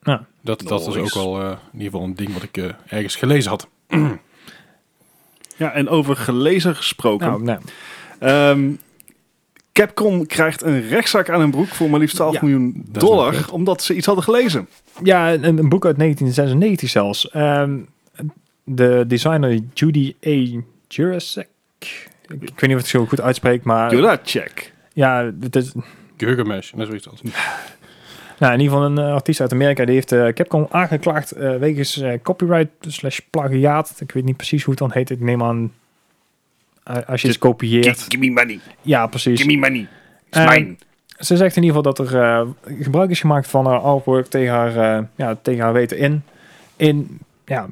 Ja. Dat, dat is ook Nice. al eh, in ieder geval een ding wat ik eh, ergens gelezen had. Ja, en over gelezen gesproken. nou, nee. Ehm, Capcom krijgt een rechtszaak aan hun broek voor maar liefst 12 Ja, miljoen is wel dollar, vet. omdat ze iets hadden gelezen. Ja, een, een boek uit 1996 zelfs. Ehm, de designer Judy A. Jurasek. Ik, ik weet niet of ik het zo goed uitspreek, maar Doe dat, check. ja, het is Gurgamesh, dat is zoiets als. nou, in ieder geval een eh, artiest uit Amerika. Die heeft eh, Capcom aangeklaagd eh, wegens eh, copyright slash plagiaat. Ik weet niet precies hoe het dan heet. Ik neem aan eh, als je iets kopieert. Give me money, Ja, precies. me money. It's Eh, Ze zegt in ieder geval dat er eh, gebruik is gemaakt van haar artwork tegen haar, eh, ja, tegen haar weten in. In ja,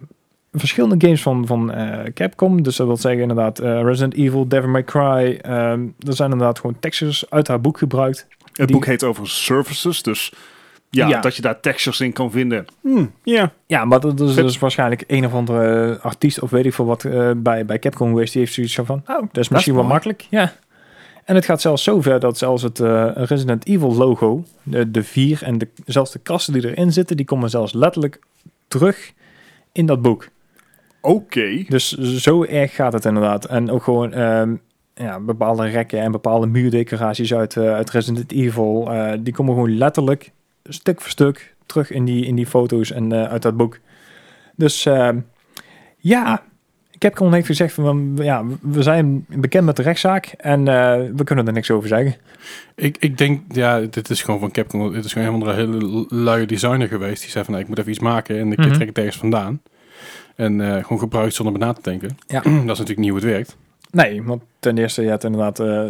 verschillende games van, van eh, Capcom. Dus dat wil zeggen inderdaad eh, Resident Evil, Devil May Cry. ehm, er zijn inderdaad gewoon textures uit haar boek gebruikt. Het die- boek heet overigens Services, dus ja, Ja. dat je daar textures in kan vinden. Hmm, Ja, maar dat is Vet. dus waarschijnlijk een of andere artiest of weet ik veel wat eh, bij, bij Capcom geweest. Die heeft zoiets van, nou, dat is misschien wel mooi. makkelijk. Ja. En het gaat zelfs zover dat zelfs het eh, Resident Evil logo, de, de vier en de, zelfs de krassen die erin zitten, die komen zelfs letterlijk terug in dat boek. Oké. Dus zo erg gaat het inderdaad. En ook gewoon ehm, ja, bepaalde rekken en bepaalde muurdecoraties uit, eh, uit Resident Evil, eh, die komen gewoon letterlijk stuk voor stuk terug in die, in die foto's en eh, uit dat boek. Dus ehm, ja, Capcom heeft gezegd van ja, we zijn bekend met de rechtszaak en eh, we kunnen er niks over zeggen. Ik, ik denk, ja, dit is gewoon van Capcom. Dit is gewoon een of andere hele luie designer geweest. Die zei van, nou, ik moet even iets maken en ik Mhm. trek het ergens vandaan. En eh, gewoon gebruikt zonder me na te denken. Ja. dat is natuurlijk niet hoe het werkt. Nee, want ten eerste je hebt inderdaad eh,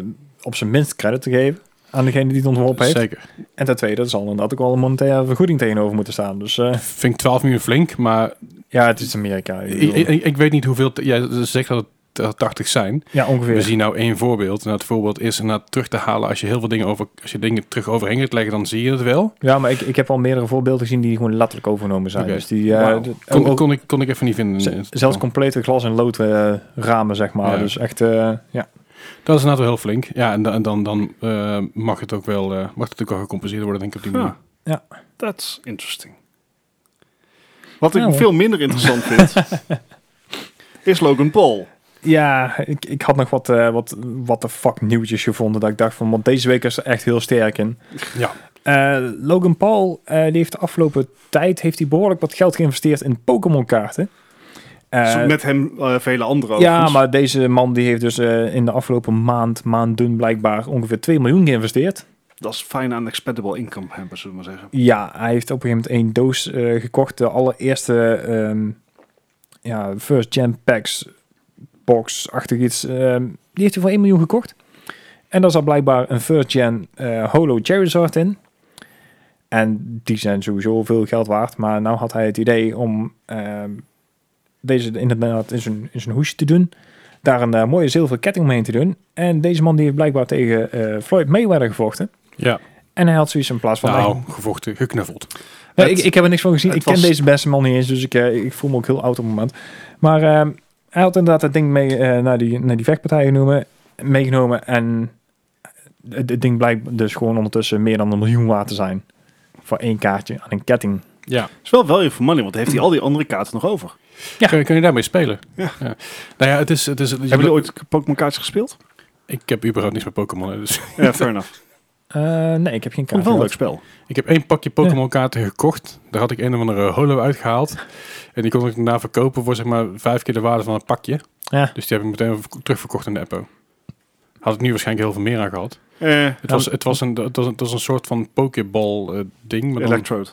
op zijn minst credit te geven aan degene die het ontworpen heeft. Zeker. En ten tweede zal er inderdaad ook wel een monetaire vergoeding tegenover moeten staan. Dus eh, Vind ik 12 miljoen flink, maar ja, het is Amerika. Ik ik, bedoel. ik, ik weet niet hoeveel... Jij zegt dat het eh, 80 zijn. Ja, ongeveer. We zien nou één voorbeeld. Nou, het voorbeeld is naar terug te halen. Als je heel veel dingen over, als je dingen terug overheen gaat leggen, dan zie je het wel. Ja, maar ik, ik heb al meerdere voorbeelden gezien die gewoon letterlijk overgenomen zijn. Oké. Dus die, eh, Wauw. de- Kon, ook- ook kon, ik, kon ik even niet vinden. ze- in het zelfs plan. complete glas- en lood eh, ramen, zeg maar. Ja. Dus echt, eh, ja. dat is inderdaad wel heel flink. Ja, en, da- en dan, dan eh, mag het ook wel, eh, mag het ook wel gecompenseerd worden, denk ik op die manier. Ja. Ja. That's interesting. Wat ik Nou, hoor. veel minder interessant vind, is Logan Paul. Ja, ik, ik had nog wat, eh wat, what the fuck nieuwtjes gevonden. Dat ik dacht van, want deze week is er echt heel sterk in. Ja. Eh, Logan Paul, eh, die heeft de afgelopen tijd heeft hij behoorlijk wat geld geïnvesteerd in Pokémon kaarten. Zo Met hem eh, vele anderen ja, overigens. maar deze man die heeft dus eh, in de afgelopen maand, maanden blijkbaar ongeveer 2 miljoen geïnvesteerd. Dat is fijn aan expendable income hebben, zullen we maar zeggen. Ja, hij heeft op een gegeven moment één doos eh, gekocht. De allereerste ehm, ja, First Gen Packs box-achtig iets. ehm, die heeft hij voor 1 miljoen gekocht. En daar zat blijkbaar een First Gen eh, Holo Charizard in. En die zijn sowieso veel geld waard. Maar nou had hij het idee om ehm, deze inderdaad in zijn, in zijn hoesje te doen. Daar een eh, mooie zilveren ketting omheen te doen. En deze man die heeft blijkbaar tegen eh, Floyd Mayweather gevochten. Ja, En hij had zoiets in plaats van... nou, gevochten, geknuffeld. Nee, Het- ik, ik heb er niks van gezien. het Ik ken was- deze beste man niet eens, dus ik, eh, ik voel me ook heel oud op het moment. Maar ehm, hij had inderdaad dat ding mee eh, naar, die, naar die vechtpartij genomen, meegenomen. En het, het ding blijkt dus gewoon ondertussen meer dan een miljoen waard te zijn. Voor één kaartje aan een ketting. Ja. is wel value for money, want heeft hij al die andere kaarten nog over. Ja. Kun, je, kun je daarmee spelen? Ja. Nou ja, het is... Het is het is- Hebben jullie ooit Pokémon kaartjes gespeeld? Ik heb überhaupt niks met Pokémon. hè, Dus Ja, fair enough. Ik Eh, nee, ik heb geen vond het kaart. wel een gehad. leuk spel. ik heb één pakje Pokémon kaarten gekocht. Daar had ik een of andere holo uitgehaald. En die kon ik daarna verkopen voor zeg maar vijf keer de waarde van een pakje. Ja. Dus die heb ik meteen verk- terugverkocht in de Eppo. Had ik nu waarschijnlijk heel veel meer aan gehad. Eh, Het was, het was, een, het was, een- het was een soort van Pokéball eh, ding. Maar dan, Electrode.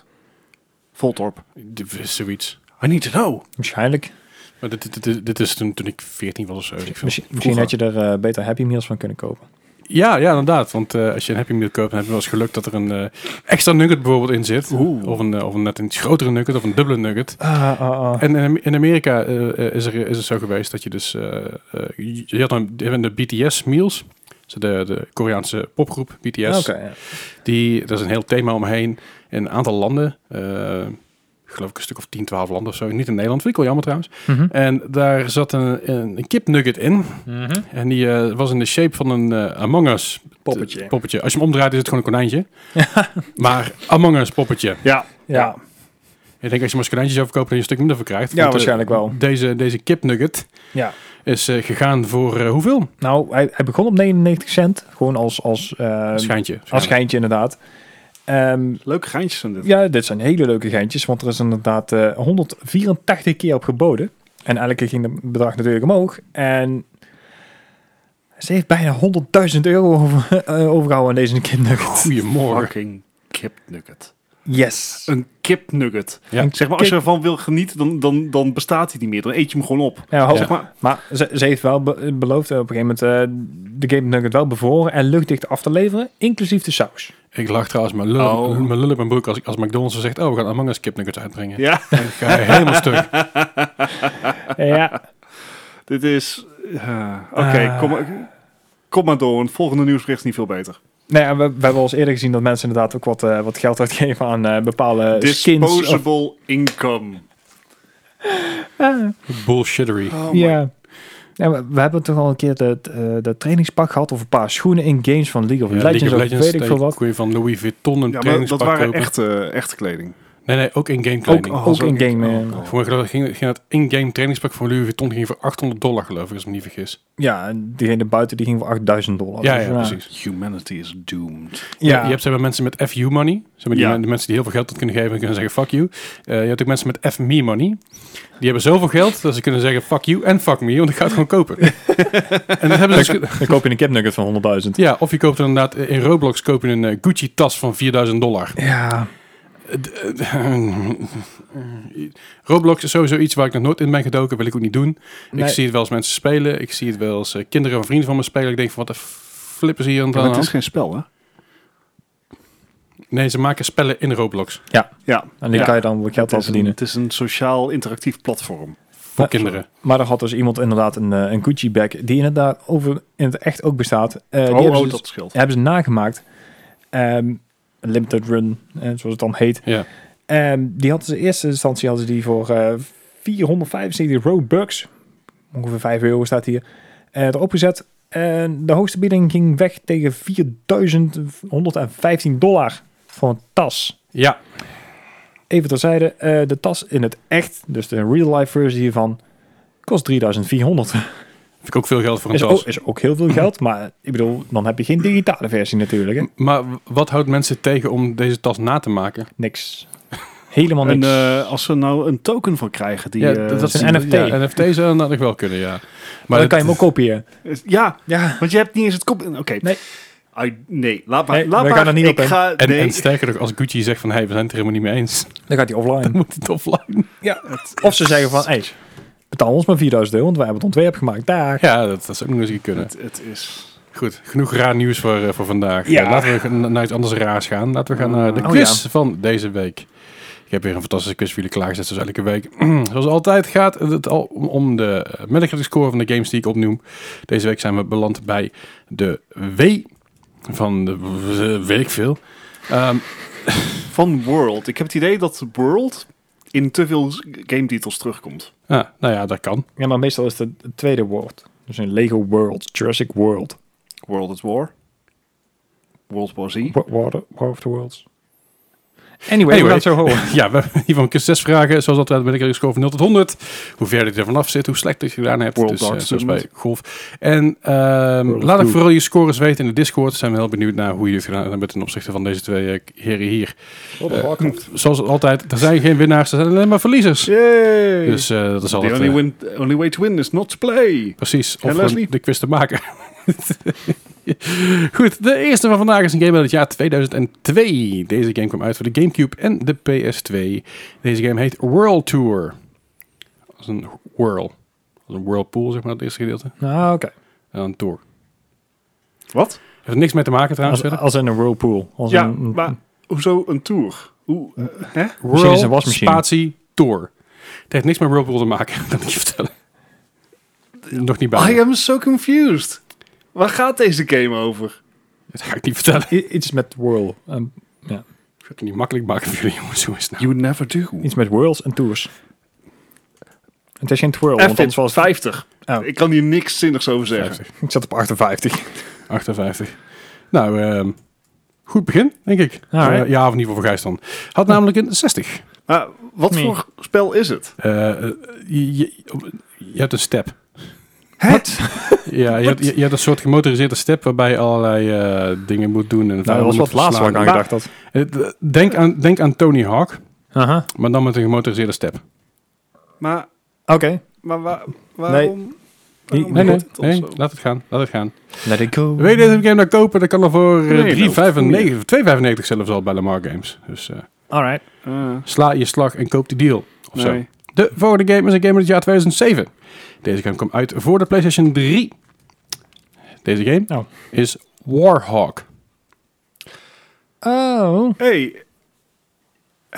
Voltorb. dit is zoiets. I need to know. Waarschijnlijk. Maar dit, dit, dit, dit is toen, toen ik 14 was of zo. weet ik veel. Misschien, misschien had je er eh, beter Happy Meals van kunnen kopen. Ja, ja, inderdaad. Want eh, als je een Happy Meal koopt, dan heb je wel eens geluk dat er een eh, extra nugget bijvoorbeeld in zit. Oeh. Of, een, eh, of een net een iets grotere nugget of een dubbele nugget. Ah, ah, ah. En in- in Amerika eh, eh, is, er, is het zo geweest dat je dus... eh, eh, je- je had dan die hebben de BTS Meals. Dus de, de Koreaanse popgroep BTS. Ah, Oké. ja. Die, daar is een heel thema omheen. In een aantal landen. eh, ik geloof ik een stuk of 10, 12 landen of zo. Niet in Nederland. Vind ik wel jammer trouwens. Mhm. En daar zat een, een, een kipnugget in. En die eh, was in de shape van een eh, Among Us Poppetje. poppetje. Als je hem omdraait is het gewoon een konijntje. maar Among Us poppetje. Ja, Ja, Ik denk als je maar eens konijntjes zou verkopen, dat je een stuk minder voor krijgt. Ja, Want, eh, waarschijnlijk wel. Deze, deze kipnugget ja. is eh, gegaan voor eh, hoeveel? Nou, hij, hij begon op 99 cent. Gewoon als, als, eh, schijntje. als geintje inderdaad. Ehm, leuke geintjes zijn dit. ja, dit zijn hele leuke geintjes. Want er is inderdaad eh, 184 keer op geboden. En elke keer ging het bedrag natuurlijk omhoog. En ze heeft bijna 100.000 euro over, eh, overgehouden aan deze kindnugget. Goedemorgen. Fucking kipnugget. Yes. Een kipnugget. Ja. Zeg maar, als je ervan wil genieten, dan, dan, dan bestaat hij niet meer. Dan eet je hem gewoon op. Ja, ho- Zeg maar, Maar ze, ze heeft wel be- beloofd eh, op een gegeven moment eh, de Game Nugget wel bevoren en luchtdicht af te leveren, inclusief de saus. Ik lach trouwens mijn lul, Oh. mijn lul op mijn broek als, ik- als McDonald's zegt, oh, we gaan Among Us kipnuggets uitbrengen. ja. Dan ga je helemaal stuk. ja. Dit is. eh, Oké, Ah. kom, maar- kom maar door. want het volgende nieuwsbericht is niet veel beter. Nou ja, we, we hebben al eens eerder gezien dat mensen inderdaad ook wat, eh, wat geld uitgeven aan eh, bepaalde skins. of- Disposable income. Bullshittery. Oh ja. Ja, we, we hebben toch al een keer dat, eh, dat trainingspak gehad of een paar schoenen in games van League of Ja, Legends League of of Legends, weet ik veel daar wat. kon je van Louis Vuitton een Ja, maar trainingspak dat waren kopen. echte, echte kleding. Nee, nee, ook in-game Ook, kleding. Oh, ook zo in game. niet. eh, Oh, Voor mij geloof ik ging, ging dat in-game trainingspak van Louis Vuitton ging voor 800 dollar, geloof ik, als ik me niet vergis. ja, en diegene buiten die ging voor 8000 dollar. Ja, Dus, ja, precies. Humanity is doomed. Je hebt zeg maar, mensen met FU money. Zeg maar, die, Ja. men- de mensen die heel veel geld tot kunnen geven en kunnen zeggen fuck you. Eh, je hebt ook mensen met FME money. Die hebben zoveel geld dat ze kunnen zeggen fuck you en fuck me, want ik ga het gewoon kopen. en dat hebben ze dus- Dan koop je een kipnugget van 100.000. ja, of je koopt er inderdaad eh, in Roblox koop je een eh, Gucci tas van 4000 dollar. Ja, Eh, d- eh, Roblox is sowieso iets waar ik nog nooit in ben gedoken, wil ik ook niet doen. Nee. Ik zie het wel eens mensen spelen. Ik zie het wel eens eh, kinderen van vrienden van me spelen. Ik denk van wat de flippers hier aan de Ja, maar het hand? is geen spel, hè? Nee, ze maken spellen in Roblox. Ja. en die Ja. kan je dan wat geld Het aan is, een, verdienen. Eh, het is een sociaal interactief platform. Voor Ja. kinderen. Maar er had dus iemand inderdaad een, eh, een Gucci bag die inderdaad over in het echt ook bestaat. Eh, die oh, hebben, oh, ze, dat scheelt. hebben ze nagemaakt. Ehm, limited run, eh, zoals het dan heet. Ja. Ehm, die hadden ze in eerste instantie hadden ze die voor eh 475 Robux. Ongeveer 5 euro staat hier. eh, erop gezet. En de hoogste bieding ging weg tegen 4115 dollar voor een tas. Ja, Even terzijde, eh, de tas in het echt, dus de real-life versie hiervan, kost 3400. vind ik ook veel geld voor een Is tas. ook, is ook heel veel geld, maar ik bedoel, dan heb je geen digitale versie natuurlijk. Hè? Maar w- wat houdt mensen tegen om deze tas na te maken? Niks. Helemaal En niks. eh, als ze nou een token van krijgen, die... ja, eh, is een NFT. Ja, NFT zou dat nog wel kunnen, ja. maar dan dat- kan je hem ook kopiëren. is- Eh, ja, Ja. want je hebt niet eens het kop... Oké. Nee. I- nee, laat maar. Nee, laat we maar. gaan er niet ik op in. Ga, En, nee, en sterker nog, als Gucci zegt van... hey, we zijn het er helemaal niet mee eens. Dan gaat hij offline. Moet het offline? Ja. Of ze zeggen van, hey, betaal ons maar 4000 euro, want wij hebben het ontwerp gemaakt. Daar. Ja, dat, dat zou ook nog eens kunnen. het, het is... Goed, genoeg raar nieuws voor, eh, voor vandaag. Ja. Eh, laten we g- naar iets anders raars gaan. Laten we gaan naar de Oh, quiz ja. van deze week. Ik heb weer een fantastische quiz voor jullie klaargezet, zoals elke week. zoals altijd gaat het al om- om de eh, Metacritic score van de games die ik opnoem. Deze week zijn we beland bij de W van de w- weet ik veel. Ehm, Van World. Ik heb het idee dat World in te veel game titels terugkomt. ah, nou ja, dat kan. Ja, maar meestal is het het tweede woord. Dus een Lego World, Jurassic World, World at War. World War Z. Wa- War, War of the Worlds. Anyway, we Anyway. gaan het zo horen. Oh, Ja, we hebben in ieder geval een keer zes vragen. Zoals altijd ben ik er score van 0 tot 100. Hoe verder je er vanaf zit, hoe slecht dat je gedaan hebt. World dus, eh, Darts zoals bij Tournament. golf. En ehm, World of laat ook Two. vooral je scores weten in de Discord. Zijn we heel benieuwd naar hoe je het gedaan hebt ten opzichte van deze twee eh, heren hier. World of Warcraft. Zoals altijd, er zijn geen winnaars, er zijn alleen maar verliezers. Yay! Dus eh, dat is The altijd... only, eh, win, only way to win is not to play. Precies, En of gewoon Leslie? de quiz te maken. Goed, de eerste van vandaag is een game uit het jaar 2002. Deze game kwam uit voor de Gamecube en de PS2. Deze game heet Whirl Tour. Als een whirl. Als een whirlpool, zeg maar, het eerste gedeelte. Nou, oké. En dan tour. Wat? Heeft er niks mee te maken trouwens Als, verder. als in een whirlpool. Als Ja, een, maar hoezo een tour? Hoe, eh, hè? misschien is het een Whirl, wasmachine. spatie, tour. Het heeft niks met whirlpool te maken, kan ik je vertellen. Nog niet bij. I am so confused. Waar gaat deze game over? Dat ga ik niet vertellen. I- iets met whirl. Ehm, Ik ga het niet makkelijk maken voor jullie, jongens. Zo is het nou. You never do. iets met whirls en tours. Het is geen twirl, want F anders was 50. Oh. Ik kan hier niks zinnigs over zeggen. 50. ik zat op 58. 58. Nou, ehm, goed begin, denk ik. Alright. Eh, ja, of in ieder geval voor Gijs dan. Had namelijk een 60. Maar wat Nee. voor spel is het? Eh, eh, je, je, je hebt een step. Het? Ja, je, hebt, je, je hebt een soort gemotoriseerde step waarbij je allerlei eh, dingen moet doen. En Nou, dat was vijanden wat moet laatst waar ik aan verslaan. gedacht had. Eh, d- Denk aan, denk aan Tony Hawk, Aha. maar dan met een gemotoriseerde step. Maar, Oké. maar waar- waarom? waarom Nee, nee, doet het ons nee zo? laat het gaan. Laat het gaan. Let it go. Wil je deze game nou kopen? Dat kan al voor eh, Nee, dat 3,95 of 2,95 zelfs al bij Lamar Games. Dus eh, Alright. Eh, sla je slag en koop die deal. Of zo. nee. De volgende game is een game uit het jaar 2007. Deze game kwam uit voor de PlayStation 3. Deze game Oh. is Warhawk. Oh. Hey.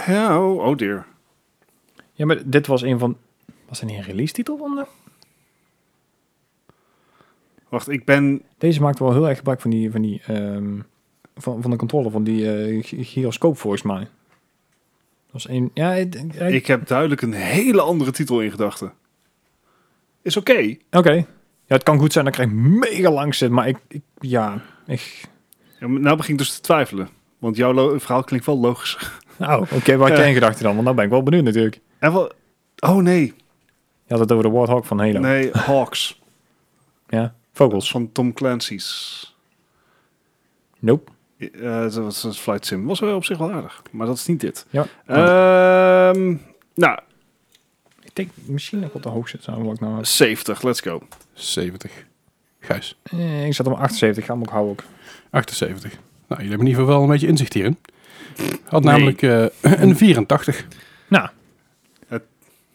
Ja, oh, oh dear. Ja, maar dit was een van... Was er niet een release titel van? de- Wacht, ik ben... Deze maakt wel heel erg gebruik van die... Van, die ehm, van, van de controle, van die eh, gy- gyroscoop volgens mij. Dat was een... Ja, het- hij- Ik heb duidelijk een hele andere titel in gedachten. Is oké. Oké. Ja, het kan goed zijn dat ik er mega lang zit, maar ik, ik ja, ik... Ja, maar Nou begin ik dus te twijfelen. Want jouw lo- verhaal klinkt wel logisch. Oh, oké, waar had jij in gedachten dan? Want nou ben ik wel benieuwd natuurlijk. En wel... Oh nee. Je had het over de Warthog van Halo. Nee, Hawks. Ja, Dat is vogels. van Tom Clancy's. Nope. Eh, dat was een flight sim. Was wel op zich wel aardig. Maar dat is niet dit. Ja. Nou, Ehm, nou, Ik denk misschien dat ik op de hoogste zou wat ik nou... 70. Let's go. 70. Gijs. Eh, ik zat op 78, ga hem ook houden ook. 78. Nou, jullie hebben in ieder geval wel een beetje inzicht hierin. Had Nee. namelijk eh, een 84. Nou,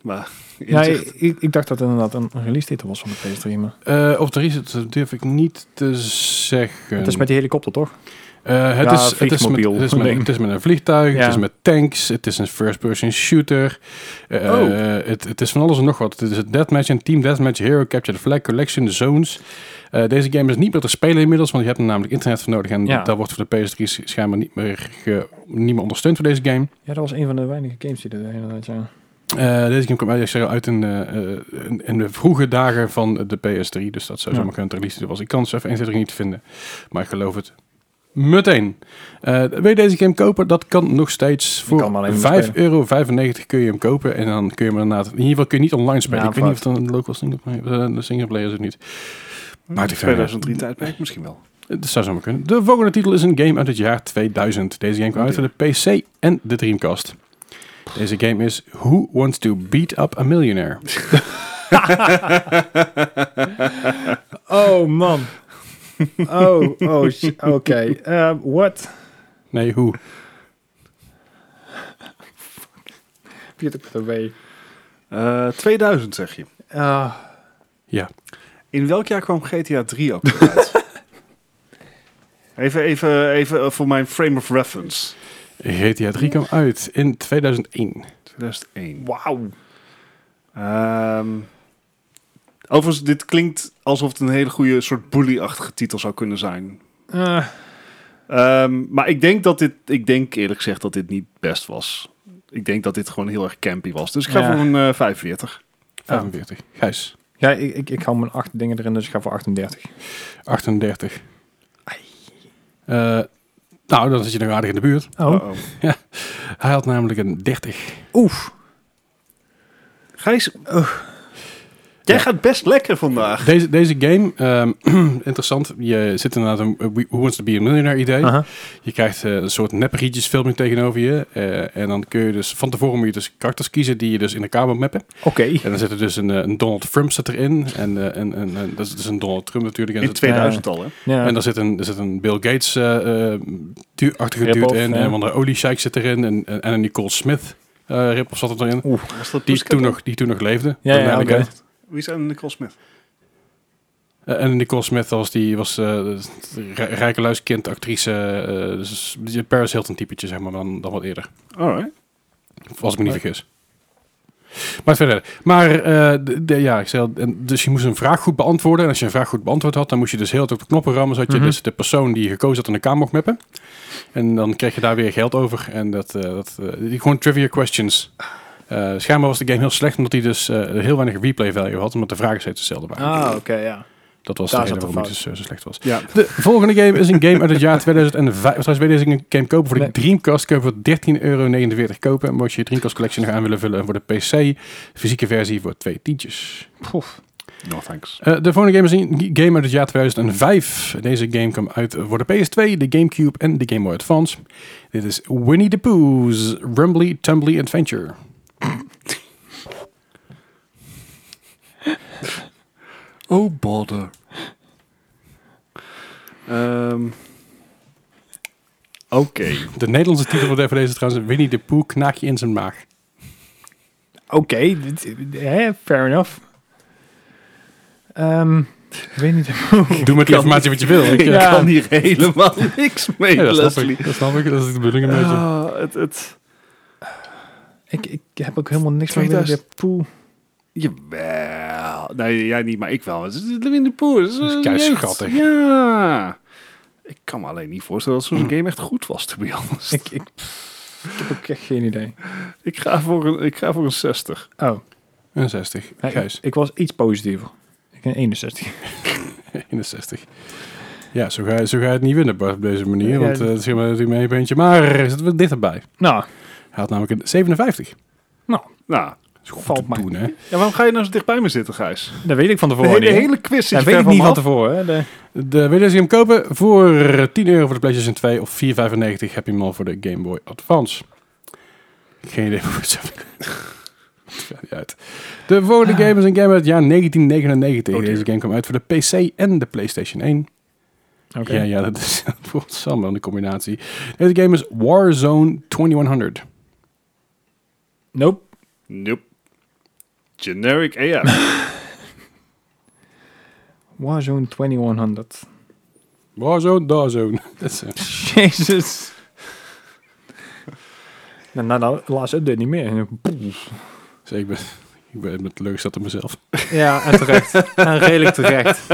Maar ja, inzicht. ik, ik dacht dat het inderdaad een release titel was van de PS3, maar... Eh, op de reset dat durf ik niet te zeggen. Het is met die helikopter, toch? Eh, het, Ja, is, het, is met, vliegmobiel. het, is met, Nee. het is met een vliegtuig, Ja. het is met tanks, het is een first-person shooter. Eh, Oh. het, het is van alles en nog wat. Het is het Deathmatch en Team Deathmatch, Hero Capture the Flag, Collection, Zones. Eh, deze game is niet meer te spelen inmiddels, want je hebt er namelijk internet voor nodig. En Ja. dat wordt voor de PS3 sch- schijnbaar niet meer, ge- niet meer ondersteund voor deze game. Ja, dat was een van de weinige games die er inderdaad, ja. Eh, deze game kwam uit, ik zeg al, uit in, eh, eh, in- in de vroege dagen van de PS3. Dus dat zou Ja. zomaar kunnen release titel was. Ik kan ze even eenzettering niet vinden. Maar ik geloof het meteen. Eh, wil je deze game kopen? Dat kan nog steeds. kan hem Voor alleen maar 5,95 euro kun je hem kopen. En dan kun je hem inderdaad... In ieder geval kun je niet online spelen. Ja, ik weet niet of fout. dan een local singleplayer, eh, singleplayer is of niet. Maakt het verder. 2003 Hmm? tijdperk misschien wel. Eh, Dat zou zomaar kunnen. De volgende titel is een game uit het jaar 2000. Deze game kwam uit voor de PC en de Dreamcast. Deze game is Who Wants to Beat Up a Millionaire? Oh, man. Oh, oh, sh- oké. Eh, what? Nee, hoe? Peter Peter Way. Eh, 2000 zeg je. Ah. Ja. In welk jaar kwam GTA 3 ook weer uit? even, even, even eh, voor mijn frame of reference. GTA 3 kwam uit in 2001. 2001. Wauw. Ehm, overigens, dit klinkt alsof het een hele goede soort bully-achtige titel zou kunnen zijn. Eh, Ehm, maar ik denk dat dit, ik denk eerlijk gezegd dat dit niet best was. Ik denk dat dit gewoon heel erg campy was. Dus ik ga Ja. voor een eh, 45. 45. Gijs. ja, ik, ik, ik hou mijn acht dingen erin, dus ik ga voor 38. 38. Eh, nou, dan zit je nog aardig in de buurt. Oh. Uh-oh. Hij had namelijk een 30. Oef. Gijs, oh. jij gaat best lekker vandaag. Deze, deze game, ehm, interessant. Je zit inderdaad een eh, Who Wants to Be a Millionaire idee. Aha. Je krijgt eh, een soort neprietjes filmpje tegenover je. eh, en dan kun je dus van tevoren moet je dus karakters kiezen die je dus in de kamer mappen. Oké. En dan zit er dus een, eh, een Donald Trump zit erin. En, eh, en, en, en dat is dus een Donald Trump natuurlijk. En, In zit- 2000 al, hè? Ja. en daar zit een, er zit een Bill Gates eh eh, du- achtige Rip-off, dude in. ja. En want een olie sheik zit erin. En, en, en een Nicole Smith eh rip of zat er erin. Was dat Die Pussycat toen, Dolls? nog, die toen nog leefde. Ja, ja, Uiteindelijk, oké. hè. Wie zijn Nicole Smith? Eh, En Nicole Smith was die was eh, de rij- rijke luiskind, actrice, eh, dus een Paris Hilton typetje zeg maar dan, dan wat eerder, Alright. als ik me niet vergis. Maar verder. Maar eh, de- de- ja, ik zei, al, en dus je moest een vraag goed beantwoorden. En als je een vraag goed beantwoord had, dan moest je dus heel tijd op de knoppen rammen, zodat Mhm. je dus de persoon die je gekozen had in de kamer mocht mappen. En dan kreeg je daar weer geld over. En dat, eh, dat eh, die- gewoon trivia questions. Eh, schijnbaar was de game heel slecht, omdat hij dus eh, heel weinig replay value had, omdat de vragen steeds hetzelfde waren. Ah, oké, ja. Dat was Daar de zat reden de waarom hij dus, eh, zo, zo slecht was. Ja. De volgende game is een game uit het jaar 2005. Trouwens, wil je deze game kopen voor de Nee. Dreamcast? Kun je voor 13,49 euro kopen. En mocht je je Dreamcast Collection nog aan willen vullen. En voor de PC, de fysieke versie voor twee tientjes. Poef. No thanks. Eh, de volgende game is een game uit het jaar 2005. Deze game kwam uit voor de PS2, de Gamecube en de Game Boy Advance. Dit is Winnie the Pooh's Rumbly Tumbly Adventure. Oh, bother. Ehm, Oké. De Nederlandse titel voor deze is trouwens Winnie the Pooh knaak je in zijn maag. Oké, dit- hè, fair enough. Ehm, ik weet niet. Doe met die informatie wat je wil. Ik, eh, Ja. kan hier helemaal niks mee, ja, dat, snap Leslie. ik, dat snap ik. Dat is de bedoeling een beetje. Ah, het, het, ik, ik heb ook helemaal niks meer met de 2000. poe. jawel. Nee, jij niet, maar ik wel. Het is Winnie de Pooh. Het is, Dat is eh, kei jeugd. schattig. Ja. Ik kan me alleen niet voorstellen dat zo'n game echt goed was, to be honest. Hmm. Ik, ik, ik heb ook echt geen idee. Ik ga voor een, ik ga voor een 60. Oh, Een 60. ja, Gijs, ik, ik was iets positiever. Ik ben 61. 61. Ja, zo ga, je, zo ga je het niet winnen Bart, op deze manier. Ja, want ja. eh, het is helemaal natuurlijk mijn beentje. Maar eh, zitten we dichterbij. Nou, Hij had namelijk een 57. Nou, Dat is goed Valt te mij. doen, hè? ja, waarom ga je nou zo dicht bij me zitten, Gijs? dat weet ik van De tevoren hele, niet. hele quiz Dat zit je Nou, weet ver ik van niet me van af. tevoren. Hè. De, De, wil je deze game kopen? Voor 10 euro voor de PlayStation 2 of 4,95 heb je hem al voor de Game Boy Advance. Geen idee hoe het zo Het gaat niet uit. De volgende Ah. game is een game uit het jaar 1999. Oh, dear. Deze game kwam uit voor de PC en de PlayStation 1. Oké. Ja, ja, dat is bijvoorbeeld samen een combinatie. Deze game is Warzone 2100. Nope. Nope. Generic Hmm. AI. Warzone 2100. Warzone, Darzone. Dat is, eh, Jezus. Nou, na de laatste update niet meer. En dan- dus ik ben, ik ben met leuk zat op mezelf. Ja, en terecht. en redelijk terecht.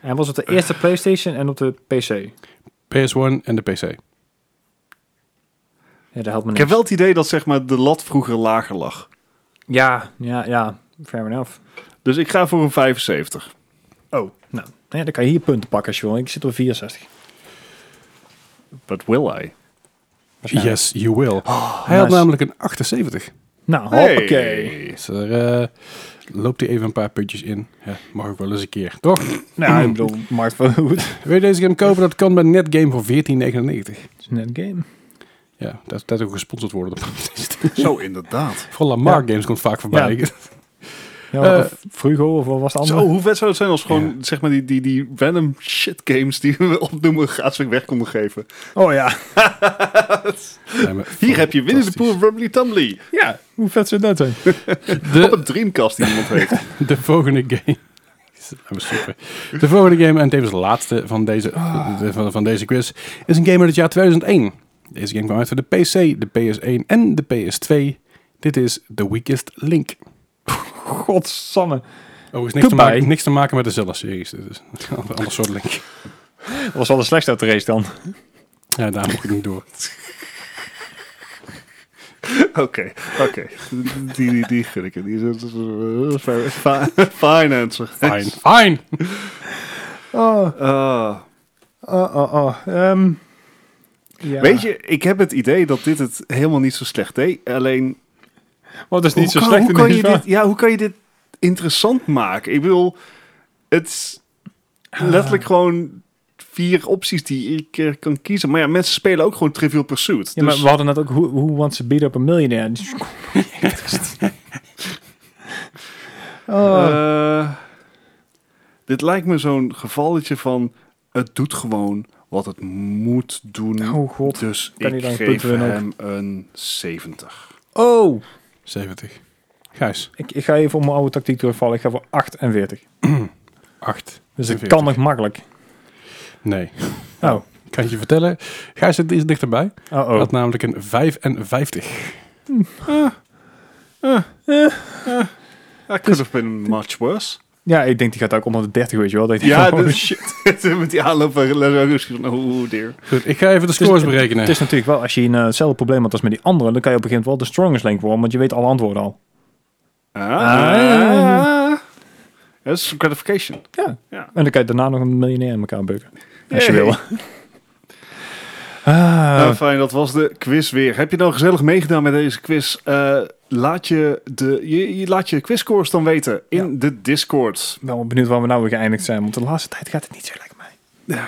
En was op de eerste PlayStation en op de PC. PS1 en de PC. Ja, dat helpt me niks. ik heb wel het idee dat zeg maar, de lat vroeger lager lag. Ja, ja, ja. Fair enough. Dus ik ga voor een 75. Oh. Nou, ja, dan kan je hier punten pakken als je wil. Ik zit op 64. But will I? Waarschijnlijk. Yes, you will. Hij had nice. namelijk een 78. Nou, hoppakee. Hey. Dus er eh, loopt hij even een paar puntjes in. Ja, mag ook wel eens een keer, toch? Nou, ik bedoel, Mark van Hoed. Wil je deze game kopen? Dat kan bij Netgame voor 14,99. Het is net een game. Ja, dat, dat ook gesponsord worden. Zo, inderdaad. Vooral Lamar Games komt vaak voorbij. Ja, Eh, of Frugo of wat was het Zo, andere? hoe vet zou het zijn als gewoon zeg maar, die, die, die random shit games die we opnoemen gratis weg konden geven. Oh ja. Zijn we Hier heb je Winnie de fantastisch. Pooh Rumbly Tumbly. Ja, hoe vet zou dat zijn? De- Op een Dreamcast die iemand heeft. De volgende game. Dat was super. De volgende game, en tevens de laatste van deze, de- van, van deze quiz, is een game uit het jaar 2001. Deze game kwam uit voor de PC, de PS1 en de PS2. Dit is The Weakest Link. Godsamme. Overigens Oh, niks, te Goodbye. maken, niks te maken met de Zelda-series. Dit is een ander- ander soort Link. Dat was wel de slechtste uit de race dan. Ja, daar moet ik niet door. Oké, oké. Die, die, die gun ik het. Die is eh, fi- fi- financer. Fine. Fine. Oh, Ah, oh, oh, oh. Ehm, Ja. Weet je, ik heb het idee dat dit het helemaal niet zo slecht deed. Alleen, Wat is niet hoe, zo kan, slecht hoe in kan dit je geval. dit, ja, hoe kan je dit interessant maken? Ik bedoel, het is letterlijk Ah. gewoon vier opties die ik keer kan kiezen. Maar ja, mensen spelen ook gewoon Trivial Pursuit. Ja, maar dus- we hadden net ook Who, who Wants to Beat Up a Millionaire. Dus- oh. Eh, dit lijkt me zo'n gevalletje van... het doet gewoon wat het moet doen. oh god. dus kan ik niet aan je geef punten winnen ook. hem een 70. Oh, 70. Gijs, ik, ik ga even op mijn oude tactiek terugvallen. Ik ga voor 48. 8. Dus dat 48. kan nog makkelijk. Nee. Oh, Kan ik je vertellen? Gijs het is dichterbij. oh, oh. Had namelijk een 55. I could have been much worse. Ja, ik denk die gaat ook onder de 30, weet je wel. Dat je Ja, denkt, oh, dus- Met die aanloop van Larry van... Oh, dear. Goed, ik ga even de scores het- berekenen. Het is natuurlijk wel, als je een, eh, hetzelfde probleem had als met die andere, dan kan je op een gegeven moment wel de strongest link worden, want je weet alle antwoorden al. Ah. Dat is gratification. Ja. Ja. En dan kan je daarna nog een miljonair in elkaar bukken. Als je Yay. wil. Nou, Ah, fijn, dat was de quiz weer. Heb je nou gezellig meegedaan met deze quiz? Eh, laat je de je, je- laat je quizscores dan weten in de Discord. wel benieuwd waar we nou weer geëindigd zijn, want de laatste tijd gaat het niet zo lekker mee.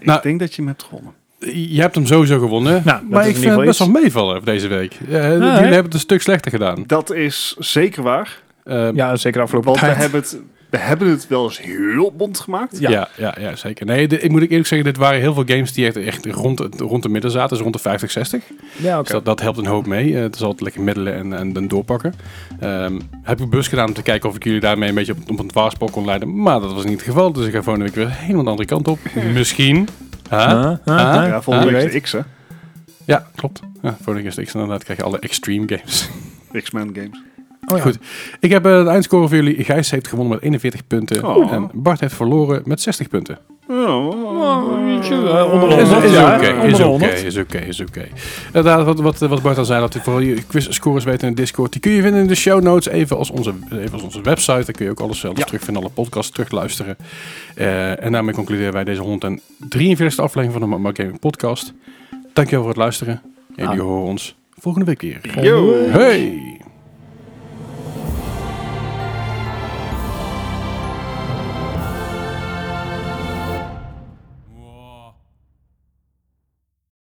Nou- ik denk dat je hem hebt gewonnen. Je hebt hem sowieso gewonnen. Nou, dat maar is ik in vind ieder het best geval wel meevallen deze week. Eh, jullie hè? hebben het een stuk slechter gedaan. Dat is zeker waar. Eh, ja. Ja, zeker de afgelopen Want we tijd. hebben, het, we hebben het wel eens heel bond gemaakt. ja. Ja, ja, zeker. Nee, dit- ik moet ik eerlijk zeggen, dit waren heel veel games die echt, echt rond, het- rond de midden zaten. Dus rond de 50, 60. Ja, oké. Dus dat, dat helpt een hoop mee. Eh, het is altijd lekker middelen en, en dan doorpakken. Ehm, heb ik bus gedaan om te kijken of ik jullie daarmee een beetje op, op een dwaarspoor kon leiden. Maar dat was niet het geval. Dus ik ga volgende week weer helemaal de andere kant op. Misschien. Huh? Huh? Huh? Oh Ah, Huh? Ja, volgende Wie week is weet. de X, hè? Ja, klopt. Ja, volgende keer is het X. Inderdaad krijg je alle extreme games. X-Men Games. Oh, ja. Goed. Ik heb eh, de eindscore voor jullie. Gijs heeft gewonnen met 41 punten. Oh. En Bart heeft verloren met 60 punten. eh, onder de Is, honderd, is ja. oké, Onder is de oké, honderd. is oké, is oké. Inderdaad, wat, wat, wat Bart al zei, dat u vooral je quizscores weten in de Discord. Die kun je vinden in de show notes, even als onze, even als onze website. Daar kun je ook alles zelf Ja. terugvinden, alle podcasts terugluisteren. Eh, en daarmee concluderen wij deze 143e aflevering van de Ma- Ma Gaming podcast. Dankjewel voor het luisteren. En jullie horen ons volgende week weer. Yo. Hey!